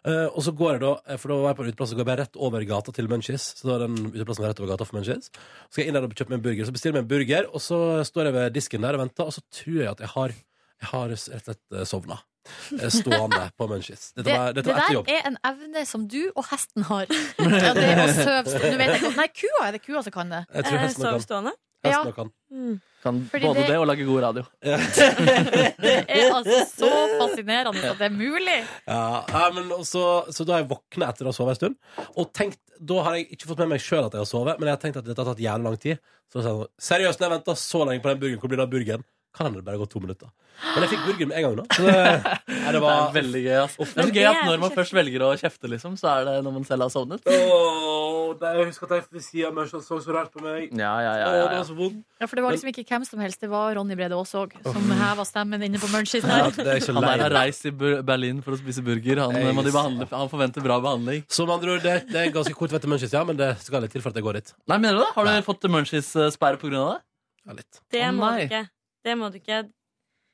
Speaker 2: Eh, og så går jeg da, eh, for da var jeg på en uteplass og går jeg bare rett over gata til Munchies. Så da er den uteplassen rett over gata for Munchies. Så skal jeg inn der og kjøpe meg en burger. Så bestiller jeg meg en burger, og så står jeg ved disken der og venter, og så tror jeg at jeg har, jeg har rett og slett sovna. Stående på Munchies. Dette
Speaker 3: Det,
Speaker 2: var,
Speaker 3: det
Speaker 2: dette var etter
Speaker 3: der
Speaker 2: jobb.
Speaker 3: er en evne som du og hesten har. Ja, det er å søve stå- Nå vet jeg ikke. Nei, kua er det kua som kan det.
Speaker 2: Jeg tror hesten Eh, kan. sove
Speaker 13: stående?
Speaker 3: Ja. Mm.
Speaker 2: Hesten kan.
Speaker 4: Kan
Speaker 3: Fordi
Speaker 4: både
Speaker 3: det-
Speaker 4: det... og lage god radio.
Speaker 3: Det er altså så fascinerende at det er mulig.
Speaker 2: Ja, ja, men så, så da har jeg våkna etter å ha sovet en stund. Og tenkt, da har jeg ikke fått med meg sjøl at jeg har sovet, men jeg har tenkt at dette har tatt jævlig lang tid. Så sa jeg sånn, seriøst, når jeg venta så lenge på den burgeren, hvor blir det av burgeren? Kan hende det bare går to minutter. Men jeg fikk burgeren med en gang, da. Så det, nei, det
Speaker 4: Det
Speaker 2: var
Speaker 4: er veldig gøy. ass. Det er så gøy at når man først velger å kjefte, liksom, så er det når man selv har sovnet.
Speaker 2: Åh, det- Jeg husker at jeg ved siden av meg selv så så rart på meg.
Speaker 4: Ja, ja, ja,
Speaker 2: Åh,
Speaker 4: ja,
Speaker 2: det
Speaker 4: ja.
Speaker 2: var så vondt.
Speaker 3: Ja, for det var liksom ikke hvem som helst, det var Ronny Brede Aas òg, som heva stemmen inne på Munchies
Speaker 4: Ja,
Speaker 3: der.
Speaker 4: han der har reist til Ber- Berlin for å spise burger. Han,
Speaker 2: Jeg
Speaker 4: må de
Speaker 2: sa-
Speaker 4: behandle, han forventer bra behandling.
Speaker 2: Så med andre ord, det, det er ganske kort vei til Munchies, ja, men det skal litt til for at jeg går dit.
Speaker 4: Nei, mener du det? Har du fått eh, munchies-sperre pga. det?
Speaker 13: Det
Speaker 4: Å,
Speaker 13: må du
Speaker 4: nei.
Speaker 13: ikke. Det må du ikke.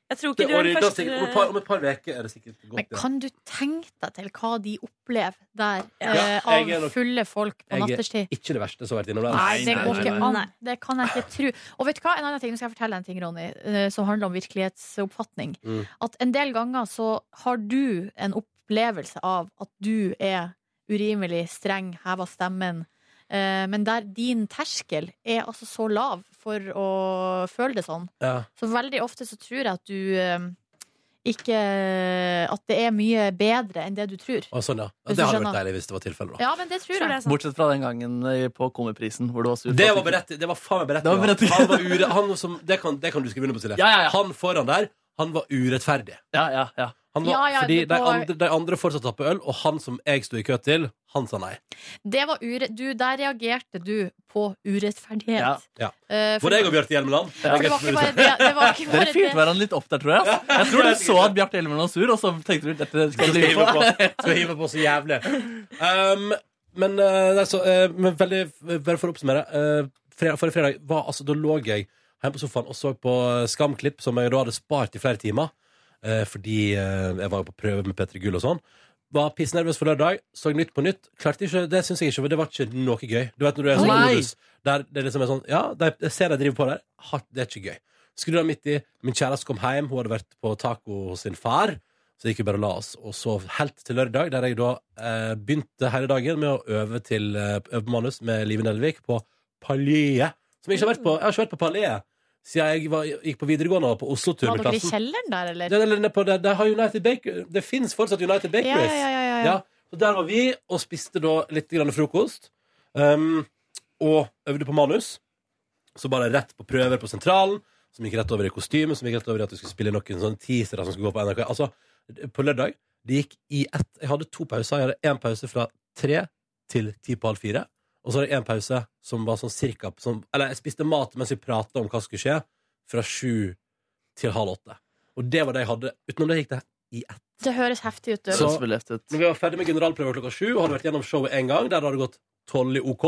Speaker 13: Jeg tror
Speaker 2: Det
Speaker 13: ikke du er den
Speaker 2: ordner seg. Om et par-
Speaker 13: første
Speaker 2: om et par uker er det sikkert godt.
Speaker 3: Men
Speaker 2: igjen.
Speaker 3: kan du tenke deg til hva de opplever der
Speaker 2: Ja,
Speaker 3: eh,
Speaker 2: jeg er
Speaker 3: av
Speaker 2: nok-
Speaker 3: fulle folk på
Speaker 2: Jeg er
Speaker 3: natterstid?
Speaker 2: Ikke det verste som har vært innom der.
Speaker 3: Nei, det går ikke an.
Speaker 13: nei.
Speaker 3: Det kan jeg ikke tro. Og vet du hva, en annen ting, nå skal jeg fortelle en ting, Ronny, eh, som handler om virkelighetsoppfatning.
Speaker 2: Mm.
Speaker 3: At en del ganger så har du en opplevelse av at du er urimelig streng, heva stemmen, Eh, Men der din terskel er altså så lav for å føle det sånn.
Speaker 2: Ja.
Speaker 3: Så veldig ofte så tror jeg at du eh, ikke At det er mye bedre enn det du tror.
Speaker 2: Å, sånn, ja. Ja,
Speaker 3: Hvis
Speaker 2: Det
Speaker 3: du
Speaker 2: hadde vært
Speaker 3: skjønner.
Speaker 2: deilig hvis det var tilfellet. da.
Speaker 3: Ja, men det tror jeg.
Speaker 4: Bortsett fra den gangen eh, på Komiprisen, hvor du var sur.
Speaker 2: Det var berettiget. Det var faen meg
Speaker 4: Det var berettiget.
Speaker 2: Han var ure, han som, det, kan, det kan du skrive under på, Silje.
Speaker 4: Ja, ja, ja.
Speaker 2: Han foran der, han var urettferdig. Han var,
Speaker 3: Ja, ja,
Speaker 2: fordi
Speaker 3: det
Speaker 2: de,
Speaker 3: var-
Speaker 2: andre, de andre fortsatte å tappe øl, og han som jeg sto i kø til, han sa nei.
Speaker 3: Det var ure... Du, der reagerte du på urettferdighet.
Speaker 2: Ja.
Speaker 3: Eh, for-
Speaker 2: Både jeg og Bjarte Hjelmeland.
Speaker 3: For det var ikke bare det- det var ikke bare
Speaker 4: Dere fyrte
Speaker 3: det.
Speaker 4: hverandre litt opp der, tror jeg. ass. Jeg tror du så at Bjarte Elveland var sur, og så tenkte du dette skal du hive på.
Speaker 2: Skal hive på så jævlig. Um, men, eh, det er så, eh, men veldig, bare for å oppsummere. eh, fredag, forrige fredag var, altså, da lå jeg hjemme på sofaen og så på Skamklipp, som jeg da hadde spart i flere timer. eh, fordi eh, jeg var jo på prøve med P3 Gull og sånn. Var pissnervøs for lørdag, så Nytt på Nytt. Klarte ikke, Det synes jeg ikke, det var ikke noe gøy. Du vet når du er sånn
Speaker 4: Nei.
Speaker 2: modus der det liksom er sånn Ja, de, jeg ser de driver på der. Hardt, det er ikke gøy. Skru deg midt i. Min kjæreste kom hjem, hun hadde vært på taco hos sin far. Så gikk vi bare og la oss, og sov helt til lørdag, der jeg da eh, begynte hele dagen med å øve til eh, øve på manus med Live Nelvik på Palais. Som jeg ikke har vært på. Jeg har ikke vært på Palais siden jeg var, gikk på videregående og var på Oslo-tur
Speaker 3: Var
Speaker 2: med
Speaker 3: dere i
Speaker 2: klassen.
Speaker 3: kjelleren der, eller?
Speaker 2: Ja, eller nede på det, det, har United Baker, det finnes fortsatt United Bakeries.
Speaker 3: Ja, ja, ja, ja, ja.
Speaker 2: så der var vi og spiste da litt grann frokost. Um, og øvde på manus. Så bare rett på prøver på sentralen, som gikk rett over i kostyme, som gikk rett over i at du skulle spille noen sånne teasere som skulle gå på NRK. Altså, på lørdag, det gikk i ett. Jeg hadde to pauser. Jeg hadde en pause fra tre til ti på halv fire. Og så hadde jeg en pause som var sånn cirka som, Eller jeg spiste mat mens vi prata om hva som skulle skje, fra sju til halv åtte. Og det var det jeg hadde. Utenom det gikk det i ett.
Speaker 3: Det høres heftig ut. du.
Speaker 2: Så- Når vi var ferdig med generalprøven klokka sju, og hadde vært gjennom showet en gang, der det hadde gått tolv i OK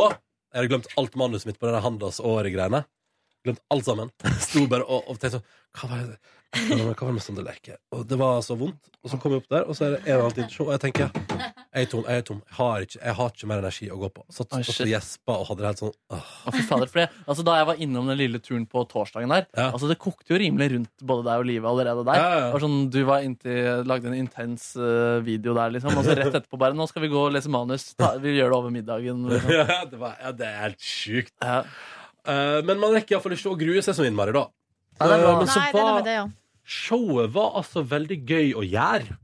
Speaker 2: Jeg hadde glemt alt manuset mitt på det der Handas Åre-greiene. Glemt alt sammen. Sto bare og, og tenkte sånn Hva var det hva var det- hva var det med sånn leke? Og det var så vondt. Og så kom jeg opp der, og så er det en og annen til show, og jeg tenker Jeg er tom. Jeg er tom. Jeg har ikke, jeg har ikke mer energi å gå på. Satt og så gjespa og hadde det helt sånn åh.
Speaker 4: Å, fy fader, for det, altså, da jeg var innom den lille turen på torsdagen der, altså, det kokte jo rimelig rundt både deg og livet allerede der. Det var sånn, du var inntil, lagde en intens eh, video der, liksom, og så rett etterpå bare Nå skal vi gå og lese manus. Ta, vi gjør det over middagen. Liksom.
Speaker 2: ja, det var, ja, det er helt sjukt. Eh, men man rekker iallfall ikke å grue seg så innmari, da.
Speaker 4: Nei, det er bra.
Speaker 2: Eh, men så
Speaker 3: Nei, det er noe
Speaker 2: var-
Speaker 3: med det, ja.
Speaker 2: Showet var altså veldig gøy å gjøre.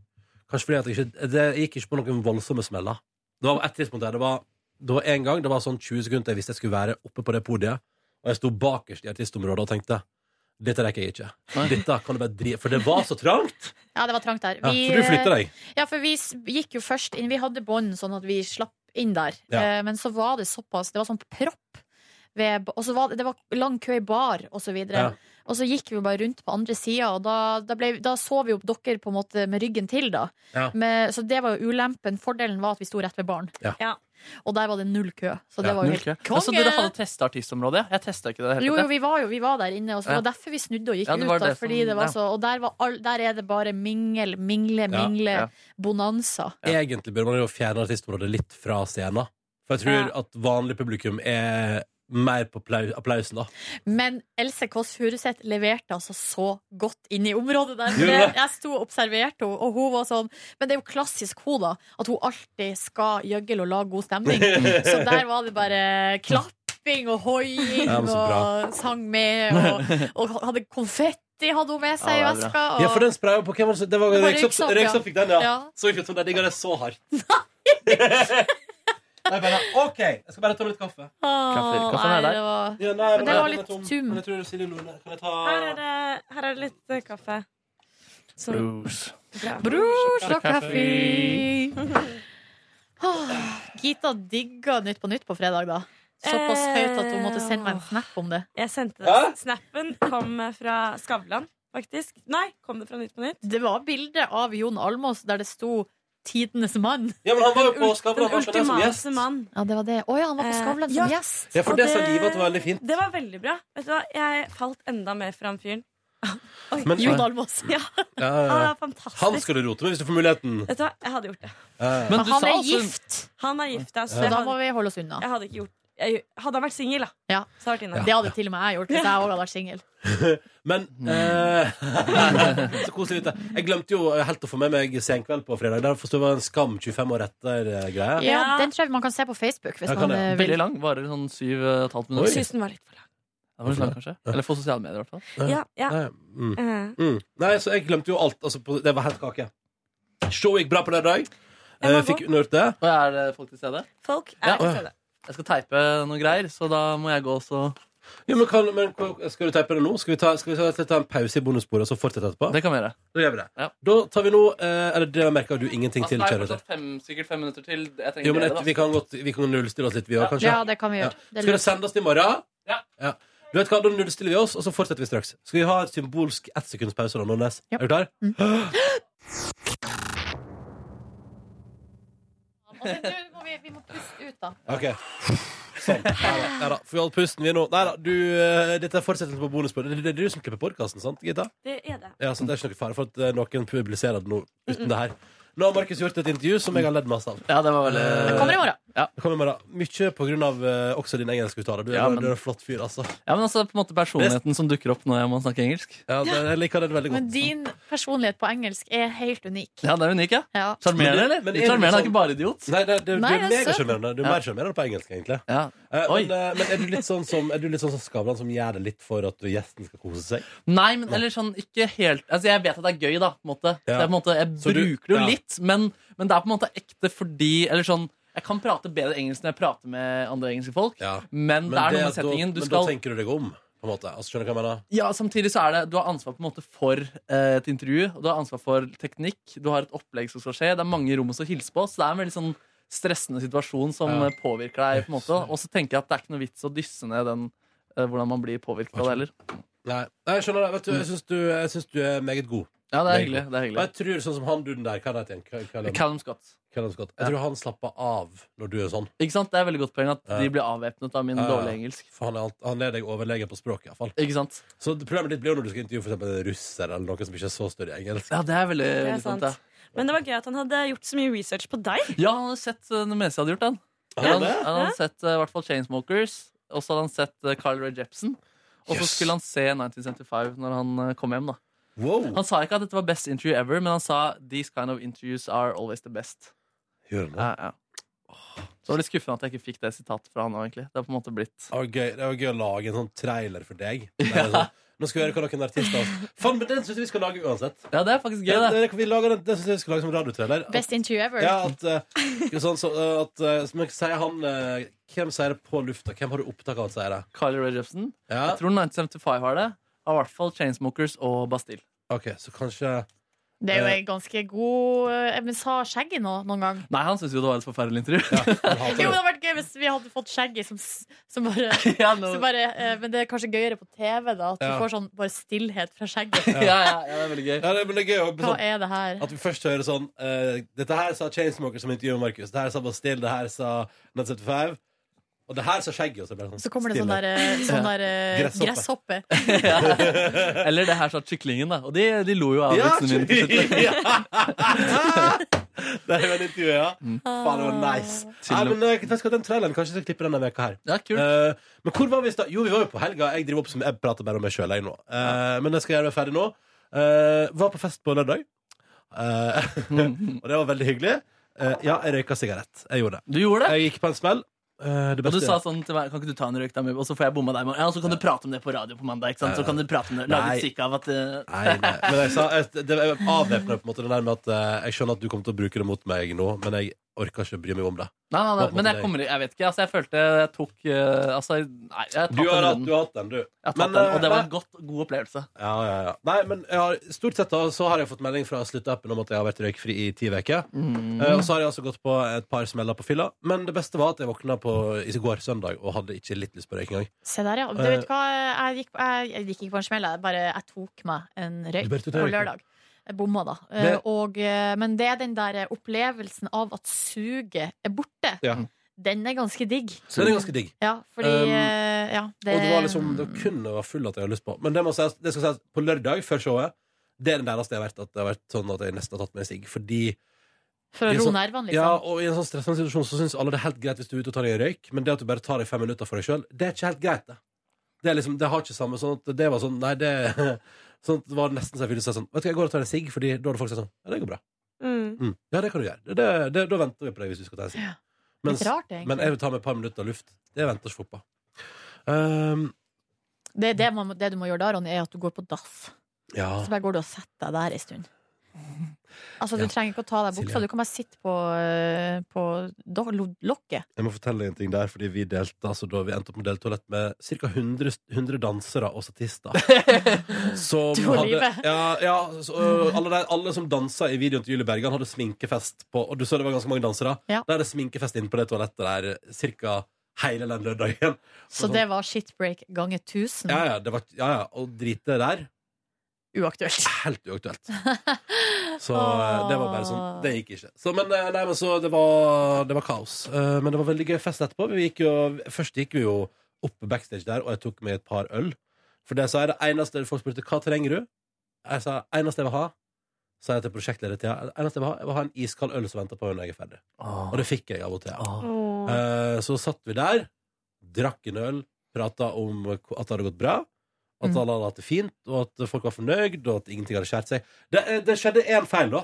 Speaker 2: Kanskje fordi at jeg ikke Det gikk ikke på noen voldsomme smeller. Det var et tidspunkt der det var Det var en gang, det var sånn 20 sekunder til jeg visste jeg skulle være oppe på det podiet, og jeg sto bakerst i artistområdet og tenkte dette rekker jeg ikke. Dette kan du bare dri For det var så trangt!
Speaker 3: Ja, det var trangt der. eh,
Speaker 2: Ja, så du flytter deg?
Speaker 3: Ja, for vi s- gikk jo først inn. Vi hadde bånd sånn at vi slapp inn der.
Speaker 2: Ja.
Speaker 3: Eh, Men så var det såpass Det var sånn propp. Ved, ba- og så var det, det var lang kø i bar, og så videre.
Speaker 2: Ja.
Speaker 3: Og så gikk vi jo bare rundt på andre sida, og da, da, ble, da så vi jo dere på en måte med ryggen til, da.
Speaker 2: Ja.
Speaker 3: Men- så det var jo ulempen. Fordelen var at vi sto rett ved baren.
Speaker 2: Ja.
Speaker 3: Og der var det null kø. Så det
Speaker 4: Ja,
Speaker 3: var jo
Speaker 4: null
Speaker 3: helt
Speaker 4: kø.
Speaker 3: konge!
Speaker 4: Ja, så dere hadde testa artistområdet? ja? Jeg testa ikke det. helt,
Speaker 3: Jo,
Speaker 4: jeg.
Speaker 3: jo, vi var jo vi var der inne, og så det
Speaker 4: Ja.
Speaker 3: var derfor vi snudde og gikk
Speaker 4: Ja, det var
Speaker 3: ut. Da,
Speaker 4: det som-
Speaker 3: fordi det var
Speaker 4: ja.
Speaker 3: så, og der, var all, der er det bare mingel, mingle,
Speaker 2: Ja,
Speaker 3: mingle,
Speaker 2: ja.
Speaker 3: bonanza.
Speaker 2: Egentlig bør man jo fjerne artistområdet litt fra scenen. For jeg tror at vanlig publikum er mer på plau- applausen, da.
Speaker 3: Men Else Kåss Furuseth leverte altså så godt inn i området der.
Speaker 2: Gjorde
Speaker 3: Jeg,
Speaker 2: det?
Speaker 3: jeg sto og observerte henne, og hun var sånn Men det er jo klassisk hun, da. At hun alltid skal gjøgle og lage god stemning. Så der var det bare klapping og hoiing
Speaker 2: Ja, men så bra.
Speaker 3: og sang med, og, og hadde konfetti hadde hun med seg i
Speaker 2: Ja, det er bra.
Speaker 3: veska. Og...
Speaker 2: Ja, for den spraya på hvem var det som- Det var
Speaker 3: Det var
Speaker 2: Røyksopp
Speaker 3: Røyksopp, ja.
Speaker 2: Røyksopp fikk den, ja.
Speaker 3: Ja.
Speaker 2: Så ikke ut som de digga det så hardt. Nei, bare, OK, jeg skal bare ta meg litt kaffe.
Speaker 3: Åh,
Speaker 2: Kaffe- kaffen er
Speaker 3: nei,
Speaker 2: der.
Speaker 3: det var,
Speaker 2: Ja, nei,
Speaker 3: men
Speaker 2: men
Speaker 3: det
Speaker 2: jeg-
Speaker 3: var
Speaker 2: den er
Speaker 3: litt
Speaker 2: tom.
Speaker 3: tum.
Speaker 2: Men jeg tror Silje Nordnes Kan jeg ta
Speaker 13: Her er det, her er det litt eh, kaffe. Så-
Speaker 4: Brus.
Speaker 13: Bra.
Speaker 3: Brus og kaffe. Åh, Gita digga Nytt på Nytt på fredag, da. Såpass høyt at hun måtte sende meg en snap om det.
Speaker 13: Eh, Jeg sendte det. Snappen kom eh, fra Skavlan, faktisk. Nei, kom det fra Nytt på Nytt?
Speaker 3: Det var bilde av Jon Almås der det sto 'Tidenes mann'.
Speaker 2: Ja, men han var jo på Skavlan,
Speaker 13: Den
Speaker 2: var ikke det som gjest?
Speaker 13: ultimate mann.
Speaker 3: Ja, det var det. Å ja, han var på Skavlan som
Speaker 13: Eh, ja.
Speaker 3: gjest.
Speaker 2: Ja, for
Speaker 13: Og
Speaker 2: det sa livet at det var veldig fint.
Speaker 13: Det var veldig bra. Vet du hva, jeg falt enda mer fram fyren. Oi.
Speaker 2: Men- Jon
Speaker 3: Almaas.
Speaker 13: Ja.
Speaker 2: Ja,
Speaker 3: Ah,
Speaker 13: Han
Speaker 2: ja,
Speaker 13: er
Speaker 2: ja.
Speaker 13: fantastisk.
Speaker 2: Han skal du rote med hvis du får muligheten.
Speaker 13: Vet du hva, jeg hadde gjort det.
Speaker 2: Ja, ja.
Speaker 13: han er gift. Han er gift, altså.
Speaker 2: Så
Speaker 13: Jeg
Speaker 2: da
Speaker 13: hadde-
Speaker 3: må vi holde oss unna.
Speaker 13: Jeg hadde ikke gjort jeg, Hadde han vært singel, da,
Speaker 3: ja.
Speaker 13: så hadde jeg vært inne.
Speaker 3: Det hadde til og med jeg gjort hvis jeg òg hadde vært singel.
Speaker 2: Men eh, Så koselig ut det. Jeg glemte jo helt å få med meg Senkveld på fredag. Der forstår jeg var en Skam 25 år etter-greie.
Speaker 3: Ja, Den tror jeg man kan se på Facebook. Hvis
Speaker 2: Jeg kan
Speaker 3: man
Speaker 2: det.
Speaker 3: eh,
Speaker 4: Veldig
Speaker 3: vil.
Speaker 4: lang. Varer sånn syv og et halvt minutt.
Speaker 13: Jeg synes den var litt for lang.
Speaker 4: Det var litt lang, kanskje. Eller for sosiale medier, i hvert fall.
Speaker 13: Ja, ja.
Speaker 2: Nei, mm.
Speaker 13: Eh.
Speaker 2: Mm. Nei, så jeg glemte jo alt. Altså, på, det var helt kake. Showet gikk bra på lørdag.
Speaker 13: Jeg
Speaker 2: Eh,
Speaker 13: må
Speaker 2: fikk
Speaker 13: gå.
Speaker 2: undergjort det.
Speaker 4: Og er det folk til stede?
Speaker 13: Folk er
Speaker 4: Ja.
Speaker 13: til stede.
Speaker 4: Jeg skal teipe noen greier, så da må jeg gå også.
Speaker 2: Jo, men, kan, men hva- Skal du teipe det nå? Skal vi ta, skal vi ta, ta en pause i bonussporet og så fortsette etterpå?
Speaker 4: Det kan vi gjøre.
Speaker 2: Da gjør vi det. Da tar vi nå eh, Eller det merker du ingenting
Speaker 4: Altså, det
Speaker 2: til,
Speaker 4: er
Speaker 2: kjære lytter.
Speaker 4: fortsatt fem, sikkert fem minutter til. Jeg trenger
Speaker 2: Jo, men
Speaker 4: dere,
Speaker 2: et,
Speaker 4: da.
Speaker 2: vi kan godt Vi kan nullstille oss litt, vi òg,
Speaker 4: Ja.
Speaker 2: kanskje?
Speaker 3: Ja, det kan vi gjøre. Det er
Speaker 2: Skal
Speaker 3: lurt.
Speaker 2: det sendes i morgen?
Speaker 4: Ja.
Speaker 2: Du vet hva, Da nullstiller vi oss, og så fortsetter vi straks. Skal vi ha et symbolsk ettsekundspause? da, Nordnes? Er du klar?
Speaker 3: Mm. Og så Altså, nå må vi, vi må puste ut, da.
Speaker 2: Ok. Sånn. Nei da. Får vi holdt pusten, vi nå. Nei da. Du, eh, dette er fortsettelsen på bonusbordet. Det, det, det er du som klipper podkasten, sant, Gita?
Speaker 13: Det er det.
Speaker 2: Ja, så det er ikke noe fare for at eh, noen publiserer det nå uten det her. Nå har Markus gjort et intervju som jeg har ledd masse av.
Speaker 4: Ja, det var veldig...
Speaker 2: Det
Speaker 3: kommer i morgen.
Speaker 2: Det kommer i morgen. Mye på grunn av eh, også din engelskuttale. Du, er-
Speaker 4: Ja, men-
Speaker 2: du er en flott fyr, altså.
Speaker 4: Ja, men altså, på en måte personligheten som dukker opp når jeg må snakke engelsk.
Speaker 2: Ja, jeg liker den veldig
Speaker 3: Men din personlighet på engelsk er helt unik.
Speaker 4: Ja, det er unik, ja.
Speaker 3: Ja.
Speaker 4: Sjarmerende,
Speaker 2: Men-
Speaker 4: eller?
Speaker 2: men er
Speaker 4: Litt Sjarmerende
Speaker 2: du
Speaker 4: er ikke bare idiot.
Speaker 2: Nei, det, det,
Speaker 3: Nei,
Speaker 2: du er
Speaker 3: det er søtt.
Speaker 2: megasjarmerende. Du er mer sjarmerende på engelsk, egentlig. Eh, men, eh, men er du litt sånn som Er du litt sånn som Skavlan, som gjør det litt for at gjesten skal kose seg?
Speaker 4: Nei, men eller sånn ikke helt Altså, jeg vet at det er gøy, da, på en måte. Det er på en måte jeg
Speaker 2: Så
Speaker 4: bruker
Speaker 2: du-
Speaker 4: det jo
Speaker 2: ja.
Speaker 4: litt, men, men det er på en måte ekte fordi Eller sånn Jeg kan prate bedre engelsk når jeg prater med andre engelske folk, men, det er noe med
Speaker 2: da-
Speaker 4: settingen. Du
Speaker 2: men
Speaker 4: skal
Speaker 2: da tenker du deg om, på en måte. Altså, skjønner du hva jeg mener?
Speaker 4: Ja, samtidig så er det Du har ansvar på en måte for eh, et intervju, og du har ansvar for teknikk, du har et opplegg som skal skje, det er mange i rommet som hilser på oss. Det er en veldig sånn stressende situasjon som
Speaker 2: Ja.
Speaker 4: eh, påvirker deg, på en måte. Og så tenker jeg at det er ikke noe vits å dysse ned den eh, hvordan man blir påvirket av det heller. Mm.
Speaker 2: Nei, Nei, jeg skjønner det. Vet du, jeg syns du, jeg synes du er meget god.
Speaker 4: Ja, det er
Speaker 2: Meget
Speaker 4: hyggelig,
Speaker 2: god.
Speaker 4: det er hyggelig.
Speaker 2: Og jeg tror sånn som han duden der, hva er det igjen?
Speaker 4: Callum Scott.
Speaker 2: Callum Scott. Jeg tror han slapper av når du er sånn.
Speaker 4: Ikke sant? Det er et veldig godt poeng at
Speaker 2: Ja.
Speaker 4: de blir avvæpnet av min
Speaker 2: Ja, ja.
Speaker 4: dårlige engelsk.
Speaker 2: For han er, alt, han er deg overlegen på språket, iallfall.
Speaker 4: Ikke sant?
Speaker 2: Så det- problemet ditt blir jo når du skal intervjue for eksempel en russer eller noen som ikke er så større i engelsk.
Speaker 4: Ja, det er veldig,
Speaker 13: Det er
Speaker 4: veldig sant,
Speaker 13: sant. Men det var gøy at han hadde gjort så mye research på deg.
Speaker 4: ja. ja, han hadde sett eh, det meste jeg hadde gjort, han.
Speaker 2: Hadde han
Speaker 4: Han,
Speaker 2: det?
Speaker 4: han hadde sett eh, i hvert fall Chainsmokers, og så hadde han sett eh, Carl Ray Jepsen. Og så skulle han se 1975 når han eh, kom hjem, da. Han sa ikke at dette var best interview ever, men han sa these kind of interviews are always the best.
Speaker 2: Gjør han det?
Speaker 4: Ja, ja. Så det var litt skuffende at jeg ikke fikk det sitatet fra han òg, egentlig. Det har på en måte blitt
Speaker 2: Det var, gøy, det var gøy å lage en sånn trailer for deg. Der er det Sånn, nå skal vi høre hva noen artister har Faen, men den syns jeg vi skal lage uansett.
Speaker 4: Ja, det er faktisk gøy,
Speaker 2: det.
Speaker 4: det.
Speaker 2: vi lager den, den synes jeg vi skal lage som radiotrailer.
Speaker 3: Best interview ever.
Speaker 2: Ja, at, eh, sånn, så, eh, at eh, som jeg sier han eh, Hvem sier det på lufta? Hvem har du opptak av at sier det?
Speaker 4: Carly Rae Jepsen.
Speaker 2: Ja.
Speaker 4: Jeg tror 1975 har det. Av hvert fall Chainsmokers og Bastille.
Speaker 2: Ok, så kanskje
Speaker 3: Det er jo
Speaker 2: Eh.
Speaker 3: ei ganske god eh, Men sa skjegget nå noen gang?
Speaker 4: Nei, han syntes jo det var et forferdelig intervju.
Speaker 3: Jo, det hadde vært gøy hvis vi hadde fått skjegget som, s- som bare,
Speaker 4: Ja, nå-
Speaker 3: som bare eh, Men det er kanskje gøyere på TV, da. At du
Speaker 2: Ja.
Speaker 3: får sånn bare stillhet fra skjegget.
Speaker 4: Ja, ja, ja, det er veldig gøy.
Speaker 2: Ja, det, men det er gøy å-
Speaker 3: Hva
Speaker 2: sånn,
Speaker 3: er det her?
Speaker 2: At vi først hører sånn eh, Dette her sa Chainsmoker som intervjuet Markus. Det her sa Bastille. Det her sa 1975. Og det her sa Skjegget. Og så, ble det sånn,
Speaker 3: Så kommer det sånn
Speaker 2: stille.
Speaker 3: der, eh, sånn der eh,
Speaker 2: Gresshoppe.
Speaker 3: gresshoppe.
Speaker 4: Eller det her sa kyklingen, da. Og de, de lo jo av
Speaker 2: Ja,
Speaker 4: vitsen min. til slutt.
Speaker 2: Det er jo et intervju, ja.
Speaker 4: Mm.
Speaker 2: Faen, det var nice. Nei, men eh, vet du hva, den traileren kanskje jeg skal klippe denne veka her.
Speaker 4: Ja, kult.
Speaker 2: Eh, men hvor var vi i stad? Jo, vi var jo på helga. Jeg driver opp som jeg prater bare om meg sjøl, jeg nå. Eh, Men jeg skal gjøre meg ferdig nå. Eh, var på fest på lørdag. Eh, og det var veldig hyggelig. Eh, ja, jeg røyka sigarett. Jeg gjorde det.
Speaker 4: Du gjorde det?
Speaker 2: Jeg gikk på en smell. Eh, det
Speaker 4: Og du
Speaker 2: beste-
Speaker 4: sa sånn til meg Kan ikke du ta en røyk, da? Og så får jeg bomma deg. i morgen. Ja, og så kan du prate om det på radio på mandag. Ikke sant? Så kan du prate om det, lage
Speaker 2: Nei.
Speaker 4: musikk av at eh,
Speaker 2: Nei, nei. Men jeg sa eh, jeg, det, jeg avvæpnet på en måte den der med at eh, jeg skjønner at du kommer til å bruke det mot meg nå, men jeg orker ikke å bry meg om det.
Speaker 4: Nei, nei, nei,
Speaker 2: Hva på
Speaker 4: men
Speaker 2: deg?
Speaker 4: jeg kommer Jeg vet ikke. Altså, jeg følte jeg tok eh, Altså, nei, jeg har tatt
Speaker 2: Du har,
Speaker 4: den
Speaker 2: hatt,
Speaker 4: runden.
Speaker 2: du har hatt den, du.
Speaker 4: Jeg har tatt
Speaker 2: Men,
Speaker 4: den, og det var
Speaker 2: eh,
Speaker 4: en godt, god opplevelse.
Speaker 2: Ja, ja, ja. Nei, men jeg har, stort sett da, så har jeg fått melding fra sluttappen om at jeg har vært røykfri i ti uker.
Speaker 4: Mm.
Speaker 2: Eh, og så har jeg altså gått på et par smeller på fylla. Men det beste var at jeg våkna på i går søndag og hadde ikke litt lyst på røyk engang.
Speaker 3: Se der, ja. Du
Speaker 2: Eh.
Speaker 3: vet hva, jeg gikk, jeg, jeg gikk ikke på en smell. Jeg bare jeg tok meg en
Speaker 2: Du
Speaker 3: røyk
Speaker 2: bare tok deg
Speaker 3: på
Speaker 2: en røyk, ja.
Speaker 3: lørdag. Jeg bomma, da. Eh,
Speaker 2: Det-
Speaker 3: Og, eh, men det er den der eh, opplevelsen av at suget er borte.
Speaker 2: Ja.
Speaker 3: Den er ganske digg.
Speaker 2: Så den er ganske digg.
Speaker 3: Ja, fordi
Speaker 2: Um,
Speaker 3: eh, Ja, det
Speaker 2: Og det var liksom Det var kun når jeg var full at jeg hadde lyst på. Men det, må sies, det skal sies på lørdag før showet. Det er den nærmeste jeg har vært at det har vært sånn at jeg nesten har tatt meg en sigg. Fordi
Speaker 3: For
Speaker 2: I
Speaker 3: å
Speaker 2: en
Speaker 3: roe
Speaker 2: sånn-
Speaker 3: nervene, liksom.
Speaker 2: Ja, og i en sånn stressende situasjon så syns alle det er helt greit hvis du er ute og tar deg en røyk, men det at du bare tar deg fem minutter for deg sjøl, det er ikke helt greit, det. Det, er liksom, det har ikke samme sånn at Det var sånn Nei, det sånn, at det var nesten så jeg følte seg sånn Vet du hva, jeg går og tar en sigg, fordi da er det folk som er sånn Ja, det går bra. Mm. Ja, det kan du gjøre. Det, det, det, da venter vi på deg hvis du skal ta en sigg. Mens-
Speaker 3: Litt rart, egentlig.
Speaker 2: men jeg vil ta meg et par minutter luft. Det venter ikke folk på. Ehm,
Speaker 3: Det, er det, man, må- det du må gjøre da, Ronny, er at du går på dass.
Speaker 2: ja.
Speaker 3: Så bare går du og setter deg der en stund. Altså, Du trenger ikke å ta av deg buksa,
Speaker 2: Silje.
Speaker 3: du kan bare sitte på, eh, på do- lo- lokket.
Speaker 2: Jeg må fortelle deg en ting der, fordi vi delte altså da vi endte opp med deltoalett med ca. 100, 100 dansere og statister. Som
Speaker 14: Du og livet.
Speaker 2: ja, ja, så, øh, alle, der, alle som dansa i videoen til Julie Bergan, hadde sminkefest på Og du så det var ganske mange dansere.
Speaker 3: Ja.
Speaker 2: Da er det sminkefest inne på det toalettet der ca. hele den lørdagen.
Speaker 3: Så det var shitbreak ganger 1000.
Speaker 2: Ja, ja, det var, ja, ja. Og drite der
Speaker 3: Uaktuelt.
Speaker 2: Helt uaktuelt. Så eh, det var bare sånn. Det gikk ikke. Så, men, eh, nei, men så det var, det var kaos. Eh, Men det var veldig gøy fest etterpå. Vi gikk jo, først gikk vi jo opp backstage der, og jeg tok med et par øl. For det sa jeg det eneste folk spurte hva trenger du? Jeg sa eneste jeg vil ha, sa jeg til prosjektleder Thea. Det eneste jeg vil ha, jeg vil ha en iskald øl som venter på meg når jeg er ferdig. Og det fikk jeg av og til.
Speaker 14: Åh.
Speaker 2: Eh, Så satt vi der, drakk en øl, prata om at det hadde gått bra. At
Speaker 3: Mm.
Speaker 2: alle hadde hatt det fint, og at folk var fornøyd, og at ingenting hadde skjært seg. Det, eh, det skjedde én feil, da.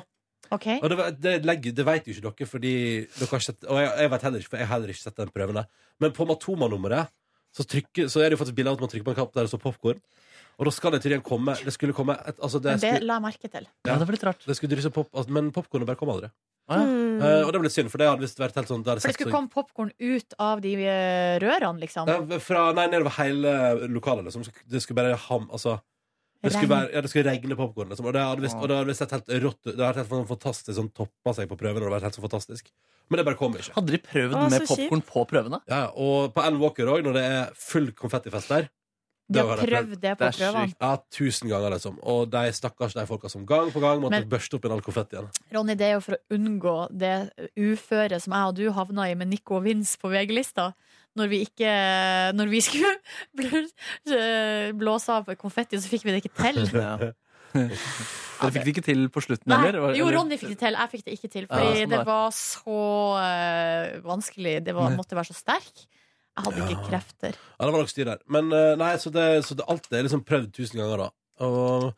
Speaker 3: Ok.
Speaker 2: Og det, var- det, legger, det vet jo ikke dere, fordi dere har ikke sett, og jeg, jeg vet heller ikke, for jeg har heller ikke sett den prøven der. Men på Matoma-nummeret så, trykker- så er det jo faktisk bilde av at man trykker på en knapp der det står popkorn. Og da skal det tydeligvis komme Det skulle komme et, altså det,
Speaker 3: Men det
Speaker 2: skulle,
Speaker 3: la jeg merke til.
Speaker 2: ja, det var litt rart. Det skulle drysse pop, altså, men popkornet bare kom aldri.
Speaker 3: ja. Mm.
Speaker 2: Eh, og det ble litt synd, for det hadde visst vært helt sånn det hadde
Speaker 3: For det
Speaker 2: sett
Speaker 3: skulle
Speaker 2: så-
Speaker 3: komme popkorn ut av de eh, rørene, liksom.
Speaker 2: Nei, fra, nei, nedover hele lokalet, liksom. Det skulle bare ham... Altså det skulle,
Speaker 3: Regn.
Speaker 2: være, ja, det skulle regne popkorn, liksom. Og det hadde visst, og det hadde visst sett helt rått ut. Det hadde vært helt sånn fantastisk sånn toppa seg på prøvene. Og det hadde vært helt så fantastisk. Men det bare kom ikke.
Speaker 4: Hadde de prøvd Å, med så kjipt. popcorn
Speaker 2: på prøvene? Ja, og på Ellen Walker òg, når det er full konfettifest der.
Speaker 3: De
Speaker 2: det
Speaker 3: har
Speaker 2: har de
Speaker 3: prøvd det på Det er prøvene. sykt.
Speaker 2: Ja, tusen ganger, liksom. Og de stakkars de folka som gang på gang måtte
Speaker 3: Men-
Speaker 2: børste opp i all konfettien.
Speaker 3: Ronny, det er jo for å unngå det uføret som jeg og du havna i med Nico og Vince på VG-lista. Når vi ikke Når vi skulle bl- blåse av konfetti, så fikk vi det ikke til.
Speaker 4: Ja. Dere fikk det ikke til på slutten
Speaker 3: Nei,
Speaker 4: heller?
Speaker 3: jo, Ronny fikk det til. Jeg fikk det ikke til. Fordi
Speaker 4: Ja, sånn
Speaker 3: det
Speaker 4: der.
Speaker 3: var så eh, vanskelig. Det var, måtte være så sterk. Jeg hadde ikke krefter.
Speaker 2: Ja, det var nok styr der. Men eh, nei, så, det, så det, alt er liksom prøvd tusen ganger, da. Og,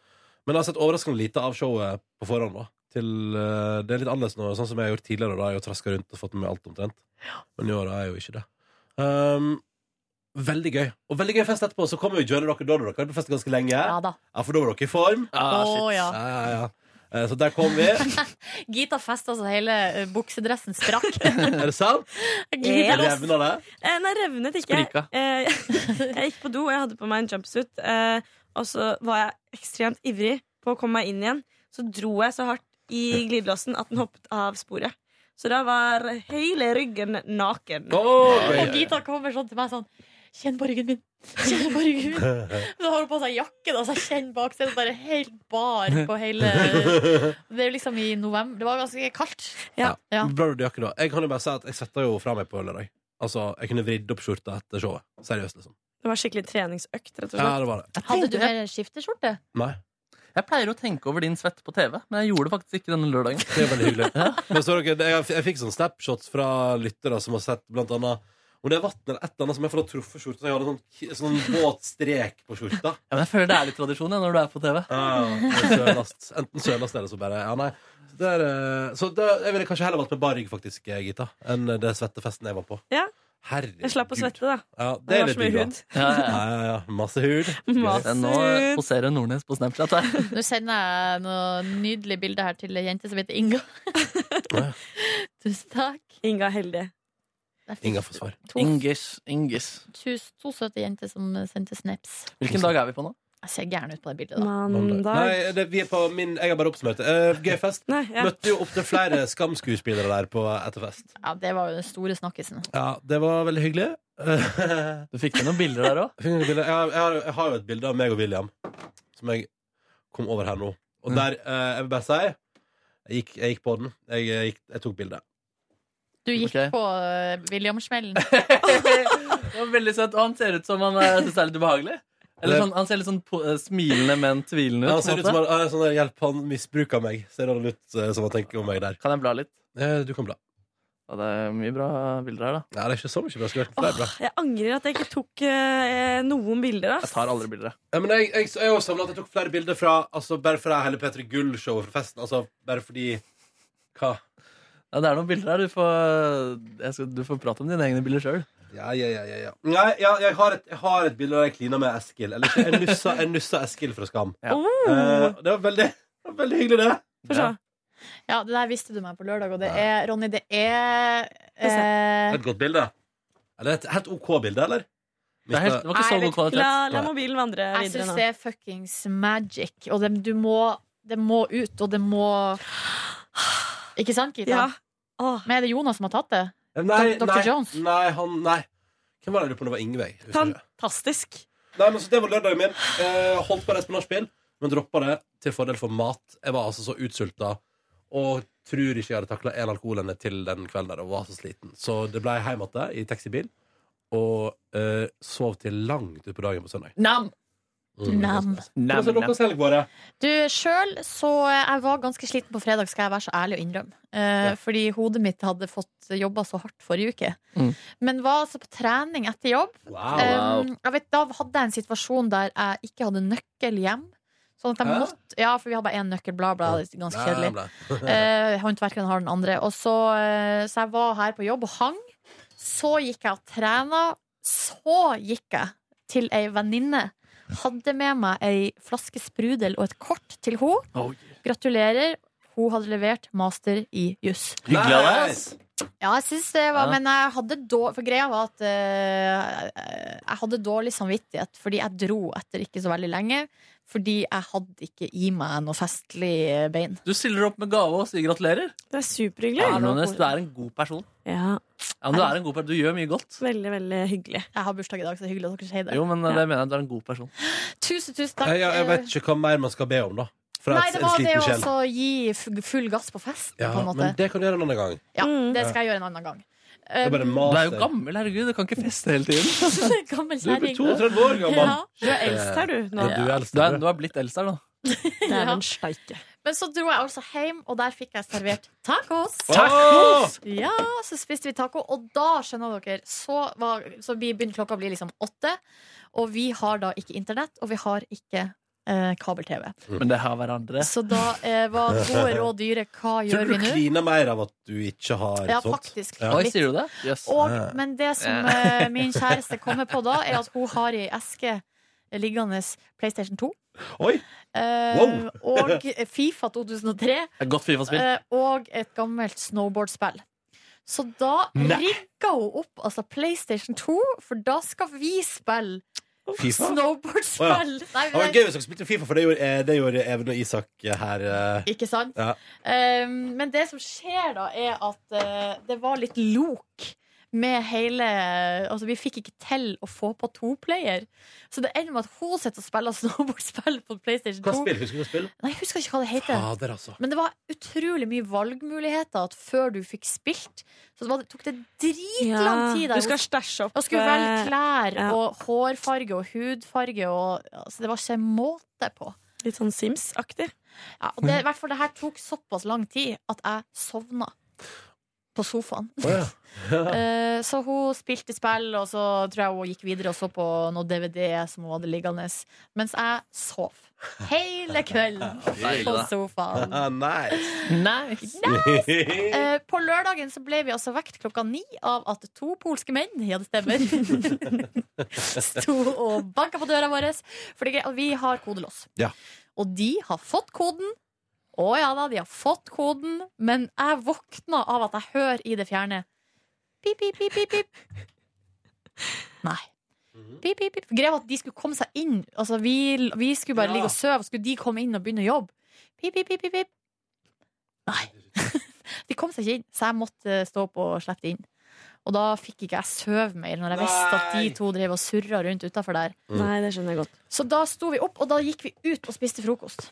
Speaker 2: men jeg har sett overraskende lite av showet på forhånd, da. Til, eh, det er litt annerledes nå, sånn som jeg har gjort tidligere. Da jeg har jeg jo traska rundt og fått med meg alt omtrent. Men i år er jeg jo ikke det. Um, veldig gøy. Og veldig gøy fest etterpå. Så kommer jo Johnny Rocker Dollar. Dere hadde festet ganske lenge.
Speaker 3: Ja da.
Speaker 2: for da var dere i form.
Speaker 3: Ah, shit. Å, ja.
Speaker 2: Ja, ja, ja. Eh, Så der kom vi.
Speaker 3: Gita festa så hele eh, buksedressen sprakk.
Speaker 2: er det sant?
Speaker 3: Glidelås.
Speaker 2: Revna det?
Speaker 13: Eh, nei, revnet ikke.
Speaker 2: Sprika.
Speaker 13: Eh, jeg gikk på do, og jeg hadde på meg en jumpsuit. Eh, og så var jeg ekstremt ivrig på å komme meg inn igjen. Så dro jeg så hardt i glidelåsen at den hoppet av sporet. Så da var hele ryggen naken.
Speaker 3: Og Gita kommer sånn til meg sånn Kjenn på ryggen min! Kjenn på ryggen min! Så har hun på seg jakke, da, så jeg kjenner bak. Så er det bare helt bar på hele Det er jo liksom i november. Det var ganske kaldt. Ja.
Speaker 2: Bra du jakke, da. Jeg kan jo bare si at jeg svetta jo fra meg på lørdag. Altså, jeg kunne vridd opp skjorta etter showet. Seriøst, liksom.
Speaker 13: Det var skikkelig treningsøkt, rett og
Speaker 2: Ja,
Speaker 13: slett.
Speaker 2: det var det.
Speaker 3: Hadde du mer skifteskjorte?
Speaker 2: Nei.
Speaker 4: Jeg pleier å tenke over din svett på TV, men jeg gjorde det faktisk ikke denne lørdagen.
Speaker 2: Det er veldig hyggelig. Men så dere, jeg, jeg fikk sånn snapshots fra lyttere som har sett blant annet om det er vann eller et eller annet som jeg får truffet skjorta. Jeg hadde sånn, k- sånn våt strek på skjorta.
Speaker 4: Ja, men jeg føler det er litt tradisjon ja, når du er på TV.
Speaker 2: Ja, sølast. Enten sølast eller så bare Ja, nei. Så, det er, eh, så det, jeg ville kanskje heller valgt med bar rygg, faktisk, eh, Gita, enn det svettefesten jeg var på.
Speaker 13: Ja.
Speaker 2: Herregud.
Speaker 13: Jeg slapp å svette, da.
Speaker 2: Ja, det er litt
Speaker 13: Det var så mye
Speaker 2: digg, da.
Speaker 13: hud.
Speaker 2: Ja, ja, ja, ja. Masse hud.
Speaker 13: Masse
Speaker 4: Nå
Speaker 13: hud.
Speaker 4: poserer Nordnes på Snapchat her.
Speaker 3: Nå sender jeg noe nydelig bilde her til ei jente som heter Inga. Tusen takk.
Speaker 13: Inga Heldig.
Speaker 2: Inga får svar.
Speaker 3: To-
Speaker 4: Ingis. Ingis.
Speaker 3: Tus- To søte jenter som sendte snaps.
Speaker 4: Hvilken dag er vi på nå?
Speaker 3: Jeg ser gæren ut på det bildet, da.
Speaker 2: Nei, det, vi er på min Jeg har bare oppsummert det. Eh, gøy fest.
Speaker 3: ja.
Speaker 2: Møtte jo opptil flere skamskuespillere der på etterfest.
Speaker 3: Ja, det var jo den store snakkisen.
Speaker 2: Ja, det var veldig hyggelig.
Speaker 4: du fikk med noen bilder der òg?
Speaker 2: Jeg, har- jeg, har- jeg har jo et bilde av meg og William som jeg kom over her nå.
Speaker 4: Mm.
Speaker 2: Og der, eh, jeg vil bare si Jeg gikk, jeg gikk på den. Jeg, eh, gikk, jeg tok bildet.
Speaker 3: Du gikk
Speaker 4: Ok.
Speaker 3: på eh, William-smellen.
Speaker 4: Det var veldig søtt. Og han ser ut som han eh, synes det er litt ubehagelig. Eller sånn, han ser litt sånn po- eh, smilende, men tvilende ut.
Speaker 2: Han ser
Speaker 4: på en
Speaker 2: ut som
Speaker 4: måte.
Speaker 2: han, han er sånn der, Hjelp, han misbruker meg. Ser han ut eh, som han tenker om meg der.
Speaker 4: Kan jeg bla litt?
Speaker 2: Eh, Du kan bla.
Speaker 4: Ja, det er mye bra bilder her, da.
Speaker 2: Nei, det er ikke så mye bra skulle vært. Det er bra.
Speaker 13: Jeg angrer at jeg ikke tok eh, noen bilder. Ass.
Speaker 4: tar alle bilder,
Speaker 2: Ja, men jeg, jeg, jeg, også samlet, at jeg tok flere bilder fra altså, Bare fra hele P3 Gull-showet fra festen. Altså, bare fordi Hva?
Speaker 4: Ja, det er noen bilder her. Du får, jeg skal, du får prate om dine egne bilder sjøl.
Speaker 2: Ja, ja, ja, ja, ja. Nei, ja, jeg, har et, jeg har et bilde der jeg klina med Eskil. Eller ikke, jeg nussa, jeg nussa Eskil fra Skam.
Speaker 4: Oh.
Speaker 2: Eh, det var veldig, det var veldig hyggelig, det.
Speaker 3: Ja, det der visste du meg på lørdag, og det er Ronny, det er eh,
Speaker 2: Et godt bilde. Er det et helt OK bilde, eller?
Speaker 4: Det, er helt, det var ikke så god kvalitet.
Speaker 13: mobilen vandre
Speaker 3: jeg
Speaker 13: videre nå.
Speaker 3: syns det er fuckings magic, og det, du må, det må ut, og det må Ikke sant, Gita?
Speaker 13: Ja.
Speaker 3: Men er det Jonas som har tatt det?
Speaker 2: Eh, Nei,
Speaker 3: Dr.
Speaker 2: nei,
Speaker 3: Jones?
Speaker 2: Nei, han, nei. Hvem var det jeg lurer på? om Det var Ingveig. Husker ikke.
Speaker 13: Fantastisk.
Speaker 2: Nei, men så Det var lørdagen min. Eh, holdt på å reise på nachspiel, men droppa det til fordel for mat. Jeg var altså så utsulta og tror ikke jeg hadde takla én alkoholende til den kvelden der og var så sliten. Så det ble hjem igjen i taxibil og eh, sov til langt utpå dagen på søndag.
Speaker 3: Nam!
Speaker 2: Mm.
Speaker 3: Nam.
Speaker 2: Hvordan har deres helg vært?
Speaker 3: Du, sjøl så eh, Jeg var ganske sliten på fredag, skal jeg være så ærlig å innrømme. Eh, Fordi hodet mitt hadde fått jobba så hardt forrige uke.
Speaker 4: Mm.
Speaker 3: Men var altså på trening etter jobb.
Speaker 2: Wow.
Speaker 3: Um, jeg vet, da hadde jeg en situasjon der jeg ikke hadde nøkkel hjem. Sånn at jeg
Speaker 2: Hæ?
Speaker 3: måtte, ja, For vi har bare én nøkkel, bla, bla. Det er ganske kjedelig.
Speaker 2: kjedelig.
Speaker 3: Eh, Håndverkeren har den andre. Og så, eh, så jeg var her på jobb og hang. Så gikk jeg og trena. Så gikk jeg til ei venninne. Hadde med meg ei flaske sprudel og et kort til henne. Gratulerer. Hun hadde levert master i juss.
Speaker 4: Hyggelig av deg. ass.
Speaker 3: Ja, jeg synes det var
Speaker 4: Ja.
Speaker 3: Men jeg hadde dår- For greia var at eh, jeg hadde dårlig samvittighet fordi jeg dro etter ikke så veldig lenge. Fordi jeg hadde ikke i meg noe festlig eh, bein.
Speaker 4: Du stiller opp med gave og sier gratulerer.
Speaker 13: Det er superhyggelig.
Speaker 4: Ja, Nordnes, du er en god person.
Speaker 13: Ja,
Speaker 4: Ja, men du er en god person. Du gjør mye godt.
Speaker 13: Veldig, veldig hyggelig.
Speaker 3: Jeg har bursdag i dag, så det er hyggelig at dere sier det.
Speaker 4: Jo, men eh,
Speaker 3: Ja.
Speaker 4: det mener jeg du er en god person.
Speaker 3: Tusen, tusen takk.
Speaker 2: Eh, ja, jeg vet ikke hva mer man skal be om, da. Fra
Speaker 3: Nei,
Speaker 2: et- en
Speaker 3: det var det
Speaker 2: sliten
Speaker 3: å
Speaker 2: sjel.
Speaker 3: også gi f- full gass på festen,
Speaker 2: Ja,
Speaker 3: på en måte.
Speaker 2: men det kan du gjøre en annen gang.
Speaker 3: Ja, det
Speaker 2: Ja.
Speaker 3: skal jeg gjøre en annen gang.
Speaker 2: er bare
Speaker 3: Um,
Speaker 2: maser.
Speaker 4: Du er jo gammel, herregud. Du kan ikke feste hele tiden.
Speaker 3: Gammel
Speaker 2: Du blir
Speaker 3: kjerring.
Speaker 2: 32 år gammel.
Speaker 3: Ja. Du
Speaker 2: Eh,
Speaker 3: er eldst her, du, nå.
Speaker 4: Ja, Du, er eldst, du, er, du er blitt eldst her nå.
Speaker 3: Ja.
Speaker 13: steike.
Speaker 3: Men så dro jeg altså hjem, og der fikk jeg servert tacos.
Speaker 4: Tacos!
Speaker 3: Ja, så spiste vi taco, og da skjønner dere Så, var, så vi begynner klokka å bli liksom åtte, og vi har da ikke internett, og vi har ikke eh, kabel-TV.
Speaker 2: Mm.
Speaker 4: Men det har hverandre.
Speaker 3: Så da eh, var gode råd dyre. Hva
Speaker 2: Tror
Speaker 3: gjør
Speaker 2: du
Speaker 3: vi
Speaker 2: du
Speaker 3: nå?
Speaker 2: kliner mer av at du ikke har
Speaker 3: Ja,
Speaker 2: sånt?
Speaker 3: faktisk.
Speaker 2: Ja.
Speaker 3: Oi, sier
Speaker 4: du det?
Speaker 3: Og, men det som eh, min kjæreste kommer på da, er at hun har i eske liggende PlayStation 2.
Speaker 2: Oi!
Speaker 3: Eh,
Speaker 4: Wow.
Speaker 3: og Fifa 2003.
Speaker 4: Et godt Fifa-spill.
Speaker 3: Eh, og et gammelt snowboardspill. Så da
Speaker 4: Nei.
Speaker 3: rigga hun opp altså PlayStation 2, for da skal vi spille
Speaker 2: Fifa?
Speaker 3: snowboardspill.
Speaker 2: Å, ja.
Speaker 3: Nei,
Speaker 2: Det var gøy hvis dere spilte Fifa, for det gjorde, eh, det gjorde Even og Isak her. eh.
Speaker 3: Ikke sant?
Speaker 2: Ja.
Speaker 3: Um, men det som skjer da, er at eh, det var litt lok med hele Altså, vi fikk ikke til å få på toplayer. Så det ender med at hun sitter og spiller snowboardspill på PlayStation 2.
Speaker 2: Hva spill? Husker du spill?
Speaker 3: Nei, jeg husker ikke hva det heter.
Speaker 2: Fader, altså.
Speaker 3: Men det var utrolig mye valgmuligheter at før du fikk spilt. Så det var, tok det dritlang
Speaker 13: Ja,
Speaker 3: tid. der.
Speaker 13: du skal stæsje opp,
Speaker 3: Og skulle velge
Speaker 13: eh,
Speaker 3: klær
Speaker 13: ja.
Speaker 3: og hårfarge og hudfarge og altså, Det var ikke måte på.
Speaker 13: Litt sånn Sims-aktig.
Speaker 3: Ja, og det, i hvert fall, det her tok såpass lang tid at jeg sovna på sofaen. Eh, Så hun spilte spill, og så tror jeg hun gikk videre og så på noe DVD som hun hadde liggende. Mens jeg sov hele kvelden
Speaker 2: Deilig,
Speaker 3: på
Speaker 2: da.
Speaker 3: sofaen.
Speaker 2: nice.
Speaker 3: Eh, På lørdagen så ble vi altså vekt klokka ni av at to polske menn, ja det stemmer, sto og banka på døra vår. For det er greit, og vi har kodelås.
Speaker 2: Ja.
Speaker 3: Og de har fått koden. Å ja da, de har fått koden, men jeg våkna av at jeg hører i det fjerne pip, pip, pip, pip, pip. Nei. Pip, pip, pip. Greia var at de skulle komme seg inn. Altså, vi, vi skulle bare
Speaker 13: Ja.
Speaker 3: ligge og sove, og skulle de komme inn og begynne å jobbe. Pip, pip, pip, pip, pip. Nei. De kom seg ikke inn, så jeg måtte eh, stå opp og slippe det inn. Og da fikk ikke jeg sove mer, når jeg visste at de to drev og surra rundt utafor der.
Speaker 13: Nei, det skjønner jeg godt.
Speaker 3: Så da sto vi opp, og da gikk vi ut og spiste frokost.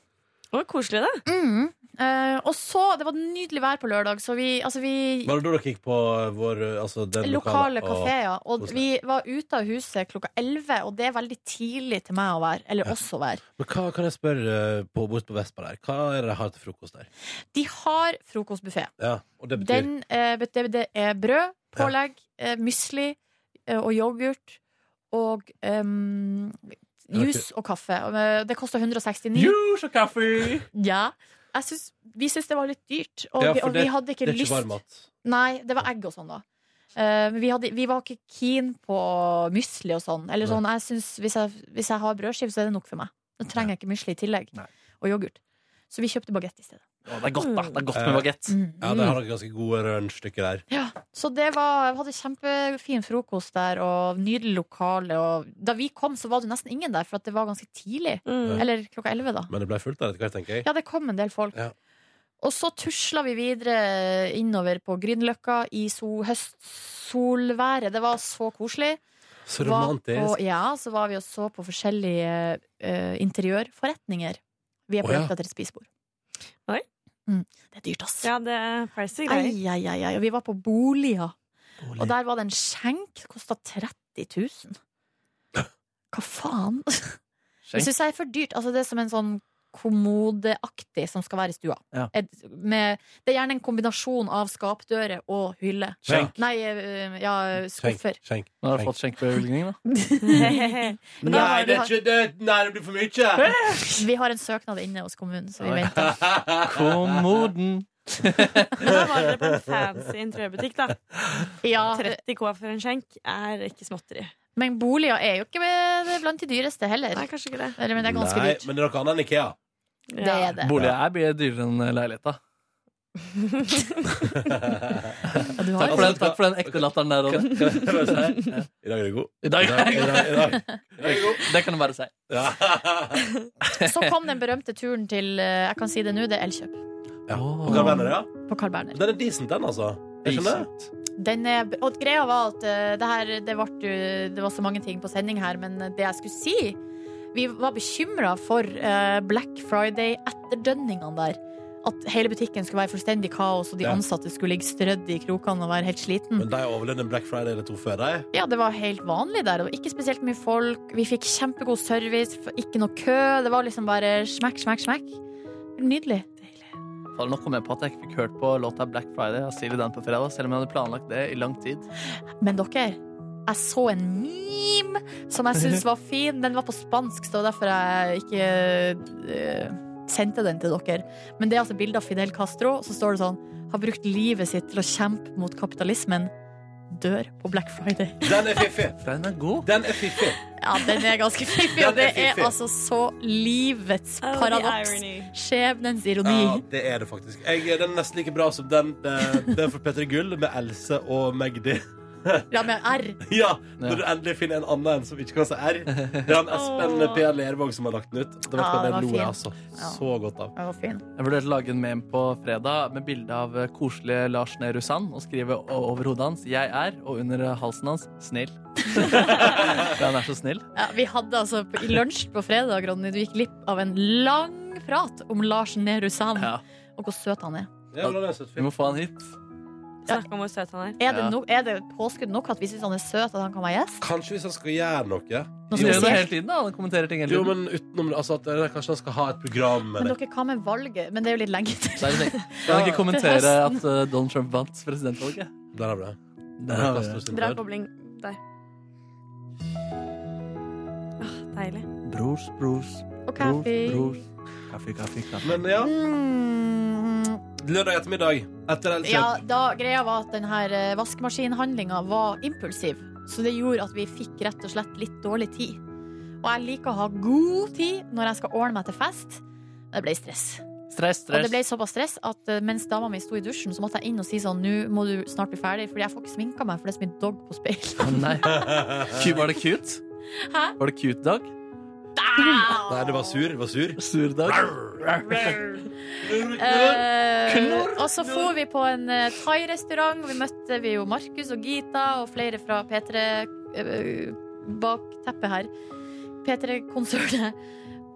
Speaker 13: var koselig, det.
Speaker 3: Mm. Eh, og så, Det var nydelig vær på lørdag, så vi, altså vi
Speaker 2: Var det da dere gikk på vår altså den
Speaker 3: Lokale kafé, ja.
Speaker 2: Å,
Speaker 3: Og
Speaker 2: koselig.
Speaker 3: vi var ute av huset klokka 11, og det er veldig tidlig til meg å være. Eller oss å være.
Speaker 2: Men hva kan jeg spørre eh, på, bort på Vespa der? Hva er det de har til frokost der?
Speaker 3: De har frokostbuffé.
Speaker 2: Ja, og det betyr
Speaker 3: Den, eh, vet du, det er brød, pålegg, eh, mysli eh, og yoghurt og em, juice og kaffe. Og, eh, Det koster 169.
Speaker 4: Juice og kaffe!
Speaker 3: Ja. Jeg syns- vi syns det var litt dyrt, og,
Speaker 2: Ja,
Speaker 3: vi-
Speaker 2: for
Speaker 3: og vi hadde ikke
Speaker 2: det er
Speaker 3: lyst
Speaker 2: ikke varm mat.
Speaker 3: Nei, det var egg og sånn, da. Eh, Men vi, hadde, vi var ikke keen på mysli og sånn. Eller sånn, jeg synes, hvis, jeg, hvis jeg har brødskive, så er det nok for meg. Da trenger jeg ikke mysli i tillegg. Og yoghurt. Så vi kjøpte bagett i stedet.
Speaker 4: Å, det er godt, da. Det er godt med bagett.
Speaker 2: Eh,
Speaker 3: Mm.
Speaker 2: Ja, der har dere ganske gode rønnstykker der.
Speaker 3: Ja, så det var, vi hadde kjempefin frokost der, og nydelig lokale. Og da vi kom, så var det nesten ingen der, for at det var ganske tidlig.
Speaker 2: Mm.
Speaker 3: Eller klokka elleve, da.
Speaker 2: Men det ble fullt der etter hvert, tenker jeg.
Speaker 3: Ja, det kom en del folk.
Speaker 2: Ja.
Speaker 3: Og så tusla vi videre innover på Grünerløkka i so høstsolværet. Det var så koselig.
Speaker 2: Så
Speaker 3: Var
Speaker 2: romantisk.
Speaker 3: På, ja, så var vi og så på forskjellige eh, interiørforretninger. Vi er på
Speaker 2: Å, ja.
Speaker 3: jakt etter et spisebord.
Speaker 13: Oi.
Speaker 3: Mm. Det er dyrt, ass.
Speaker 13: Ja, det er pricey
Speaker 3: Ai,
Speaker 13: greier.
Speaker 3: ai, ai, ai. Og vi var på boliger. Og der var det en skjenk. Kosta 30 000. Hva faen? Det syns jeg er for dyrt. Altså, det er som en sånn kommodeaktig som skal være i stua.
Speaker 4: Ja.
Speaker 3: Et, med, det er gjerne en kombinasjon av skapdører og hylle.
Speaker 4: Skjenk.
Speaker 3: Nei, eh, ja, skuffer.
Speaker 2: Skjenk.
Speaker 4: Nå har du fått skjenkebevilgning, da.
Speaker 3: Men da har du-
Speaker 2: det! Nei, det blir for mye!
Speaker 3: Vi har en søknad inne hos kommunen, så vi venter.
Speaker 4: Kommoden.
Speaker 13: Men da var dere på en fancy interiørbutikk, da.
Speaker 3: Ja.
Speaker 13: 30 K for en skjenk er ikke småtteri.
Speaker 3: Men boliger er jo ikke eh, blant de dyreste heller. Nei,
Speaker 13: kanskje ikke det.
Speaker 3: Eller, men det er ganske
Speaker 2: Nei,
Speaker 3: dyrt.
Speaker 2: men det er noe annet enn Ikea.
Speaker 3: Det er det.
Speaker 4: Boliger er mye dyrere enn leiligheter.
Speaker 3: du
Speaker 4: Takk for den, takk for den ekte latteren der. Ronny.
Speaker 2: I dag er du god.
Speaker 4: I dag,
Speaker 2: I dag- i dag-
Speaker 4: Det kan du bare si.
Speaker 3: Så kom den berømte turen til eh, Jeg kan si det nå, det er Elkjøp.
Speaker 2: Ja. På Carl Berner, ja.
Speaker 3: På Carl Berner.
Speaker 2: Den er decent, den, altså. Jeg skjønner.
Speaker 3: Den er, og greia var at eh, det, her, det, vart jo- det var så mange ting på sending her, men eh, det jeg skulle si Vi var bekymra for eh, Black Friday-etterdønningene der. At hele butikken skulle være fullstendig kaos, og de
Speaker 2: Ja.
Speaker 3: ansatte skulle ligge strødd i krokene og være helt sliten.
Speaker 2: Men de overlevde en Black Friday eller to før deg.
Speaker 3: Ja, det var helt vanlig der. Det var ikke spesielt mye folk. Vi fikk kjempegod service, ikke noe kø. Det var liksom bare smekk, smekk, smekk. Nydelig.
Speaker 4: Fader, Nå kom jeg på at jeg ikke fikk hørt på låta Black Friday av Silje Dan på fredag, selv om jeg hadde planlagt det i lang tid.
Speaker 3: Men dere, jeg så en meme som jeg syntes var fin. Den var på spansk, så det var derfor jeg ikke eh, sendte den til dere. Men det er altså bilde av Fidel Castro, og så står det sånn Har brukt livet sitt til å kjempe mot kapitalismen. Dør på Black Friday.
Speaker 2: Den er fiffig.
Speaker 4: Den er god.
Speaker 2: Den er fiffig.
Speaker 3: Ja, den er ganske fiffig,
Speaker 2: Den
Speaker 3: og det
Speaker 2: er
Speaker 3: er
Speaker 2: fiffig.
Speaker 3: altså så livets
Speaker 13: Oh, the
Speaker 3: paradoks.
Speaker 13: irony.
Speaker 3: Skjebnens
Speaker 2: Ja,
Speaker 3: ironi.
Speaker 2: det er det faktisk. Jeg, eh, den er nesten like bra som den, eh, den for Petter Gull med Else og Magdi.
Speaker 3: Ja, med R.
Speaker 2: Ja, Når du endelig finner en annen enn som ikke kan si R. Det er han Espen
Speaker 3: Åh.
Speaker 2: P. Lervåg som har lagt den ut. Det vet
Speaker 3: Ja,
Speaker 2: jeg,
Speaker 3: den var
Speaker 2: det lo
Speaker 3: fin.
Speaker 2: jeg altså så godt av.
Speaker 3: Den var fin.
Speaker 4: Jeg vurderte å lage en meme på fredag med bilde av eh, koselige Lars Nehru Sand og skrive o- over hodet hans 'Jeg er', og under eh, halsen hans 'snill'. For han er så snill.
Speaker 3: Ja, vi hadde altså på- i lunsj på fredag, Ronny, du gikk glipp av en lang prat om Lars Nehru Sand og hvor søt han er.
Speaker 4: Vi må få han hit.
Speaker 13: Snakk om hvor søt han
Speaker 3: Er det,
Speaker 4: Ja.
Speaker 3: no, er det påskudd nok at vi syns han er søt, at han kan være gjest?
Speaker 2: Kanskje hvis han skal gjøre noe.
Speaker 3: Noe
Speaker 4: Gjør det hele tiden, da. Han kommenterer ting hele
Speaker 2: Jo,
Speaker 4: tiden.
Speaker 2: men utenom altså, at, eller, Kanskje han skal ha et program?
Speaker 3: Men
Speaker 2: Eller?
Speaker 3: dere, hva med valget? Men det er jo litt lenge til.
Speaker 4: Så er det ting. Kan ikke kommentere at eh, Donald Trump vant presidentvalget.
Speaker 2: Der har vi det.
Speaker 4: Der har vi det.
Speaker 13: Bra kobling der. Åh, deilig.
Speaker 4: Brors, brors.
Speaker 3: Og kaffe.
Speaker 4: Brors, brors. Kaffe, kaffe, kaffe.
Speaker 2: Men ja,
Speaker 3: Mm,
Speaker 2: lørdag ettermiddag etter Elkjøp.
Speaker 3: ja, da, greia var at denne vaskemaskinhandlinga var impulsiv, så det gjorde at vi fikk rett og slett litt dårlig tid. Og jeg liker å ha god tid når jeg skal ordne meg til fest. Det ble stress.
Speaker 4: Stress,
Speaker 3: Og det
Speaker 4: stress.
Speaker 3: ble såpass stress at eh, mens dama mi sto i dusjen, så måtte jeg inn og si sånn Nå må du snart bli ferdig, fordi jeg får ikke sminka meg, for det er så mye dog på speilet.
Speaker 4: Å, Nei. Ku- Var det cute?
Speaker 3: Hæ?
Speaker 4: Var det cute dag?
Speaker 2: Nei, det var sur. Det var sur.
Speaker 4: Sur dag.
Speaker 3: Eh, og så for vi på en eh, thai-restaurant, og vi møtte vi jo Markus og Gita og flere fra P3 eh, bak teppet her. P3-konsernet.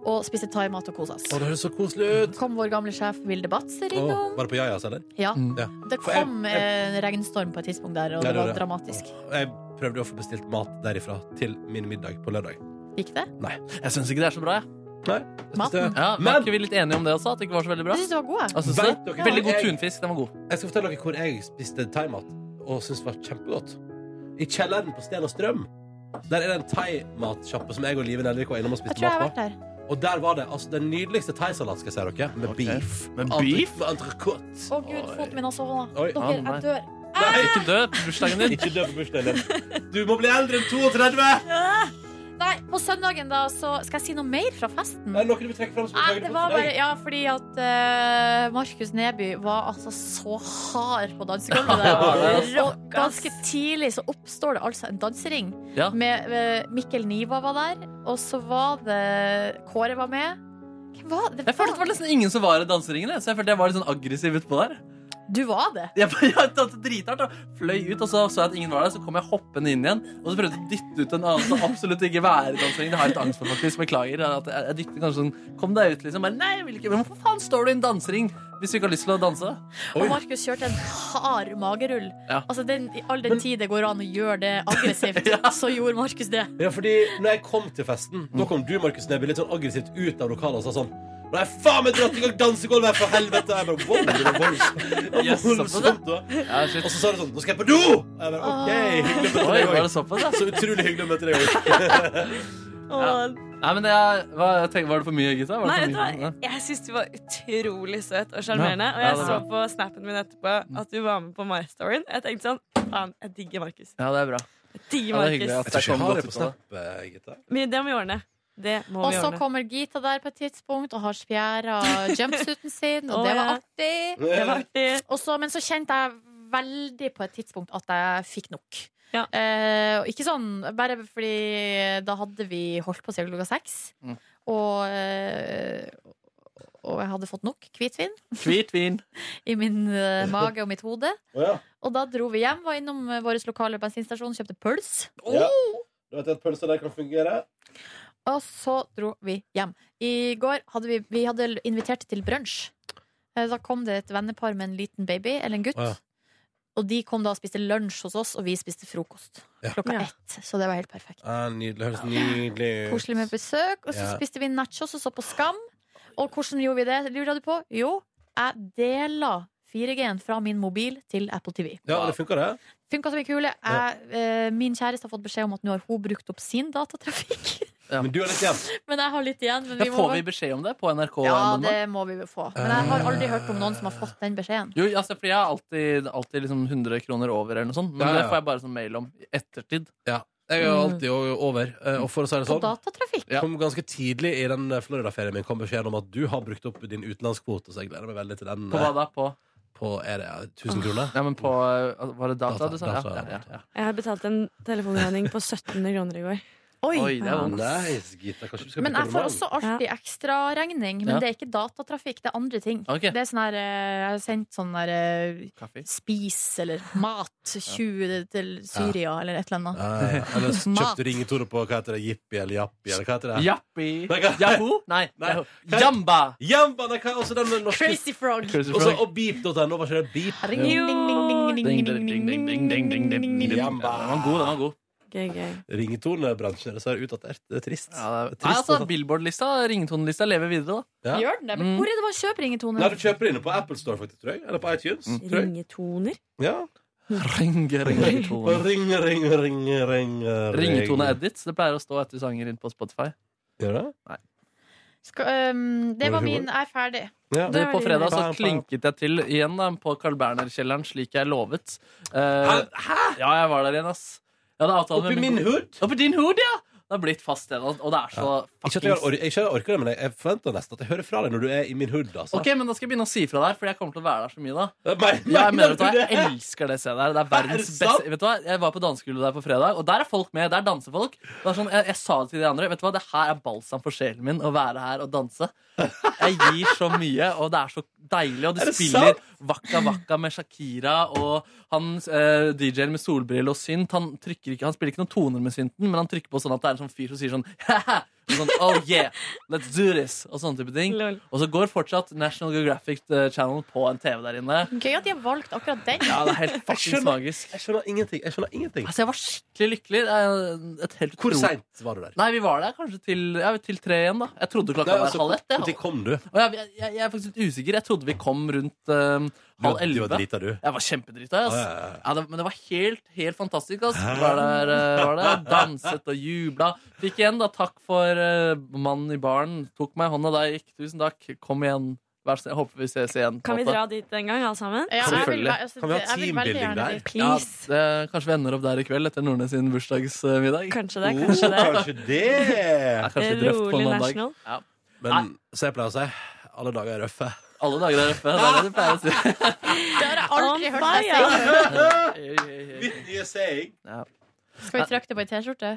Speaker 3: og spiste thaimat og kosa oss.
Speaker 2: Å, det høres så koselig ut.
Speaker 3: Kom vår gamle sjef Vilde Batzer
Speaker 2: Å,
Speaker 3: innom.
Speaker 2: var det på Jajas, eller?
Speaker 3: Ja.
Speaker 2: Mm. ja.
Speaker 3: Det
Speaker 2: For jeg-
Speaker 3: kom
Speaker 2: jeg-
Speaker 3: eh, regnstorm på et tidspunkt der, og
Speaker 2: Ja,
Speaker 3: det
Speaker 2: det
Speaker 3: var
Speaker 2: gjorde det.
Speaker 3: dramatisk.
Speaker 2: Jeg prøvde å få bestilt mat derifra til min middag på lørdag.
Speaker 3: Gikk det?
Speaker 2: Nei.
Speaker 4: Jeg syns ikke det er så bra, jeg.
Speaker 2: Nei.
Speaker 4: Maten. Ja, men er ikke vi litt enige om det også? At det ikke var så veldig bra?
Speaker 3: Jeg synes det var god, jeg.
Speaker 4: Ja, synes
Speaker 2: Vet
Speaker 4: du?
Speaker 2: dere
Speaker 4: Veldig
Speaker 2: hva
Speaker 4: god
Speaker 2: jeg-
Speaker 4: tunfisk. Den var god.
Speaker 2: Jeg skal fortelle dere hvor jeg spiste thaimat og syntes det var kjempegodt. I kjelleren på Sten og Strøm. Der er det en thaimatsjappe som jeg og Live Nelvik var innom og
Speaker 3: Jeg
Speaker 2: spiste
Speaker 3: tror jeg har
Speaker 2: mat
Speaker 3: vært
Speaker 2: på.
Speaker 3: der.
Speaker 2: Og der var det altså, den nydeligste thaisalat, skal jeg si dere, med beef.
Speaker 4: Med
Speaker 2: Entre-
Speaker 4: beef?
Speaker 2: Med entrecôte.
Speaker 3: Å gud, foten min har sovna.
Speaker 2: Oi.
Speaker 3: Dere,
Speaker 2: Ah, nei.
Speaker 3: jeg dør.
Speaker 4: Nei, ikke dø på bursdagen din.
Speaker 2: Ikke dø på bursdagen din. Du må bli eldre enn 32!
Speaker 3: Nei, på søndagen da, så skal jeg si noe mer fra festen.
Speaker 2: Er det noe du vil trekke fram? som du
Speaker 3: Nei,
Speaker 2: lager
Speaker 3: det
Speaker 2: på
Speaker 3: var
Speaker 2: fredag?
Speaker 3: bare Ja, fordi at eh, Markus Neby var altså så hard på dansegulvet
Speaker 4: Ja,
Speaker 3: der.
Speaker 4: det er
Speaker 3: Og ganske tidlig så oppstår det altså en dansering.
Speaker 4: Ja.
Speaker 3: Med eh, Mikkel Niva var der, og så var det Kåre var med. Hvem var det?
Speaker 4: Jeg følte det var nesten ingen som var i danseringen, jeg, så jeg følte jeg var litt sånn aggressiv utpå der.
Speaker 3: Du var det.
Speaker 4: Jeg, jeg, tatt det drithardt og fløy ut, og så så jeg at ingen var der, så kom jeg hoppende inn igjen. Og så prøvde jeg å dytte ut en annen som absolutt ikke var i danseringen. Det har jeg litt angst for, faktisk. Beklager. At jeg, jeg dytter kanskje sånn Kom deg ut, liksom. Bare, nei, jeg vil ikke. Men hvorfor faen står du i en dansering hvis du ikke har lyst til å danse?
Speaker 3: Og Markus kjørte en hard magerull.
Speaker 4: Ja.
Speaker 3: Altså, den, I all den tid det går an å gjøre det aggressivt, så gjorde Markus det.
Speaker 2: Ja, fordi når jeg kom til festen, da kom du, Markus Neby, litt sånn aggressivt ut av lokalet og sa sånn Nei, faen meg dratt i gang dansegulvet her, for helvete! Jeg bare, wow, det var voldsomt. Det
Speaker 4: Yes,
Speaker 2: var
Speaker 4: såpass,
Speaker 2: voldsomt da.
Speaker 4: Ja, shit.
Speaker 2: Og så sa du sånn Nå skal jeg på do! Og jeg bare, OK, hyggelig å møte
Speaker 4: Oi,
Speaker 2: deg
Speaker 4: var det
Speaker 2: også.
Speaker 4: såpass, ja?
Speaker 2: Så utrolig hyggelig å møte deg òg.
Speaker 13: Åh.
Speaker 4: Nei, men jeg, hva, jeg tenker, Var det for mye, gutta? Var
Speaker 13: Nei,
Speaker 4: det
Speaker 13: vet du
Speaker 4: for mye?
Speaker 13: hva? Jeg syns du var utrolig søt og sjarmerende.
Speaker 4: Ja.
Speaker 13: Og
Speaker 4: Ja,
Speaker 13: jeg
Speaker 4: det
Speaker 13: så
Speaker 4: var
Speaker 13: på snappen min etterpå at du var med på My-storyen. Jeg tenkte sånn Faen, jeg digger Markus.
Speaker 4: Ja, det er bra.
Speaker 13: Jeg digger
Speaker 4: Ja, det er hyggelig
Speaker 13: Markus.
Speaker 4: at jeg
Speaker 2: Jeg
Speaker 4: kom
Speaker 2: har
Speaker 4: godt ut
Speaker 2: det på
Speaker 4: av det.
Speaker 2: snap, eh, gitta.
Speaker 13: Men det må vi ordne. Det må
Speaker 3: Og
Speaker 13: vi
Speaker 3: så
Speaker 13: ordne.
Speaker 3: kommer Gita der på et tidspunkt og har spjæra jumpsuiten sin, og
Speaker 13: Å,
Speaker 3: det var
Speaker 13: ja.
Speaker 3: artig.
Speaker 13: Det var artig.
Speaker 3: Og så- men så kjente jeg veldig på et tidspunkt at jeg fikk nok.
Speaker 13: Ja.
Speaker 3: Eh, og ikke sånn bare fordi da hadde vi holdt på siden klokka seks,
Speaker 4: Mm.
Speaker 3: og, eh, og jeg hadde fått nok hvitvin
Speaker 4: Hvit vin.
Speaker 3: i min eh, mage og mitt hode.
Speaker 2: Å ja.
Speaker 3: Og da dro vi hjem, var innom eh, vår lokale bensinstasjon, kjøpte pøls.
Speaker 2: Ja. Du vet at pølser der kan fungere?
Speaker 3: Og så dro vi hjem. I går hadde vi, vi hadde invitert til brunsj. Eh, Da kom det et vennepar med en liten baby, eller en gutt.
Speaker 2: Å ja.
Speaker 3: Og de kom da og spiste lunsj hos oss, og vi spiste frokost klokka ett. Så det var helt perfekt.
Speaker 2: Ja, nydelig. Høres nydelig ut.
Speaker 3: Koselig med besøk. Og så
Speaker 2: Ja.
Speaker 3: spiste vi nachos og så på Skam. Og hvordan gjorde vi det, lurer du på? Jo, jeg dela 4G-en fra min mobil til Apple TV.
Speaker 2: Ja, det funka, det?
Speaker 3: Funka som en kule. Jeg, eh, min kjæreste har fått beskjed om at nå har hun brukt opp sin datatrafikk.
Speaker 2: Men du har litt igjen.
Speaker 3: Men jeg har litt igjen. Men
Speaker 4: Ja,
Speaker 3: vi må
Speaker 4: får
Speaker 3: bare-
Speaker 4: vi beskjed om det på NRK?
Speaker 3: Ja,
Speaker 4: ennå?
Speaker 3: det må vi jo få.
Speaker 2: Eh.
Speaker 3: Men jeg har aldri hørt om noen som har fått den beskjeden.
Speaker 4: Jo, altså, fordi Jeg har alltid, alltid liksom 100 kroner over, eller noe sånt. Men
Speaker 2: Ja, ja, ja.
Speaker 4: det får jeg bare sånn mail om i ettertid.
Speaker 2: Ja. Jeg er alltid o- over. eh, Og for å si det
Speaker 3: Mm. På
Speaker 2: sånn
Speaker 3: datatrafikk.
Speaker 2: Kom ganske tidlig i den eh, Florida-ferien min kom beskjeden om at du har brukt opp din utenlandskvote, så jeg gleder meg veldig til den.
Speaker 4: På
Speaker 2: eh,
Speaker 4: hva da? På?
Speaker 2: På er det ja, 1000 kroner?
Speaker 4: Ja, men på, eh, Var det data,
Speaker 2: Data,
Speaker 4: du sa? Ja,
Speaker 2: data,
Speaker 4: ja, ja, ja.
Speaker 13: Jeg har betalt en telefonregning på 1700 kroner i går.
Speaker 3: Oi!
Speaker 4: Oi, det er vondt.
Speaker 2: Nice, Gita. Kanskje du skal
Speaker 3: Men
Speaker 2: bruke
Speaker 3: jeg får
Speaker 2: abonnement?
Speaker 3: også alltid ekstraregning. Men
Speaker 2: Ja.
Speaker 3: det er ikke datatrafikk, det er andre ting.
Speaker 2: Ok.
Speaker 3: Det er sånn her eh, Jeg har sendt sånn der eh, spis eller mat 20 til Syria eller et eller
Speaker 2: Ja,
Speaker 3: annet.
Speaker 2: ja, ja. Eh, Eller så
Speaker 3: Mat.
Speaker 2: kjøpte ringetoner på hva heter det, Jippi eller Jappi eller hva heter det?
Speaker 4: Jappi!
Speaker 2: Nei, hva-
Speaker 4: Yahoo? Nei,
Speaker 2: Nei.
Speaker 4: Yahoo. Jamba!
Speaker 2: Jamba! Det kan også den norske
Speaker 3: Crazy Frog.
Speaker 4: Crazy
Speaker 2: Og så-
Speaker 4: Frog.
Speaker 2: og beep.no, var ikke det beep?
Speaker 3: Ring, ding, ding, ding, ding, ding, ding, ding, ding, ding, ding, ding, ding, ding.
Speaker 4: Den
Speaker 2: Jamba.
Speaker 4: var god, den var god.
Speaker 13: Gøy, gøy.
Speaker 2: Ringetonebransjen er dessverre utdatert. Det er trist. det er
Speaker 4: Nei,
Speaker 2: trist
Speaker 4: altså, Billboard-lista, ringetonelista lever videre, da. Mm.
Speaker 2: Ja. Mm.
Speaker 3: Gjør den det? Men hvor er det man kjøper
Speaker 2: Nei, du
Speaker 3: ringetone?
Speaker 2: kjøper det inne på Apple Store, faktisk, tror jeg. Eller på iTunes.
Speaker 4: Mm.
Speaker 2: Tror jeg.
Speaker 13: Ringetoner?
Speaker 3: Mm.
Speaker 2: Ja.
Speaker 4: Ring, ring, ringetone.
Speaker 2: Ring, ring, ring, ring, ring.
Speaker 4: Ringetone edits. Det pleier å stå etter sanger inn på Spotify.
Speaker 2: Gjør det?
Speaker 4: Nei.
Speaker 3: Skal, ehm, det var min. Jeg er ferdig.
Speaker 2: Ja.
Speaker 4: Du, på fredag så klinket jeg til igjen da, på Carl Berner-kjelleren, slik jeg lovet. Hæ? Ja, jeg var der igjen, ass. Jeg hadde avtale
Speaker 2: Oppi
Speaker 4: med
Speaker 2: min hood?
Speaker 4: Oppi din hood, ja! Det har blitt fast igjen, og det er så
Speaker 2: Ikke at jeg, har or- ikke at jeg orker det, men jeg- jeg forventer nesten at jeg hører fra deg når du er i min hood. Altså.
Speaker 4: Ok, men da skal jeg begynne å si fra der, for jeg kommer til å være der så mye da. Ja,
Speaker 2: Men-
Speaker 4: jeg
Speaker 2: mener
Speaker 4: mener vet du hva,
Speaker 2: du det?
Speaker 4: jeg elsker det stedet der. Det er verdens
Speaker 2: det sant?
Speaker 4: beste Vet du hva, Jeg var på dansegulvet der på fredag, og der er folk med. Der danser folk. Det er sånn, jeg, jeg sa det til de andre. Vet du hva, det her er balsam for sjelen min å være her og danse. Jeg gir så mye, og det er så deilig. Og
Speaker 2: Er
Speaker 4: de
Speaker 2: det
Speaker 4: spiller
Speaker 2: sant?
Speaker 4: Wakka Wakka med Shakira, og han eh, DJ-en med solbriller og synt, han, trykker ikke, han spiller ikke noen toner med synten, men han trykker på sånn at det er en sånn fyr som sier sånn Sånn, oh yeah, let's do this Og sånne type ting Og så går fortsatt National Geographic eh, Channel på en TV der inne
Speaker 3: Gøy at de har valgt akkurat den.
Speaker 4: Ja, det er helt
Speaker 2: Jeg
Speaker 4: faktisk
Speaker 2: skjønner-
Speaker 4: magisk
Speaker 2: Jeg skjønner ingenting, jeg skjønner ingenting
Speaker 4: Altså, jeg var skikkelig lykkelig Det er et helt
Speaker 2: Hvor
Speaker 4: utro-
Speaker 2: sent var du der?
Speaker 4: Nei, vi var der kanskje til, ja, til tre igjen da Jeg trodde klokka
Speaker 2: Nei,
Speaker 4: var
Speaker 2: altså,
Speaker 4: halv ett jeg.
Speaker 2: hvor tid kom du?
Speaker 4: Å, jeg, jeg, jeg er faktisk litt usikker Jeg trodde vi kom rundt eh, halv
Speaker 2: du var
Speaker 4: elleve
Speaker 2: drita, du.
Speaker 4: Jeg var kjempedrita ass.
Speaker 2: Å, ja, ja, ja.
Speaker 4: det, Men det var helt, helt fantastisk ass. Var der, eh, var der, danset og jubla Fikk igjen da, takk for eh, mannen i baren Tok meg i hånda da jeg gikk Tusen takk, kom igjen Vær så, jeg håper vi ses igjen
Speaker 13: Kan vi
Speaker 4: Måte.
Speaker 13: dra dit en gang, alle sammen?
Speaker 3: Ja, jeg vil,
Speaker 4: Selvfølgelig.
Speaker 3: altså,
Speaker 4: Kan vi ha
Speaker 3: jeg vil veldig
Speaker 4: teambuilding
Speaker 3: gjerne
Speaker 4: der?
Speaker 3: dit.
Speaker 4: Ja, det, kanskje vi ender opp der i kveld etter Nordnes sin bursdagsmiddag.
Speaker 13: Kanskje
Speaker 2: det, kanskje det. Oh, kanskje det.
Speaker 4: er kanskje litt røft på en
Speaker 13: Rolig
Speaker 4: mandag.
Speaker 13: national.
Speaker 4: Ja.
Speaker 2: Men så jeg pleier å si alle dager er røffe.
Speaker 4: Alle dager er røffe. Det er det du pleier å si.
Speaker 3: Det har jeg aldri
Speaker 13: On
Speaker 3: hørt deg si før. Skal vi trykke det på ei T-skjorte?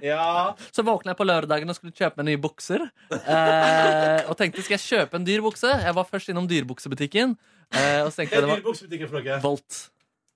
Speaker 4: Så våkna jeg på lørdagen og skulle kjøpe meg nye bukser. Eh, og tenkte skal jeg kjøpe en dyr bukse? Jeg var først innom dyrebuksebutikken. Eh, og så tenkte jeg det var
Speaker 2: dyrebukstbutikken for noe?
Speaker 4: Volt.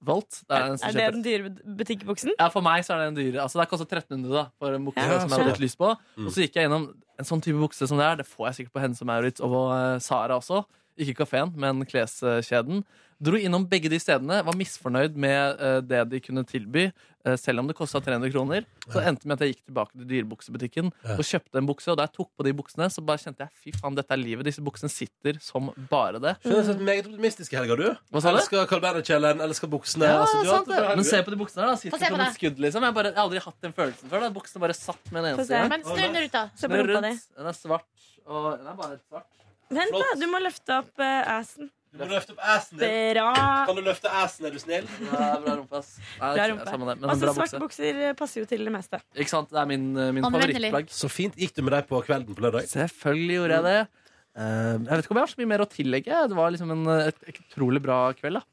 Speaker 4: Volt? Det er den som
Speaker 13: Er det
Speaker 4: kjøper.
Speaker 13: den dyre butikkbuksen?
Speaker 4: Ja, for meg så er det en dyre. Altså, det koster 1300 da, for en bukse som
Speaker 13: Ja,
Speaker 4: jeg hadde
Speaker 13: skjønner.
Speaker 4: litt lyst på.
Speaker 2: Mm.
Speaker 4: Og så gikk jeg gjennom en sånn type bukse som det er. Det får jeg sikkert på Hennes og Maurits og eh, Sara også. Ikke kafeen, men kleskjeden. Dro innom begge de stedene, var misfornøyd med eh, det de kunne tilby, eh, selv om det kosta 300 kroner. Så endte det med at jeg gikk tilbake til dyrebuksebutikken
Speaker 2: Ja.
Speaker 4: og kjøpte en bukse. Og da jeg tok på de buksene, så bare kjente jeg fy faen, dette er livet. Disse buksene sitter som bare det.
Speaker 2: Skjønner du, så meget optimistisk i helga, du.
Speaker 4: Hva sa du?
Speaker 2: Elsker Carl Berner-kjelleren, elsker buksene.
Speaker 4: Ja,
Speaker 2: altså, du har
Speaker 4: sant
Speaker 2: hatt det bra
Speaker 4: det.
Speaker 2: helga.
Speaker 4: Men se på de buksene her, da.
Speaker 3: Få se
Speaker 4: Sitter
Speaker 3: på
Speaker 4: som et
Speaker 3: det.
Speaker 4: skudd, liksom. Jeg, har bare, jeg har aldri hatt den følelsen før. Da. Buksene bare satt med den ene
Speaker 13: Få se.
Speaker 4: sida.
Speaker 3: Men snurr den ut, da.
Speaker 13: Se på
Speaker 4: Den er
Speaker 13: rumpa di.
Speaker 4: rundt, den er svart, og den er bare svart.
Speaker 13: Vent, da. Du må løfte opp eh, assen.
Speaker 2: Du må løfte opp assen din.
Speaker 13: Bra.
Speaker 2: Kan du løfte assen, er du snill?
Speaker 4: Bra, bra rumpe, ass. Nei,
Speaker 13: Bra
Speaker 4: det er
Speaker 13: rumpe.
Speaker 4: samme det, men en
Speaker 13: Altså,
Speaker 4: bra
Speaker 13: svarte
Speaker 4: bukse.
Speaker 13: bukser eh, passer jo til det meste.
Speaker 4: Ikke sant? Det er min, eh, min
Speaker 13: Anvendelig.
Speaker 4: favorittplagg.
Speaker 2: Så fint. Gikk du med deg på kvelden på lørdag?
Speaker 4: Selvfølgelig gjorde jeg det. Eh, jeg vet ikke om jeg har så mye mer å tillegge. Det var liksom en eh, et utrolig bra kveld da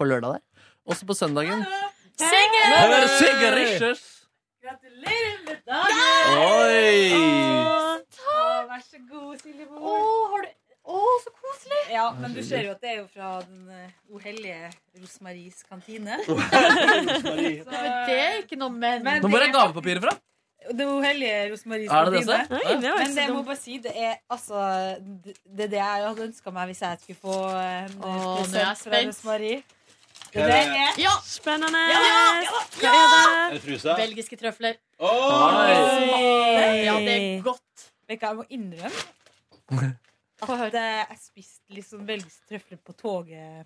Speaker 4: på lørdag der. Også på søndagen. Her er Sigurd Rischers!
Speaker 13: Gratulerer med dagen!
Speaker 4: Oi!
Speaker 13: Vær så god, Silje Moen.
Speaker 14: så koselig! Ja, men du ser jo at det er jo fra den eh, O hellige Rosmaris kantine.
Speaker 4: Rosmarie.
Speaker 3: Nei, men det er ikke noe men.
Speaker 14: Men
Speaker 4: Nå
Speaker 14: det
Speaker 4: hvor er gavepapiret fra?
Speaker 14: Det uhellige Rosmaries
Speaker 4: Er det det
Speaker 14: kantine.
Speaker 4: som er? Oi, det var ikke så
Speaker 14: Men det jeg må
Speaker 4: dumt.
Speaker 14: bare si, det er altså Det det er det jeg hadde ønska meg hvis jeg skulle få en
Speaker 3: Åh, nå er jeg
Speaker 14: present fra
Speaker 3: spent.
Speaker 14: Rosmarie.
Speaker 2: Hva
Speaker 14: Det
Speaker 2: er det?
Speaker 14: er
Speaker 3: Ja!
Speaker 13: Spennende!
Speaker 3: Ja! ja, ja.
Speaker 2: Er det truse?
Speaker 3: Belgiske trøfler.
Speaker 14: Oi.
Speaker 3: Ja, det er godt.
Speaker 14: Vet du hva, jeg må innrømme at eh, jeg spiste liksom belgiske trøfler på toget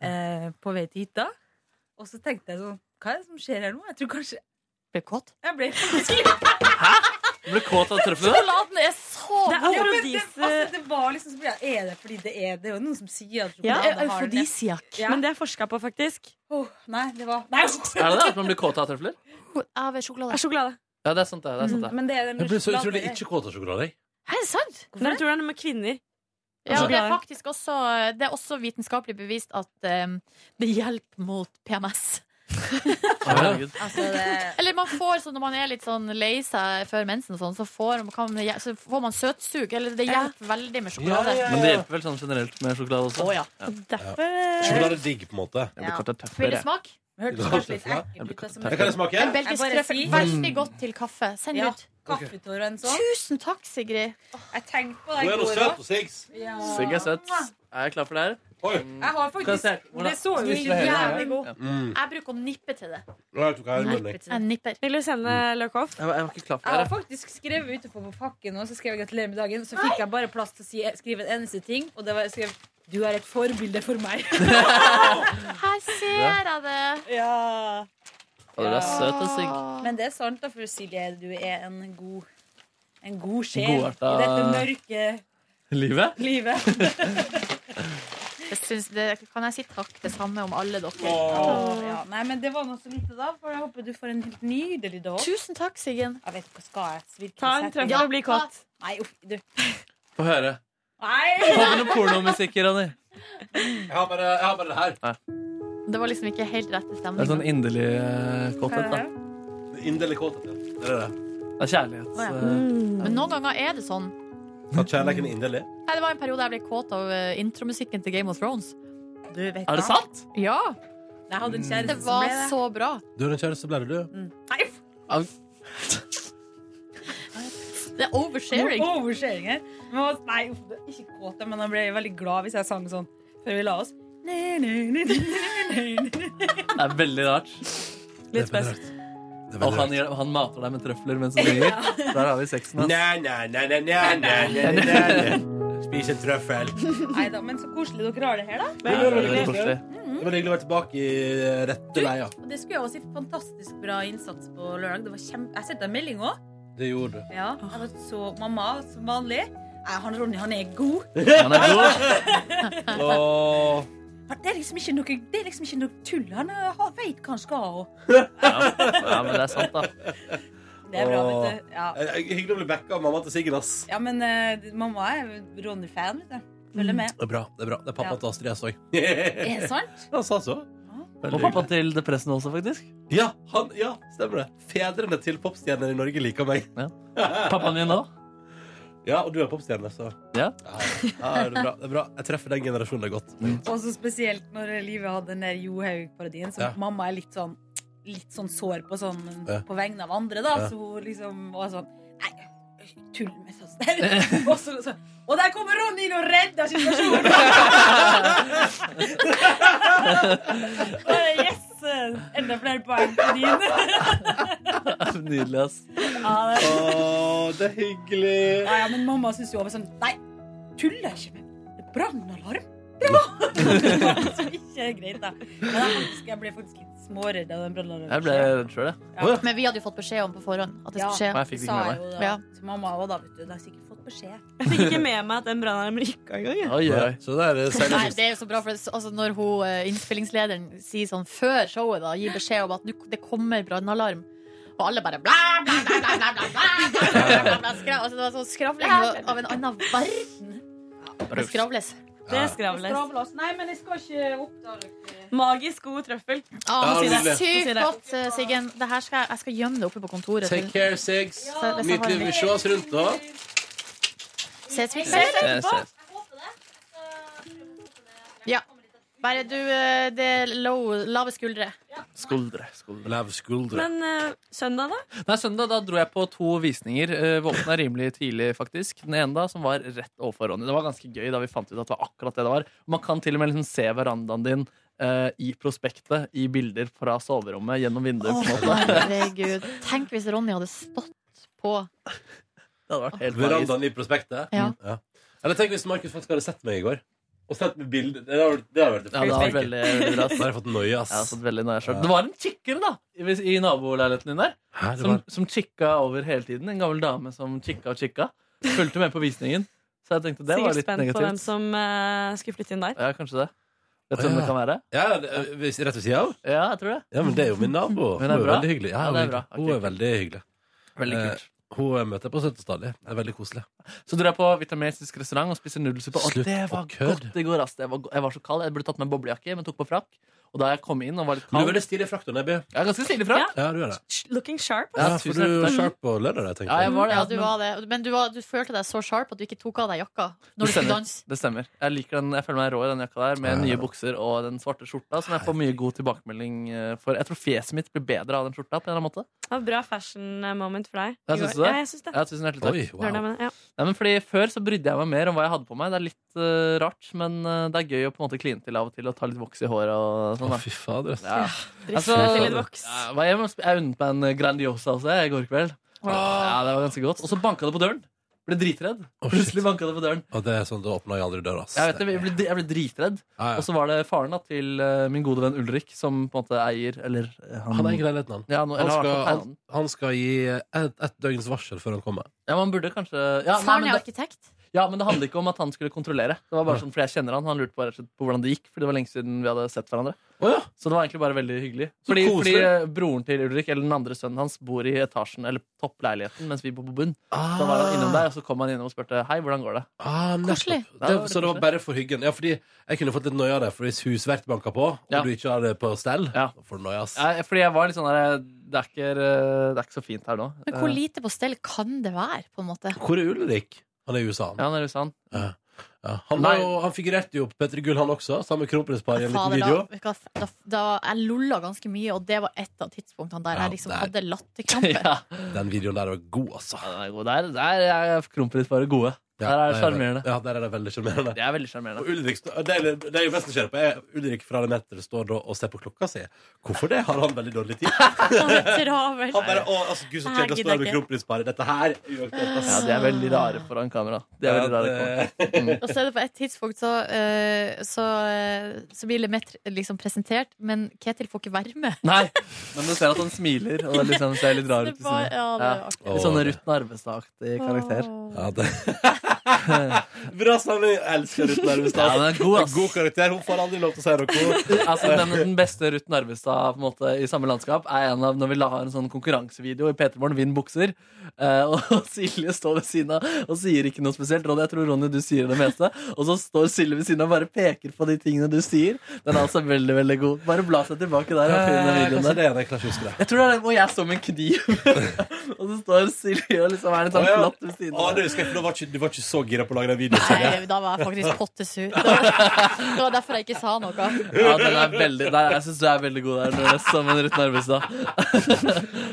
Speaker 14: eh, på vei til hytta. Og så tenkte jeg sånn Hva er det som skjer her nå? Jeg tror kanskje
Speaker 3: Ble kåt?
Speaker 14: Jeg ble faktisk
Speaker 4: Du ble kåt av trøfler?
Speaker 3: Sjokoladen er så
Speaker 14: Det er
Speaker 3: god!
Speaker 14: afrodise altså, Det var liksom så bra. Er det fordi det er det? er jo noen som sier at
Speaker 13: Ja,
Speaker 14: sjokolade har det. Ja.
Speaker 13: Men det er forska på, faktisk.
Speaker 14: Åh, Nei, det var Nei!
Speaker 4: Er det det at man blir kåt av trøfler?
Speaker 3: Av sjokolade.
Speaker 13: Er sjokolade.
Speaker 4: Ja, det er sant, det. det, er sant, det.
Speaker 14: Men det er det
Speaker 2: Jeg ble så utrolig ikke kåt av sjokolade. jeg.
Speaker 3: Er det sant?
Speaker 13: Men jeg tror det er noe med kvinner.
Speaker 3: Ja,
Speaker 13: Altså,
Speaker 3: det er
Speaker 13: det er-
Speaker 3: faktisk også, det er også vitenskapelig bevist at eh, det hjelper mot PMS.
Speaker 4: Herregud.
Speaker 14: Altså, det
Speaker 3: Eller man får sånn, når man er litt sånn lei seg før mensen og sånn, så får, man- kan, så får man søtsug. Eller det hjelper veldig med sjokolade.
Speaker 4: Men det hjelper vel sånn generelt med sjokolade også?
Speaker 3: Å, ja.
Speaker 2: Sjokolade er digg, på en måte.
Speaker 4: Jeg blir kåt av tøfler,
Speaker 3: Vil du
Speaker 4: jeg.
Speaker 3: smake?
Speaker 14: hørtes
Speaker 2: Ja,
Speaker 14: kanskje litt
Speaker 2: trøfler.
Speaker 14: ekkelt ut. altså, men-
Speaker 2: Jeg kan jeg smake?
Speaker 3: En belgisk
Speaker 14: Jeg bare
Speaker 3: trøffel.
Speaker 14: sier-
Speaker 3: Veldig godt til kaffe. Send
Speaker 14: Ja,
Speaker 3: ut.
Speaker 14: kaffetår og en sånn.
Speaker 3: Tusen takk, Sigrid.
Speaker 14: Jeg tenkte på
Speaker 2: Nå
Speaker 14: det i
Speaker 2: er hun
Speaker 14: går
Speaker 2: søt,
Speaker 14: òg.
Speaker 2: hun Sigs.
Speaker 14: Ja.
Speaker 4: Sigg er søt. Er jeg klar for det her? Mm.
Speaker 14: Jeg har
Speaker 4: Kan jeg se?
Speaker 14: faktisk
Speaker 4: Hvordan-
Speaker 14: Det så jo
Speaker 4: Spiser
Speaker 14: ut
Speaker 4: du hele her?
Speaker 3: Jævlig god.
Speaker 2: Mm.
Speaker 3: Jeg bruker å nippe til det.
Speaker 2: Nå tok jeg en
Speaker 3: Nippe
Speaker 2: melding.
Speaker 3: til det. Jeg nipper.
Speaker 13: Vil du sende
Speaker 4: Mm.
Speaker 13: løk off?
Speaker 4: Jeg var, jeg var ikke klar
Speaker 14: Jeg har
Speaker 4: for det.
Speaker 14: faktisk skrevet utenpå på pakken nå, så skrev jeg 'gratulerer med dagen'. Så fikk jeg bare plass til å si, skrive en eneste ting, og det var jeg skrev 'du er et forbilde for meg'.
Speaker 3: Her ser jeg det.
Speaker 14: ja.
Speaker 4: her. Å, Du er søt og sigg.
Speaker 14: Men det er sant, da, for Silje, du er en god en god sjel
Speaker 4: Godarta-
Speaker 14: i dette mørke
Speaker 4: Livet?
Speaker 14: livet.
Speaker 3: Jeg syns det. Kan jeg si takk det samme om alle dere?
Speaker 14: Åh, ja. Nei, men det var nå så lite, da. For jeg håper du får en helt nydelig dag.
Speaker 3: Tusen takk, Siggen.
Speaker 14: Jeg vet ikke, skal jeg virkelig
Speaker 13: Ta en
Speaker 14: sette-
Speaker 13: trøffel
Speaker 14: Ja.
Speaker 13: og bli kåt.
Speaker 14: Nei, uff, du.
Speaker 4: Få høre.
Speaker 14: Nei!
Speaker 4: Få med noe pornomusikk, Ronny.
Speaker 2: Jeg har bare, jeg har bare det her.
Speaker 3: Det var liksom ikke helt rette
Speaker 4: Det er sånn
Speaker 3: stemning.
Speaker 4: inderlig eh, kåthet, da.
Speaker 2: Det er Inderlig kåthet. ja. Det er det.
Speaker 4: Det er kjærlighet.
Speaker 3: Å, ja. Mm.
Speaker 4: eh,
Speaker 3: Men noen ganger er det sånn.
Speaker 2: At kjærligheten er inderlig.
Speaker 3: Nei, det var en periode jeg ble kåt av eh, intromusikken til Game of Thrones.
Speaker 14: Du vet
Speaker 4: Er det
Speaker 14: hva?
Speaker 4: sant? Mm.
Speaker 3: Ja,
Speaker 14: Jeg hadde en kjæreste
Speaker 3: Det
Speaker 14: som
Speaker 3: var
Speaker 14: ble det.
Speaker 3: så bra.
Speaker 14: Mm.
Speaker 2: Du har en kjæreste, ble det du?
Speaker 14: Nei, uff.
Speaker 4: Au.
Speaker 3: Det er oversharing.
Speaker 14: Noe oversharing her. Men, hva- nei, uff, det er ikke kåt, men jeg ble veldig glad hvis jeg sang sånn før vi la oss. Ne, ne, ne, ne, ne, ne, ne.
Speaker 4: Det er veldig rart.
Speaker 13: Litt spes.
Speaker 4: Og han, gjør- han mater deg med trøfler mens han ringer. Der har vi sexen hans.
Speaker 2: Nei, nei, nei, nei, nei, nei, nei, nei, nei. Spis en trøffel.
Speaker 14: Nei da, men så koselig dere har det her, da.
Speaker 2: Det var veldig koselig. Det var hyggelig å være tilbake i rette leia.
Speaker 14: Mhm. Det skulle jeg også si. Fantastisk bra innsats på lørdag. Det var kjempe... Jeg sendte en melding òg.
Speaker 2: Det gjorde du.
Speaker 14: Ja, jeg var så mamma, som vanlig. Nei, han Ronny, han er god.
Speaker 2: Han er god. Åh.
Speaker 14: Han- Det er liksom ikke noe, det er liksom ikke noe tull. Han eh, har- vet hva han skal. og-
Speaker 4: Ja, men det er sant, da.
Speaker 14: Det er bra, vet
Speaker 2: Åh.
Speaker 14: du. Ja.
Speaker 2: Eh, Hyggelig å bli backa av mamma til Siggen, ass.
Speaker 14: Ja, men eh, mamma er Ronny-fan, vet du. Følger med.
Speaker 2: Det er bra. det er bra Det er pappa
Speaker 14: Ja.
Speaker 2: til Astrid S òg.
Speaker 14: Er det sant?
Speaker 2: Han sa så. altså.
Speaker 4: Og pappa til Depressen også, faktisk.
Speaker 2: Ja, han, ja, stemmer det. Fedrene til popstjerner i Norge liker meg.
Speaker 4: Pappaen min nå?
Speaker 2: Ja, og du er popstjerne, så
Speaker 4: Ja.
Speaker 2: ja, det, er bra, det er bra. Jeg treffer den generasjonen det er godt.
Speaker 14: Og så spesielt når livet hadde den der Johaug-parodien, som
Speaker 2: Ja.
Speaker 14: mamma er litt sånn Litt sånn sår på sånn
Speaker 2: Ja.
Speaker 14: På vegne av andre, da.
Speaker 2: Ja.
Speaker 14: Så hun liksom var sånn Nei, tull med søster. og så, så Og der kommer Ronny inn og redder situasjonen! Bare, yes! Enda flere poeng på din.
Speaker 4: Nydelig, ass.
Speaker 14: ja, det.
Speaker 2: det er hyggelig.
Speaker 14: Ja, ja, men mamma syns jo over sånn Nei, tuller jeg ikke med. Det er Brannalarm? Bra! Som ikke er greit, da. Men jeg, faktisk, jeg ble faktisk litt småredd av den brannalarmen.
Speaker 4: Jeg ble redd sjøl, jeg.
Speaker 3: Men vi hadde jo fått beskjed om på forhånd at det skulle skje.
Speaker 4: Men jeg fikk det
Speaker 14: sa
Speaker 4: ikke med
Speaker 14: jeg jo
Speaker 4: meg.
Speaker 14: da
Speaker 3: Ja.
Speaker 14: til mamma òg, da, vet du. Da har jeg sikkert fått beskjed.
Speaker 13: Jeg fikk ikke med meg at den brannalarmen gikk av engang. jeg.
Speaker 4: Oi, oi, oi.
Speaker 2: Så det er eh,
Speaker 3: Nei, det er jo så bra, for det, altså, Når hun, eh, innspillingslederen sier sånn før showet da, gir beskjed om at nå- det kommer brannalarm, og alle bare bla, bla, bla, bla, bla, bla, bla, bla, bla, bla, bla, skra- altså, Det var sånn skravling av en annen verden. Det skravles.
Speaker 13: Det er skravles.
Speaker 14: Nei, men jeg skal ikke oppdage
Speaker 13: Magisk god trøffel.
Speaker 3: Ah,
Speaker 2: Ja, nydelig.
Speaker 3: sykt godt, eh, Siggen. Det her skal jeg, jeg skal gjemme det oppe på kontoret.
Speaker 2: Take
Speaker 3: Til.
Speaker 2: care, Sigs.
Speaker 3: Ja.
Speaker 2: Nyt liv. Vi ses rundt, da.
Speaker 3: Ses vi?
Speaker 2: Ses etterpå.
Speaker 3: Ja. Bare du, eh, det er low, lave skuldre.
Speaker 4: Skuldre. skuldre.
Speaker 2: Lav skuldre.
Speaker 13: Men eh, søndag, da?
Speaker 4: Nei, Søndag da dro jeg på to visninger. Eh, Våkna rimelig tidlig, faktisk. Den ene da, som var rett overfor Ronny. Det var ganske gøy da vi fant ut at det var akkurat det det var. Man kan til og med liksom se verandaen din eh, i prospektet, i bilder fra soverommet, gjennom vinduet. på en måte.
Speaker 3: Herregud. Tenk hvis Ronny hadde stått på
Speaker 4: Det hadde vært helt magisk.
Speaker 2: Verandaen i Prospektet.
Speaker 3: Ja.
Speaker 2: Ja. Eller tenk hvis Markus faktisk hadde sett meg i går. Og sendt meg bilde. Det hadde vært- det hadde vært
Speaker 4: Ja, det hadde vært veldig, veldig bra.
Speaker 2: Da hadde jeg fått noia,
Speaker 4: Jeg har
Speaker 2: ass.
Speaker 4: fått veldig nøye sjøl. Det var en kikkere, da, i, i naboleiligheten din der.
Speaker 2: Hæ, det
Speaker 4: Som,
Speaker 2: var-
Speaker 4: som kikka over hele tiden. En gammel dame som kikka og kikka. Fulgte med på visningen. Så jeg tenkte det var
Speaker 13: Sikkert
Speaker 4: litt
Speaker 13: spent på hvem
Speaker 4: negativt.
Speaker 13: som eh, skulle flytte inn der.
Speaker 4: Ja, kanskje det. Vet du hvem det kan være?
Speaker 2: Ja, det- hvis- rett ved siden av?
Speaker 4: Ja, jeg tror det.
Speaker 2: Ja, men det er jo min nabo.
Speaker 4: Men det
Speaker 2: Hun er
Speaker 4: er
Speaker 2: jo
Speaker 4: bra.
Speaker 2: veldig hyggelig. Ja,
Speaker 4: Ja,
Speaker 2: hun,
Speaker 4: det er
Speaker 2: er
Speaker 4: bra.
Speaker 2: hun er veldig hyggelig.
Speaker 4: Veldig kult.
Speaker 2: Eh, hun møter jeg på Søndag stadig. Det er veldig koselig.
Speaker 4: Så dro jeg på vietnamesisk restaurant og spiste nudelsuppe. Og
Speaker 2: Slutt
Speaker 4: det
Speaker 2: å
Speaker 4: var
Speaker 2: kødde.
Speaker 4: godt i går. ass. Jeg var, go- jeg var så kald. Jeg burde tatt med boblejakke, men tok på frakk. Og da jeg kom inn og var litt
Speaker 2: Men
Speaker 4: kald
Speaker 2: du er veldig stilig i frakk, da, Nebby.
Speaker 4: Jeg er ganske stilig frakk.
Speaker 2: Ja, du er det.
Speaker 13: Sh- Looking sharp.
Speaker 2: Ja,
Speaker 13: ass.
Speaker 2: for du var sharp på lørdag, jeg tenkte.
Speaker 4: Ja, jeg var det.
Speaker 3: altså. Ja, du var det. Men du, var, du følte deg så sharp at du ikke tok av deg jakka når du skulle
Speaker 4: stemmer.
Speaker 3: danse.
Speaker 4: det stemmer. Jeg liker den, jeg føler meg rå i den jakka der, med nye bukser og den svarte skjorta, som jeg får mye god tilbakemelding eh, for. Jeg tror fjeset mitt blir bedre av den skjorta. på en eller annen måte.
Speaker 13: Det var bra fashion eh, moment for deg.
Speaker 4: Jeg
Speaker 13: i
Speaker 4: syns
Speaker 13: går.
Speaker 4: det.
Speaker 13: Ja, jeg syns det.
Speaker 4: Ja, tusen hjertelig takk.
Speaker 2: Oi, wow.
Speaker 13: Lørdag, men, ja.
Speaker 4: Nei, men fordi Før så brydde jeg meg mer om hva jeg hadde på meg. Det er litt eh, rart, men eh, det er gøy å på en måte kline til av og til og ta litt voks i håret. og sånn da.
Speaker 2: Å, fy fader. ass.
Speaker 4: Ja.
Speaker 13: Drifte
Speaker 4: Altså,
Speaker 13: til litt voks.
Speaker 4: ja, hva jeg, må sp- jeg unnet meg en eh, Grandiosa også jeg, i går kveld. Ja, det var ganske godt Og så banka det på døren. Ble dritredd. Plutselig banka det på døren.
Speaker 2: Og det er sånn, Da åpner jeg aldri døra. ass.
Speaker 4: Jeg, vet, det, jeg, ble, jeg ble dritredd.
Speaker 2: Ja, ja.
Speaker 4: Og så var det faren da til eh, min gode venn Ulrik, som på en måte eier Eller eh,
Speaker 2: Han eier leiligheten, han.
Speaker 4: Ja, nå-
Speaker 2: han,
Speaker 4: eller i hvert
Speaker 2: skal,
Speaker 4: fall eier
Speaker 2: han, han skal gi ett et døgns varsel før han kommer.
Speaker 4: Ja, man burde kanskje ja, nei,
Speaker 3: Faren
Speaker 4: men
Speaker 3: er
Speaker 4: det,
Speaker 3: arkitekt.
Speaker 4: ja, men det handler ikke om at han skulle kontrollere. Det var bare sånn, fordi jeg kjenner Han Han lurte bare rett og slett på hvordan det gikk, Fordi det var lenge siden vi hadde sett hverandre.
Speaker 2: Å ja.
Speaker 4: Så det var egentlig bare veldig hyggelig.
Speaker 2: Så
Speaker 4: Fordi,
Speaker 2: koselig.
Speaker 4: fordi eh, broren til Ulrik, eller den andre sønnen hans, bor i etasjen, eller toppleiligheten, mens vi bor på bunn.
Speaker 2: Ah.
Speaker 4: Da var han innom der, og så kom han innom og spurte hei, hvordan går det?
Speaker 2: Ah, nettopp.
Speaker 4: Koselig.
Speaker 2: Det, så det var bare for hyggen. Ja, fordi jeg kunne fått litt noia av det. For hvis husvert banka på, og
Speaker 4: Ja.
Speaker 2: du ikke har det på stell, da får du noia. ass.
Speaker 4: Nei, Fordi jeg var litt sånn der det er, ikke, eh, det er ikke så fint her nå.
Speaker 3: Men hvor
Speaker 4: Eh,
Speaker 3: lite på stell kan det være, på en måte?
Speaker 2: Hvor er Ulrik? Han er i USA.
Speaker 4: Ja, han er i USA. han.
Speaker 2: Ja. Ja, han, var jo, han figurerte jo på Petter Gull, han også, sammen med kronprinspar i en liten
Speaker 3: Fader,
Speaker 2: video.
Speaker 3: da, vet du hva, da, da, jeg lolla ganske mye, og det var et av tidspunktene der jeg liksom hadde latterkrampe.
Speaker 2: Den videoen der var god, altså.
Speaker 4: Der, der er kronprinsparet gode. der er det
Speaker 2: der er det-
Speaker 4: sjarmerende.
Speaker 2: Ja, der er det veldig sjarmerende.
Speaker 4: Det er veldig sjarmerende.
Speaker 2: Og Ulrik, stå- det, er- det er jo mest nysgjerrig på er Ulrik fra Elementer står da og ser på klokka si. Hvorfor det? Har han veldig dårlig tid?
Speaker 3: Travelt.
Speaker 2: Han bare, å, altså, Gud, så kjedelig å stå her med kronprinsparet. Dette her er uaktuelt, ass.
Speaker 4: Ja, de er veldig rare foran kamera. De er
Speaker 2: Ja,
Speaker 4: veldig rare Mm. kamera.
Speaker 3: Og så er det på et tidspunkt så, eh, så, eh, så blir Lemet liksom presentert, men Ketil får ikke være med.
Speaker 4: Nei, men du ser at han smiler, og det liksom ser litt rar ut. i
Speaker 3: Det var-
Speaker 4: siden.
Speaker 3: ja, det var akkurat.
Speaker 4: Litt sånn Ruth Narvestad-aktig karakter.
Speaker 2: Ja, det... Bra samling! Jeg elsker Ruth Narvestad.
Speaker 4: Ja, den er god, ass.
Speaker 2: god karakter. Hun får aldri lov til å si noe.
Speaker 4: altså, den, den beste Ruth Narvestad på en måte, i samme landskap er en av når vi la en sånn konkurransevideo i P3 Morgen, Vinn bukser. Eh, og Silje står ved siden av og sier ikke noe spesielt. Ronny, jeg tror Ronny, du sier det meste. Og så står Silje ved siden av og bare peker på de tingene du sier. Den er altså veldig, veldig god. Bare bla seg tilbake der og finn den
Speaker 2: Eh,
Speaker 4: videoen
Speaker 2: kanskje
Speaker 4: der.
Speaker 2: det er det, jeg klarer ikke å huske det.
Speaker 4: Jeg tror det er den hvor jeg står med en kniv, og så står Silje og liksom er litt sånn
Speaker 2: Å, ja.
Speaker 4: flott ved siden
Speaker 2: Å,
Speaker 4: av.
Speaker 2: du, husker jeg, for da var ikke, du var ikke så gira på å lage den videoen. Silje.
Speaker 3: Nei, da var jeg faktisk pottesur. Det var, det var derfor jeg ikke sa noe.
Speaker 4: Ja, den er veldig Nei, jeg syns du er veldig god der, Nordnes, som en Ruth Narvestad.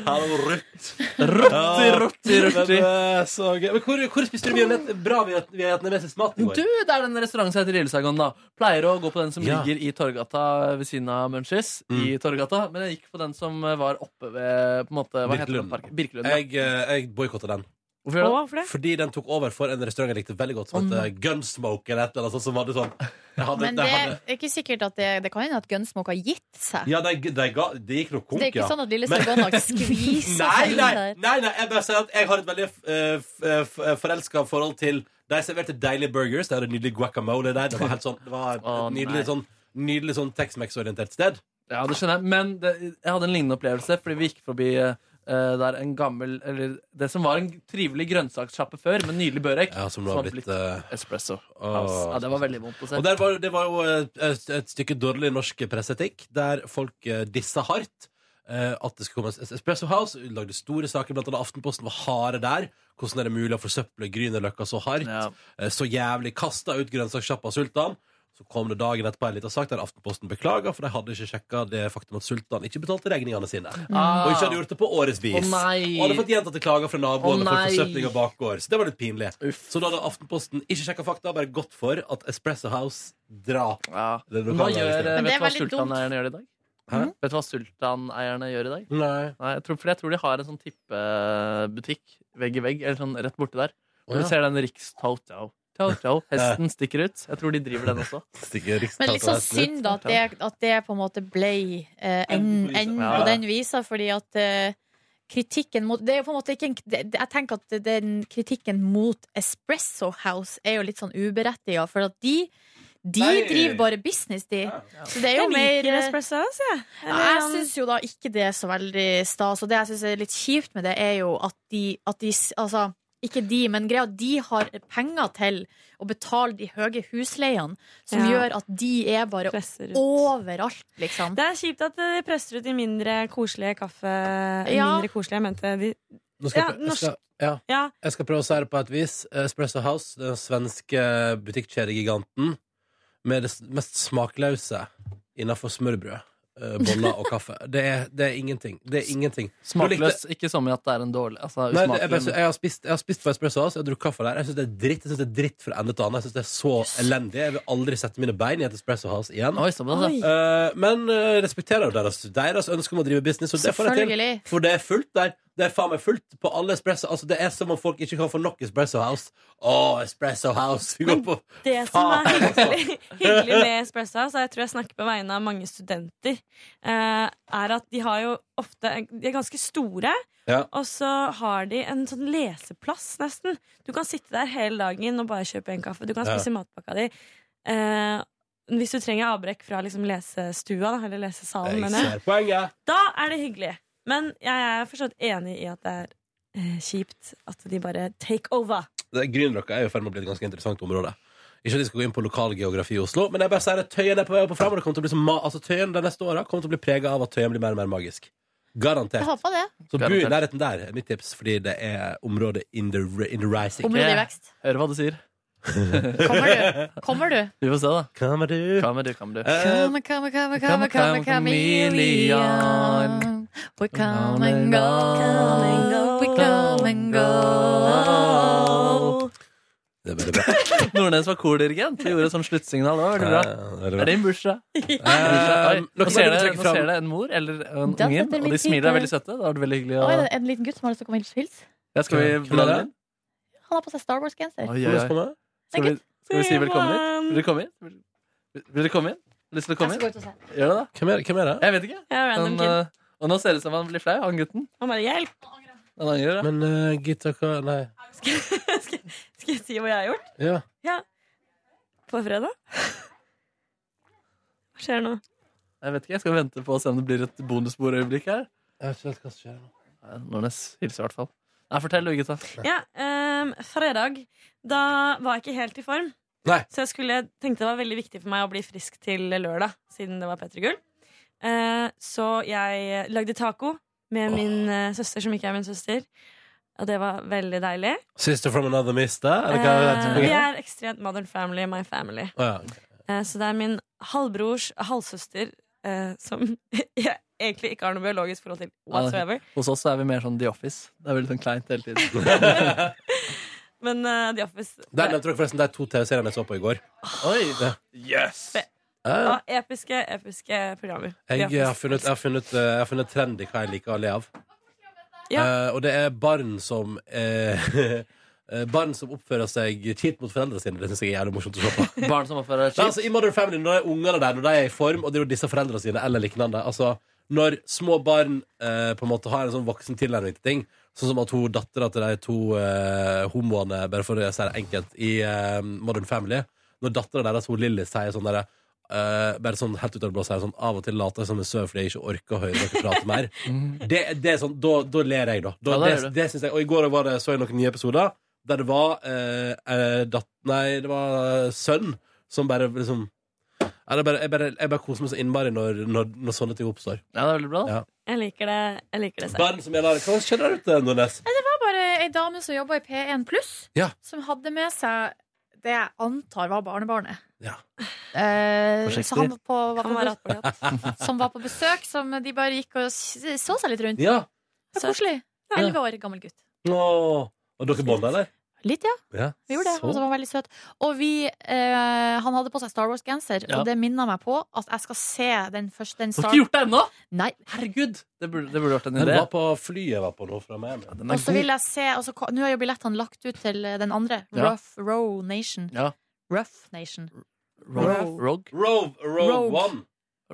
Speaker 2: Hallo, Ruth.
Speaker 4: Rutti, rutti, rutti.
Speaker 2: Men, eh, så gøy. Men hvor, hvor spiste du vietnet, bra viet- vietnamesisk mat i går?
Speaker 4: Du, det er den restauranten som heter Lillesagon, da. Pleier å gå på den som
Speaker 2: Ja. Mm.
Speaker 4: ligger i Torgata ved siden av Munchies. I Torgata, Men jeg gikk på den som var oppe ved på en måte, hva heter den
Speaker 2: Birkelund.
Speaker 4: parken? Birkelund. ja.
Speaker 2: Jeg, eh, jeg boikotta den.
Speaker 4: Hvorfor gjør du det? Å, hvorfor det?
Speaker 2: Fordi den tok over for en restaurant jeg likte veldig godt, som
Speaker 4: Å,
Speaker 2: het Gunsmoke. Eller et eller annet sånt som hadde sånn jeg hadde,
Speaker 3: Men
Speaker 2: de
Speaker 3: det
Speaker 2: hadde,
Speaker 3: er ikke sikkert at det, det kan hende at Gunsmoke har gitt seg.
Speaker 2: Ja, de, de ga, det gikk nok konk,
Speaker 3: Det er ikke
Speaker 2: ja.
Speaker 3: sånn at Lille
Speaker 2: Men-
Speaker 3: Sargon har skvisa seg
Speaker 2: Nei,
Speaker 3: inn
Speaker 2: nei,
Speaker 3: der.
Speaker 2: nei, nei, jeg bare sier at jeg har et veldig eh, f- eh, f- eh, forelska forhold til De serverte deilige burgers. De hadde nydelig guacamole der. Det var, helt sånn, det var et nydelig
Speaker 4: nei.
Speaker 2: sånn, nydelig sånn Tex-Mex-orientert sted.
Speaker 4: Ja, det skjønner jeg. Men det, jeg hadde en lignende opplevelse, fordi vi gikk forbi eh, der en gammel Eller det som var en trivelig grønnsakssjappe før, med nydelig børek.
Speaker 2: Ja, som nå har blitt eh,
Speaker 4: espresso.
Speaker 2: Åh.
Speaker 4: Ja, det var veldig vondt å se.
Speaker 2: Og der var, det var jo et, et, et stykke dårlig norsk presseetikk, der folk eh, dissa hardt. eh, at det skulle komme en Espresso House lagde store saker, blant annet Aftenposten var harde der. Hvordan er det mulig å forsøple Grünerløkka så hardt? Eh, så jævlig. Kasta ut grønnsakssjappa Sultan. Så kom det dagen etterpå en liten sak der Aftenposten beklaga, for de hadde ikke sjekka det faktum at Sultan ikke betalte regningene sine.
Speaker 4: Ah.
Speaker 2: Og ikke hadde gjort det på årets vis.
Speaker 4: Å, nei.
Speaker 2: og hadde fått gjentatte klager fra naboene
Speaker 4: Å,
Speaker 2: for
Speaker 4: nei.
Speaker 2: forsøpling av bakgård. Så det var litt pinlig. Så da hadde Aftenposten ikke sjekka fakta, bare gått for at Espresso House drar. Det
Speaker 4: Men hva gjør, eh, vet
Speaker 2: Men
Speaker 4: du
Speaker 2: det
Speaker 4: hva
Speaker 2: var litt dumt.
Speaker 4: sultaneierne gjør i dag?
Speaker 2: Hæ?
Speaker 4: Mm. Vet du hva sultaneierne gjør i dag?
Speaker 2: Nei.
Speaker 4: jeg tror, for jeg tror de har en sånn tippebutikk vegg i vegg, eller sånn rett borte der. Hvor
Speaker 2: Å, ja.
Speaker 4: du ser den Rikstoto. Toto. Hesten stikker ut. Jeg tror de driver den også.
Speaker 3: Men litt sånn synd da, at det, at det på en måte ble eh, enden enden
Speaker 4: Ja.
Speaker 3: på den visa, fordi at eh, kritikken mot Det er jo på en måte ikke en det, det- Jeg tenker at den kritikken mot Espresso House er jo litt sånn uberettiga, for at de de
Speaker 13: Nei.
Speaker 3: driver bare business, de. Så det er jo
Speaker 13: jeg
Speaker 3: mer eh,
Speaker 13: liker espresso house, jeg.
Speaker 3: ja, jeg syns jo da ikke det er så veldig stas, og det jeg syns er litt kjipt med det, er jo at de, at de s- Altså, ikke de, men greia at de har penger til å betale de høye husleiene, som
Speaker 13: Ja.
Speaker 3: gjør at de er bare
Speaker 13: Presser ut.
Speaker 3: overalt, liksom.
Speaker 13: Det er kjipt at de presser ut de mindre koselige kaffe...
Speaker 3: Ja.
Speaker 13: Mindre koselige, jeg mente de
Speaker 2: Nå skal jeg,
Speaker 13: Ja,
Speaker 2: prø- jeg, skal, ja.
Speaker 13: Ja.
Speaker 2: jeg skal prøve å si det på et vis. Espresso House, den svenske butikkjedegiganten med det s- mest smakløse innafor smørbrød, eh, boller og kaffe. Det er, det er ingenting. Det er ingenting. Nå likte-
Speaker 4: Smakløs. Ikke som i at det er en dårlig altså,
Speaker 2: Nei, det,
Speaker 4: usmakelig,
Speaker 2: jeg, bare,
Speaker 4: men-
Speaker 2: jeg, har spist, jeg har spist på Espresso House, jeg har drukket kaffe der. Jeg syns det er dritt Jeg synes det er dritt fra ende til annen. Jeg synes det er så elendig. Jeg vil aldri sette mine bein i et Espresso House igjen.
Speaker 4: såpass, ja.
Speaker 2: Eh, men eh, respekterer jo deres, deres ønske om å drive business, og det får jeg til.
Speaker 3: Selvfølgelig.
Speaker 2: For det er fullt der. Det er faen meg fullt på alle espresso. Altså, det er som om folk ikke kan få nok Espresso House. Å, Espresso House! Vi går på
Speaker 13: Det som er
Speaker 2: Faen,
Speaker 13: hyggelig, hyggelig med Espresso House, og jeg tror jeg snakker på vegne av mange studenter, eh, er at de har jo ofte De er ganske store,
Speaker 2: Ja.
Speaker 13: og så har de en sånn leseplass, nesten. Du kan sitte der hele dagen og bare kjøpe en kaffe. Du kan
Speaker 11: Ja.
Speaker 13: spise matpakka di. Eh, hvis du trenger avbrekk fra liksom lesestua, da, eller lesesalen,
Speaker 11: Jeg
Speaker 13: mener jeg.
Speaker 11: ser
Speaker 2: poenget.
Speaker 13: Da er det hyggelig. Men jeg er forstått enig i at det er eh, kjipt at de bare take over.
Speaker 2: Det- Grünerløkka er jo i ferd med å bli et ganske interessant område. Ikke at vi skal gå inn på lokalgeografi i Oslo, men jeg bare sier at Tøyen er på vei opp og fram. Og det kommer til å bli så ma altså, tøyen de neste åra kommer til å bli prega av at Tøyen blir mer og mer magisk. Garantert.
Speaker 3: Jeg håper det.
Speaker 2: Så bo i nærheten der er mitt tips, fordi det er området in the, ri- in the rising.
Speaker 3: Området i vekst.
Speaker 4: Hører hva du sier.
Speaker 3: Kommer du? Kommer du?
Speaker 4: Vi får se, da.
Speaker 2: Kommer du? Eh,
Speaker 4: Kommer du, kommer du.
Speaker 3: Come, come, come, come,
Speaker 4: Come,
Speaker 3: come,
Speaker 4: come, chameleon.
Speaker 3: chameleon. We come and go. Come and go. We come and go.
Speaker 2: Det er veldig bra.
Speaker 4: Nordnes var kordirigent. Vi gjorde et sånt sluttsignal. Det var veldig bra.
Speaker 2: Ja, det er bra.
Speaker 4: Er det en bursdag?
Speaker 2: Eh,
Speaker 4: Oi,
Speaker 2: noe
Speaker 4: Nå ser
Speaker 2: du
Speaker 4: det-
Speaker 2: trekker
Speaker 4: nå
Speaker 2: fram?
Speaker 4: ser det en mor eller en
Speaker 3: Da
Speaker 4: unge,
Speaker 3: setter
Speaker 4: og de
Speaker 3: vi
Speaker 4: smiler og er veldig
Speaker 3: tid
Speaker 4: søtte. Det har vært veldig hyggelig
Speaker 3: Å,
Speaker 4: å
Speaker 3: er det en liten gutt som har lyst til å komme og hilse?
Speaker 4: ja, Skal vi
Speaker 2: Hvem er det?
Speaker 3: Han har på seg Star Wars-genser.
Speaker 4: Oi, oi, oi. Skal vi, skal vi si velkommen hit? Vil du komme inn? Vil- Vil du komme inn? Lyst til å komme
Speaker 12: Jeg
Speaker 4: inn?
Speaker 12: skal gå ut og se.
Speaker 4: Gjør det, da.
Speaker 2: Hvem er, det?
Speaker 4: Jeg vet ikke.
Speaker 13: Ja,
Speaker 4: Han,
Speaker 13: random kid.
Speaker 4: eh, og nå ser det ut som han blir flau, han gutten.
Speaker 13: Han bare 'hjelp'.
Speaker 4: Han angrer. da.
Speaker 2: Men uh, Gitta, hva Nei.
Speaker 13: Skal jeg si hva jeg har gjort?
Speaker 2: Ja.
Speaker 13: Ja. På fredag? Hva skjer nå?
Speaker 4: Jeg vet ikke, jeg skal vente på å se om det blir et bonusbordøyeblikk her.
Speaker 2: Jeg vet ikke helt hva som skjer nå.
Speaker 4: Nei, Nordnes hilser i hvert fall. Nei, fortell du, gutta.
Speaker 13: Ja, ehm, fredag. Da var jeg ikke helt i form.
Speaker 2: Nei.
Speaker 13: Så jeg skulle, tenkte det var veldig viktig for meg å bli frisk til lørdag, siden det var P3 Gull. Eh, så jeg lagde taco med min eh, søster, som ikke er min søster. Og det var veldig deilig.
Speaker 2: Sister from another mister? Eller hva er det?
Speaker 13: Eh, vi
Speaker 2: programmet?
Speaker 13: er ekstremt modern family, my family.
Speaker 2: Å, ja, ok.
Speaker 13: Eh, Så det er min halvbrors halvsøster eh, som jeg egentlig ikke har noe biologisk forhold til whatsoever.
Speaker 4: Hos oss så er vi mer sånn The Office. Det er veldig sånn kleint hele tiden.
Speaker 13: Men eh, The Office
Speaker 2: Der nevnte dere forresten de to TV-seriene jeg så på i går.
Speaker 4: Oi!
Speaker 2: Ja.
Speaker 4: Yes!
Speaker 2: Ja.
Speaker 13: Ja, episke, episke programmer. The
Speaker 2: Jeg,
Speaker 13: Office.
Speaker 2: har funnet, jeg, har funnet, eh, jeg har funnet trend i hva jeg liker å le av.
Speaker 13: Ja.
Speaker 2: Eh, og det er barn som eh, eh, Barn som oppfører seg kjipt mot foreldrene sine. Det synes jeg er jævlig morsomt å se på.
Speaker 4: Barn som oppfører
Speaker 2: Nei, altså, I Modern Family, når de ungene der Når de er i form, og det er jo disse foreldrene sine eller lignende Altså, når små barn eh, På en måte har en sånn voksen tilnærming til ting Sånn som at hun dattera til de to eh, homoene Bare for å si det enkelt I eh, Modern Family Når dattera deres, hun Lilly, sier sånn der eh, bare sånn helt ut av det blå sier sånn Av og til later jeg som en søv fordi jeg ikke orker å høre dere prate mer det, det er sånn, da, da ler jeg da, da
Speaker 4: Ja, da
Speaker 2: det,
Speaker 4: gjør du.
Speaker 2: det synes jeg Og i går var det, så jeg noen nye episoder Der det var eh, eh, datt, Nei, det var eh, sønn Som bare liksom ja, det er bare, jeg, bare, jeg bare koser meg så innmari når, når, når sånne ting oppstår
Speaker 4: Ja, det er veldig bra
Speaker 2: ja.
Speaker 13: Jeg liker det. Jeg liker det selv.
Speaker 2: Barn som gjelder Hva skjer der ute, Nordnes?
Speaker 3: Nei, Det var bare ei dame som jobba i P1 Pluss,
Speaker 2: Ja.
Speaker 3: som hadde med seg det jeg antar var barnebarnet.
Speaker 2: Ja.
Speaker 3: Eh,
Speaker 2: Forsiktig.
Speaker 3: så han var på, var
Speaker 13: Han var
Speaker 3: på, som var på besøk, som de bare gikk og s- så seg litt rundt.
Speaker 2: Ja.
Speaker 3: Det var koselig.
Speaker 2: Ja.
Speaker 3: Elleve år gammel gutt.
Speaker 2: Åh, og dere bondet, eller?
Speaker 3: Litt, ja.
Speaker 2: Ja,
Speaker 3: Vi gjorde det.
Speaker 2: så.
Speaker 3: Han som var veldig søt. Og vi, eh, han hadde på seg Star Wars-genser,
Speaker 4: Ja.
Speaker 3: og det minna meg på at jeg skal se den første den
Speaker 4: Du har ikke gjort det ennå!
Speaker 3: Nei.
Speaker 4: Herregud! Det burde, det burde vært en
Speaker 2: Den
Speaker 4: idé.
Speaker 2: var på flyet jeg var på nå fra Miami
Speaker 3: Og så vil jeg se og så ko- Nå er jo billettene lagt ut til eh, den andre.
Speaker 2: Ja.
Speaker 3: Rough Row Nation.
Speaker 4: Ja.
Speaker 3: Rough Nation.
Speaker 4: Rogue. Rogue.
Speaker 2: Rogue,
Speaker 3: Rogue.
Speaker 2: One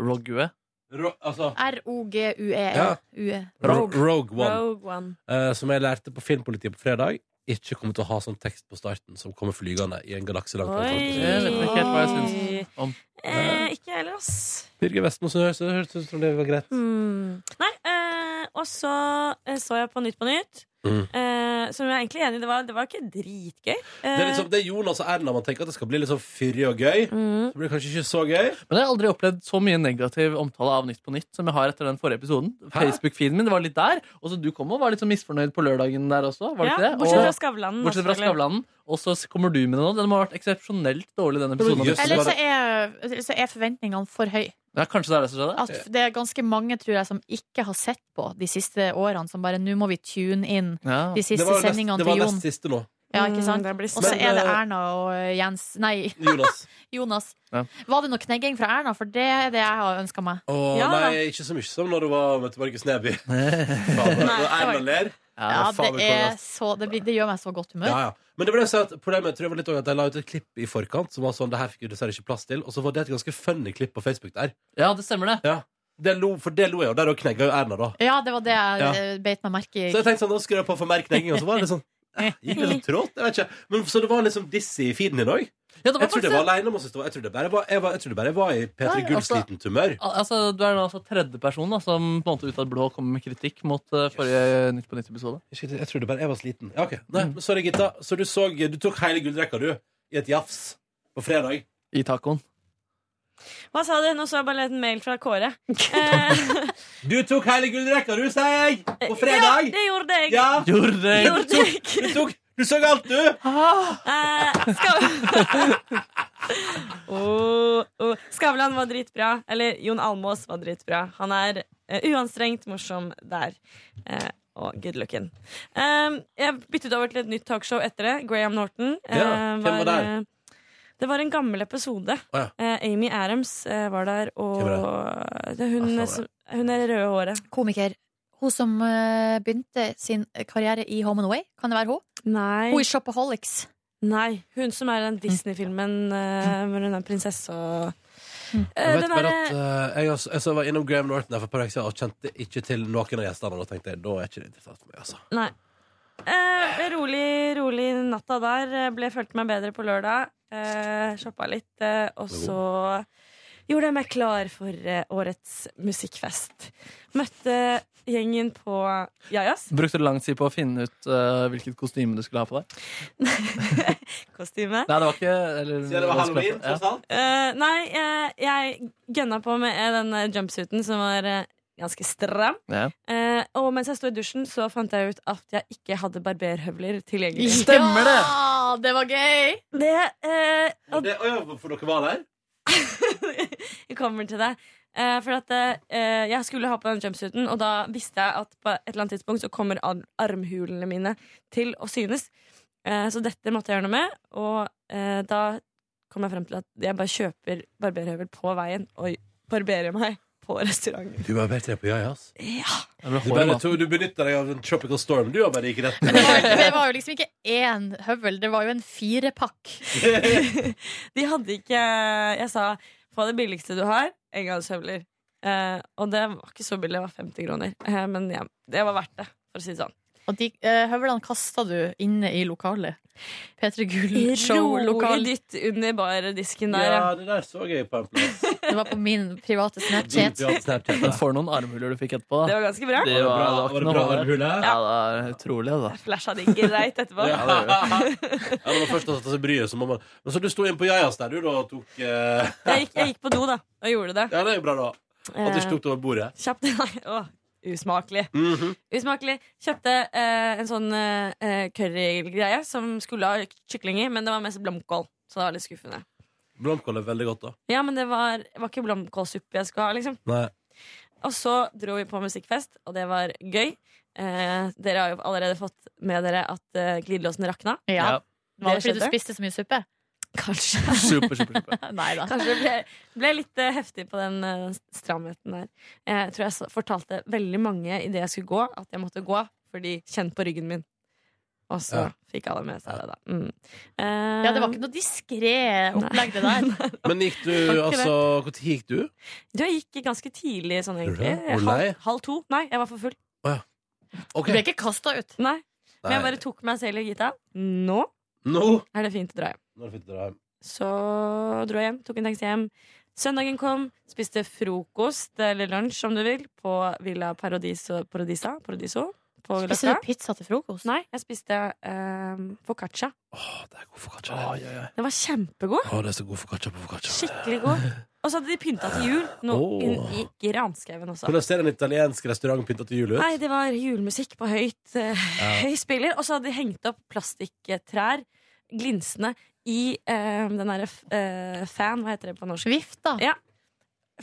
Speaker 4: Rogue.
Speaker 2: Ro, altså,
Speaker 3: R-O-G-U-E.
Speaker 2: Ja.
Speaker 3: UE.
Speaker 2: Rogue, One,
Speaker 13: Rogue One.
Speaker 2: Eh, Som jeg lærte på filmpolitiet på fredag Ikke kommer til å ha sånn tekst på starten Som kommer flygende i en galakse langt langt, langt, langt.
Speaker 4: Jeg vet ikke helt hva jeg syns om.
Speaker 13: Eh, ikke jeg heller, ass.
Speaker 2: Birger Vestmo så høres det høres ut som det var greit
Speaker 13: Hmm. Nei, eh, og så eh, så jeg på Nytt på Nytt.
Speaker 2: Mm.
Speaker 13: Eh, som jeg er egentlig enig i. Det var, det var ikke dritgøy. Eh,
Speaker 2: Det er, liksom, det er Jonas og Erna man tenker at det skal bli litt sånn fyrig og gøy.
Speaker 13: Mm.
Speaker 2: Så blir det kanskje ikke så gøy.
Speaker 4: Men jeg har aldri opplevd så mye negativ omtale av Nytt på Nytt som jeg har etter den forrige episoden. Facebook-feeden min det var litt der. Og så du kom og var litt sånn misfornøyd på lørdagen der også. Var det
Speaker 13: Ja,
Speaker 4: ikke det?
Speaker 13: bortsett fra
Speaker 4: Og-
Speaker 13: Skavlanen, da,
Speaker 4: Bortsett fra
Speaker 13: selvfølgelig.
Speaker 4: Skavlanen. Og så kommer du med det nå. Den må ha vært eksepsjonelt dårlig, den episoden. av Nytt på
Speaker 3: Eller så
Speaker 4: Nytt.
Speaker 3: er, eller så er forventningene for høye.
Speaker 4: Ja, kanskje det er det som skjedde?
Speaker 3: At det er ganske mange tror jeg, som ikke har sett på de siste årene, som bare 'nå må vi tune inn
Speaker 4: Ja.
Speaker 3: de siste
Speaker 2: Det var jo nest-
Speaker 3: sendingene
Speaker 2: det
Speaker 3: til
Speaker 2: var
Speaker 3: Jon'.
Speaker 2: nest siste nå.
Speaker 3: Ja, ikke sant?
Speaker 13: Mm, det blir
Speaker 3: og så
Speaker 2: spennende.
Speaker 3: er det Erna og eh, Jens Nei,
Speaker 2: Jonas.
Speaker 3: Jonas.
Speaker 4: Ja.
Speaker 3: Var det noe knegging fra Erna? For det er det jeg har ønska meg.
Speaker 2: Å nei, ikke så mye som når du var med til Markus Neby. Fader,
Speaker 3: Nei,
Speaker 2: når Erna
Speaker 3: oi.
Speaker 2: ler.
Speaker 3: Ja,
Speaker 2: fader,
Speaker 3: det,
Speaker 2: hvor-
Speaker 3: er så, det, blir, det gjør meg så godt humør.
Speaker 2: Ja, ja. Men det ble jo sånn at problemet tror jeg var litt også at jeg la ut et klipp i forkant som var sånn det her fikk vi dessverre ikke plass til. Og så var det et ganske funny klipp på Facebook der.
Speaker 4: Ja, det stemmer det.
Speaker 2: Det lo, for det lo jeg, og der òg knegga jo Erna, da.
Speaker 3: Ja, det var det jeg
Speaker 2: Ja.
Speaker 3: eh, beit meg merke i.
Speaker 2: Så jeg tenkte sånn, nå skrur jeg på for mer knegging, og så var det sånn eh, Gikk det så trått? Jeg vet ikke. Men, så det var liksom dizzy i feeden i dag? jeg trodde jeg var aleine om å synes det var Jeg trodde bare jeg var, jeg var, jeg trodde bare jeg var i P3
Speaker 4: Nei,
Speaker 2: Gulls
Speaker 4: altså-
Speaker 2: liten tumør.
Speaker 4: Al- Altså, du er da altså tredje person da, som på en måte ut av det blå kommer med kritikk mot eh, forrige Nytt Mm. på Nytt-episode.
Speaker 2: Jeg, trodde bare jeg var sliten. Ja, ok. Nei, men sorry, Gitta. Så du så Du tok hele gullrekka, du, i et jafs på fredag.
Speaker 4: I tacoen.
Speaker 13: Hva sa du? Nå så jeg bare en mail fra Kåre. Eh,
Speaker 2: Du tok
Speaker 4: Eh,
Speaker 2: hele gullrekka, du, sier jeg! På
Speaker 13: ja,
Speaker 2: fredag!
Speaker 13: det gjorde jeg.
Speaker 2: Ja!
Speaker 4: Gjorde jeg.
Speaker 2: Du tok, du tok Du så galt, du!
Speaker 13: Eh, Skav- oh, oh. Skavlan var dritbra. Eller Jon Almås var dritbra. Han er eh, uanstrengt morsom der. Eh, og good looking. Eh, jeg byttet over til et nytt talkshow etter det. Graham Norton. eh,
Speaker 2: Ja, hvem var der?
Speaker 13: eh, det var en gammel episode.
Speaker 2: Å,
Speaker 13: Eh, Amy Adams eh, var der, og
Speaker 2: Hvem
Speaker 13: det er hun,
Speaker 3: Ah,
Speaker 13: som- hun er røde håret.
Speaker 3: Komiker. Hun som eh, begynte sin karriere i Home and Away, kan det være hun?
Speaker 13: Nei.
Speaker 3: Hun i Shopaholics.
Speaker 13: Nei, hun som er i den Disney-filmen eh, hvor hun er prinsesse og Eh,
Speaker 2: Jeg vet
Speaker 13: den
Speaker 2: bare
Speaker 13: derre-
Speaker 2: at eh, jeg, altså, jeg var innom Graham Norton her for et par uker siden og kjente ikke til noen av gjestene. Og da tenkte jeg, da er ikke det interessant for meg, altså.
Speaker 13: Nei. Eh, rolig, rolig natta der. eh, Ble følte meg bedre på lørdag. Eh, shoppa litt, eh, og så gjorde jeg meg klar for eh, årets musikkfest. Møtte gjengen på Jajas
Speaker 4: Brukte du lang tid på å finne ut eh, hvilket kostyme du skulle ha på deg?
Speaker 13: kostyme.
Speaker 4: Nei, det var ikke eller,
Speaker 2: Siden det var halloween,
Speaker 4: Ja.
Speaker 2: tross alt.
Speaker 13: Eh, nei, eh, jeg gønna på med eh, den eh, jumpsuiten som var eh, ganske stram.
Speaker 4: Ja.
Speaker 13: Eh, og mens jeg sto i dusjen, så fant jeg ut at jeg ikke hadde barberhøvler tilgjengelig.
Speaker 3: Stemmer det! Ja, det var gøy!
Speaker 13: Det, eh,
Speaker 2: Og det, og ja, hvorfor dere var der?
Speaker 13: Jeg kommer til det. Eh, for at eh, Jeg skulle ha på den jumpsuiten, og da visste jeg at på et eller annet tidspunkt så kommer ar armhulene mine til å synes. Eh, så dette måtte jeg gjøre noe med, og eh, da kom jeg frem til at jeg bare kjøper barberhøvel på veien og barberer meg på restauranten.
Speaker 2: Du barberte deg på Jajas?
Speaker 13: Ja.
Speaker 2: Du, bare, tog- du benytta deg av en tropical storm, du, og bare gikk rett
Speaker 3: Det var, det var jo liksom ikke én høvel, det var jo en firepakk.
Speaker 13: De hadde ikke Jeg sa få det billigste du har, engangshøvler. Eh, og det var ikke så billig, det var 50 kroner. Eh, men ja, det var verdt det, for å si det sånn.
Speaker 3: Og de eh, høvlene kasta du inne i lokalet. P3 Gull-show-lokal.
Speaker 13: Rolig dytt under bardisken der,
Speaker 2: Ja, det der så jeg på en plass.
Speaker 3: Det var på min private
Speaker 2: Din
Speaker 3: Snapchat.
Speaker 2: private Snapchat,
Speaker 4: Men
Speaker 2: ja.
Speaker 4: for noen armhuler du fikk etterpå. da.
Speaker 13: Det var ganske bra.
Speaker 4: Det var, det var,
Speaker 2: Var det bra-
Speaker 4: ikke noe
Speaker 2: var det bra armhule?
Speaker 4: Ja, det var utrolig, altså. det, da.
Speaker 13: Flasha det greit etterpå.
Speaker 2: Ja, det gjør Ja, når man først har tatt seg bryet, så må man Men så du sto inn på Jajas der, du, da, og tok eh,
Speaker 13: Jeg gikk, jeg gikk på do, da, og gjorde det.
Speaker 2: Ja, det er jo bra, da. At du ikke tok det over bordet.
Speaker 13: Kjapt. Nei, å, usmakelig.
Speaker 2: Mhm.
Speaker 13: Usmakelig. Kjøpte eh, en sånn eh, currygreie som skulle ha kykling i, men det var mest blomkål. Så det var litt skuffende.
Speaker 2: Blomkål er veldig godt, da.
Speaker 13: Ja, men det var, det var ikke blomkålsuppe jeg skulle ha, liksom.
Speaker 2: Nei.
Speaker 13: Og så dro vi på musikkfest, og det var gøy. Eh, dere har jo allerede fått med dere at eh, glidelåsen rakna.
Speaker 3: Ja. Var det fordi du
Speaker 13: skjedde?
Speaker 3: spiste så mye suppe?
Speaker 13: Kanskje.
Speaker 4: Super, super, super.
Speaker 3: Nei da.
Speaker 13: Kanskje det ble, ble litt eh, heftig på den eh, stramheten der. Eh, Jeg tror jeg så- fortalte veldig mange idet jeg skulle gå, at jeg måtte gå fordi kjenn på ryggen min. Og så
Speaker 2: Ja.
Speaker 13: fikk alle med seg det, da. Mm.
Speaker 3: Ja, det var ikke noe diskré opplegg, det der.
Speaker 2: Men gikk du,
Speaker 13: Takk til
Speaker 2: altså Når gikk du?
Speaker 13: Du, jeg gikk ganske tidlig sånn, egentlig.
Speaker 2: Gjorde du det? Hvor lei?
Speaker 13: Halv, halv to. Nei, jeg var for full.
Speaker 2: Ok.
Speaker 13: Du ble
Speaker 3: ikke kasta ut?
Speaker 13: Nei. Men jeg
Speaker 2: Nei.
Speaker 13: bare tok meg selv i Gita. Nå
Speaker 2: Nå?
Speaker 13: er det fint å dra hjem.
Speaker 2: Når fikk du dra hjem?
Speaker 13: Så dro jeg hjem, tok en taxi hjem. Søndagen kom, spiste frokost eller lunsj om du vil på Villa Paradiso. Paradisa, Paradiso på
Speaker 3: Spiste
Speaker 13: Løkka.
Speaker 3: du pizza til frokost?
Speaker 13: Nei, jeg spiste eh, foccaccia.
Speaker 2: Oi, oi, oi.
Speaker 13: Den var kjempegod.
Speaker 2: Å, det er så god foccaccia på foccaccia.
Speaker 13: Skikkelig god. Og så hadde de pynta til jul
Speaker 2: Åh.
Speaker 13: noe i granskauen også.
Speaker 2: Hvordan ser en italiensk restaurant pynta til jul ut?
Speaker 13: Nei, det var julemusikk på høyt eh,
Speaker 2: Ja.
Speaker 13: høy spiller. Og så hadde de hengt opp plastikktrær, glinsende, i eh, den derre eh, fan, hva heter det på norsk?
Speaker 3: Vifta.
Speaker 13: Ja.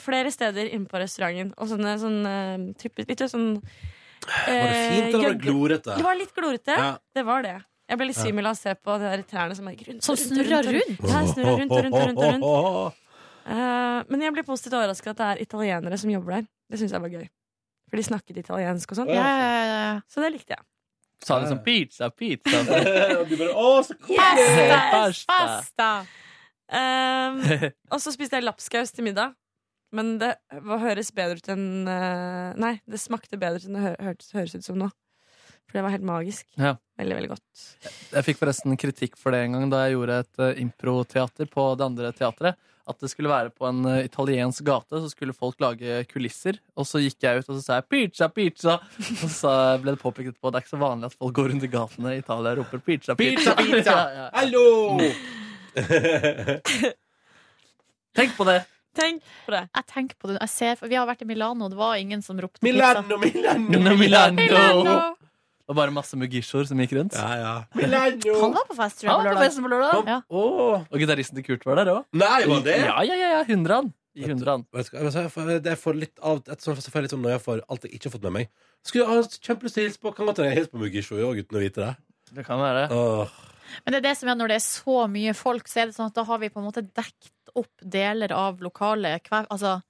Speaker 13: Flere steder inne på restauranten. Og sånne sånn eh, typisk Litt sånn eh,
Speaker 2: Var det fint, eller var det glorete?
Speaker 13: Det var litt glorete.
Speaker 2: Ja.
Speaker 13: Det var det. Jeg ble litt
Speaker 2: Ja.
Speaker 13: svimmel av å se på de der trærne som er rundt.
Speaker 3: Som
Speaker 13: rundt,
Speaker 3: snurrer
Speaker 13: rundt, rundt.
Speaker 3: rundt.
Speaker 13: Ja, snurrer rundt og rundt og rundt. Og rundt.
Speaker 2: Åh.
Speaker 13: Eh, men jeg ble positivt overrasket at det er italienere som jobber der. Det syns jeg var gøy. For de snakket italiensk og sånn.
Speaker 4: Ja, ja,
Speaker 13: Så det likte jeg.
Speaker 4: Sa liksom pizza, pizza.
Speaker 2: Og du bare Å, så
Speaker 4: Pasta,
Speaker 13: Um, og så spiste jeg lapskaus til middag. Men det var, høres bedre ut enn eh, Nei, det smakte bedre ut enn det hø hørtes, høres ut som nå. For det var helt magisk.
Speaker 4: Ja.
Speaker 13: Veldig, veldig godt.
Speaker 4: Jeg fikk forresten kritikk for det en gang da jeg gjorde et eh, improteater på det andre teatret. At det skulle være på en eh, italiensk gate, så skulle folk lage kulisser. Og så gikk jeg ut og så sa jeg 'pizza, pizza'. Og så ble det påpekt etterpå at det er ikke så vanlig at folk går rundt i gatene i Italia og roper 'pizza, pizza'.
Speaker 2: Pizza, pizza!
Speaker 4: Ja, ja.
Speaker 2: Hallo!
Speaker 4: Tenk på det.
Speaker 13: Tenk på det.
Speaker 3: Jeg tenker på det. Jeg ser, for vi har vært i Milano, og det var ingen som ropte
Speaker 2: Milano,
Speaker 3: pizza.
Speaker 2: Milano, Milano!
Speaker 4: Det var bare masse mugishoer som gikk rundt.
Speaker 6: Han var på fest, tror jeg,
Speaker 4: Han var på festen på lørdag.
Speaker 6: Ja.
Speaker 4: Og gitaristen til Kurt var der òg.
Speaker 2: Nei, var det?
Speaker 4: Ja, ja, ja, ja. Hundran. I hundran.
Speaker 2: Vet du hva, jeg får- Det er for litt av ettersom jeg får litt sånn nøye for alt jeg ikke har fått med meg. Skulle ha kjempelyst til å hilse på Kan godt hende jeg hilser på Mugisho òg, uten å vite det.
Speaker 4: Det kan være
Speaker 2: Åh.
Speaker 3: Men det er det som er når det er så mye folk, så er det sånn at da har vi på en måte dekt opp deler av lokalet. Hver, altså,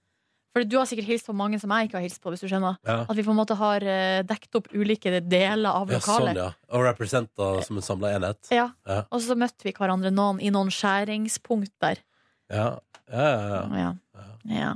Speaker 3: for du har sikkert hilst på mange som jeg ikke har hilst på, hvis du skjønner.
Speaker 2: Ja.
Speaker 3: At vi på en måte har eh, dekt opp ulike deler av
Speaker 2: Ja, sånn,
Speaker 3: lokalet.
Speaker 2: ja. Og representer som en samla enhet.
Speaker 3: Ja.
Speaker 2: Ja.
Speaker 3: Og så møtte vi hverandre noen i noen skjæringspunkt der.
Speaker 2: Ja. Ja, ja, ja.
Speaker 3: Ja.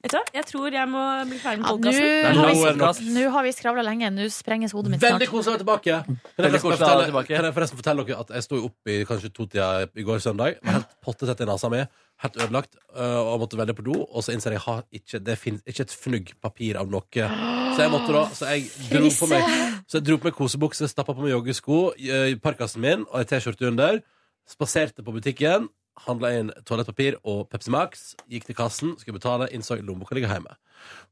Speaker 13: Vet du hva? Jeg tror jeg må bli ferdig med
Speaker 3: Ja,
Speaker 13: podkasten.
Speaker 3: nå,
Speaker 2: Nei, nå er
Speaker 3: har
Speaker 2: det
Speaker 3: vi,
Speaker 2: nok.
Speaker 3: nå har vi skravla lenge. Nå sprenges hodet mitt
Speaker 2: Veldig
Speaker 3: snart.
Speaker 2: koselig å være tilbake. Kan jeg,
Speaker 4: Veldig
Speaker 2: forresten
Speaker 4: koselig å være
Speaker 2: fortelle, kan jeg forresten fortelle dere at jeg sto opp i kanskje to-tida i går søndag, var helt pottetett i nesa mi, helt ødelagt, øh, og måtte veldig på do, og så innser jeg har ikke, det finnes ikke et fnugg papir av noe. Så jeg måtte da, så jeg dro på meg, så jeg dro på meg kosebukse, stappa på meg joggesko, øh, parkasen min og en T-skjorte under, spaserte på butikken, handla inn toalettpapir og Pepsi Max, gikk til kassen, skulle betale, innså lommeboka ligger hjemme.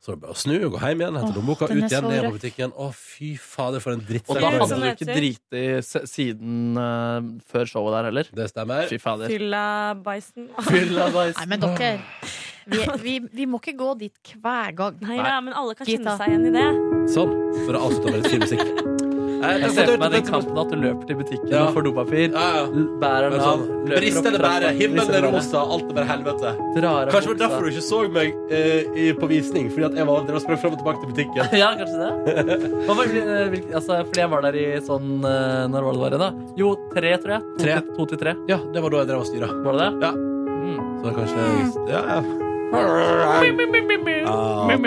Speaker 2: Så det er bare å snu og gå hjem igjen, hente
Speaker 4: Åh,
Speaker 2: lommeboka, ut
Speaker 4: den er
Speaker 2: igjen,
Speaker 4: så
Speaker 2: ned på
Speaker 4: røff.
Speaker 2: butikken. Å, fy fader, for en dritt.
Speaker 4: Og da
Speaker 13: Det er
Speaker 4: hadde
Speaker 13: sånn
Speaker 4: du
Speaker 13: det
Speaker 4: ikke
Speaker 13: heter.
Speaker 4: driti se- siden eh, før showet der heller.
Speaker 2: Det stemmer.
Speaker 4: Fy fader.
Speaker 13: Fylla beisen.
Speaker 4: Fylla beis.
Speaker 3: Nei, men dere, vi, vi, vi må ikke gå dit hver gang.
Speaker 13: Nei da, men alle kan kjenne
Speaker 3: Gita.
Speaker 13: seg igjen i det.
Speaker 2: Sånn, for å avslutte med litt fin musikk. Eh,
Speaker 4: Jeg ser for meg den kampen at du løper til butikken
Speaker 2: Ja.
Speaker 4: og får dopapir. l- Bærer den av.
Speaker 2: Sånn,
Speaker 4: løper
Speaker 2: brist
Speaker 4: opp
Speaker 2: eller bære,
Speaker 4: trappa, brist
Speaker 2: himmelen
Speaker 4: eller
Speaker 2: er
Speaker 4: bære.
Speaker 2: rosa, alt er bare helvete.
Speaker 4: Drar av
Speaker 2: Kanskje det var
Speaker 4: buksa.
Speaker 2: derfor du ikke så meg eh, i- på visning, fordi at jeg var der og sprang fram og tilbake til butikken.
Speaker 4: Ja, kanskje det. Hva var, eh, hvilken- altså, fordi jeg var der i sånn eh, Når var det det var igjen, da? Jo, tre, tror jeg. To,
Speaker 2: Tre.
Speaker 4: til- To til tre.
Speaker 2: Ja, det var da jeg drev og styra.
Speaker 4: Var det det?
Speaker 2: Ja. Så det er kanskje ja, ja. Ah, Tusen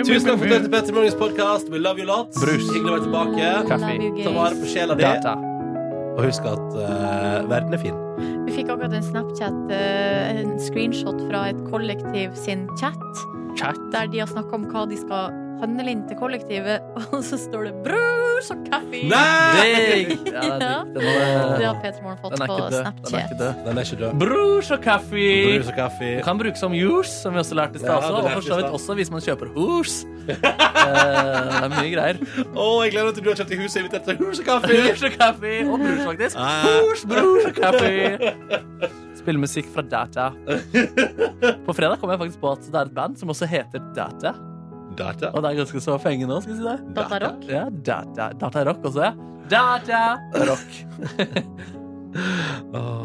Speaker 2: takk for at du hørte på Petter Morgens podkast. We love you lots. Hyggelig å være tilbake.
Speaker 4: Kaffe. Love you guys.
Speaker 2: Ta vare på sjela di.
Speaker 4: Data.
Speaker 2: Og husk at eh, verden er fin.
Speaker 3: Vi fikk akkurat en Snapchat, eh, en screenshot fra et kollektiv sin chat,
Speaker 4: Chat.
Speaker 3: der de har snakka om hva de skal handle inn til kollektivet, og så står det 'bror så kaffe'!
Speaker 4: Digg! Ja, det er
Speaker 3: Ja.
Speaker 4: digg. Den er-
Speaker 3: Det har Peter Morgen fått
Speaker 4: Den er ikke
Speaker 3: på
Speaker 4: død. Den er
Speaker 3: Snapchat.
Speaker 4: ikke død.
Speaker 2: Den er ikke død.
Speaker 4: Brus og kaffe.
Speaker 2: Brus og kaffe.
Speaker 4: Du kan bruke som juice, som vi også lærte i stad.
Speaker 2: Ja,
Speaker 4: også,
Speaker 2: det
Speaker 4: og
Speaker 2: lærte
Speaker 4: for
Speaker 2: vi
Speaker 4: så
Speaker 2: i
Speaker 4: vidt
Speaker 2: stad.
Speaker 4: også hvis man kjøper hus. Eh, det er mye greier.
Speaker 2: Å, jeg gleder meg til du har kjøpt i huset invitert til hus og kaffe.
Speaker 4: Brus og kaffe. Og brus, faktisk.
Speaker 2: Ah.
Speaker 4: Brus, brus og kaffe. Spille musikk fra Data. På fredag kom jeg faktisk på at det er et band som også heter Data.
Speaker 2: Data.
Speaker 4: Og det er ganske så fengende òg, skal vi si det.
Speaker 3: Data Rock?
Speaker 4: Ja, Data, data Rock også, ja. Data Rock.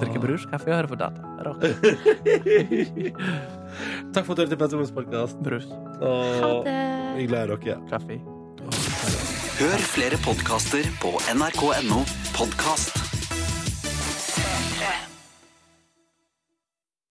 Speaker 4: Drikke brus, kaffe og høre på Data Rock.
Speaker 2: Takk for at du hørte på Petter Morgens podkast.
Speaker 4: Brus.
Speaker 2: Vi gleder dere.
Speaker 4: Kaffe.
Speaker 15: Hør flere podkaster på nrk.no podkast.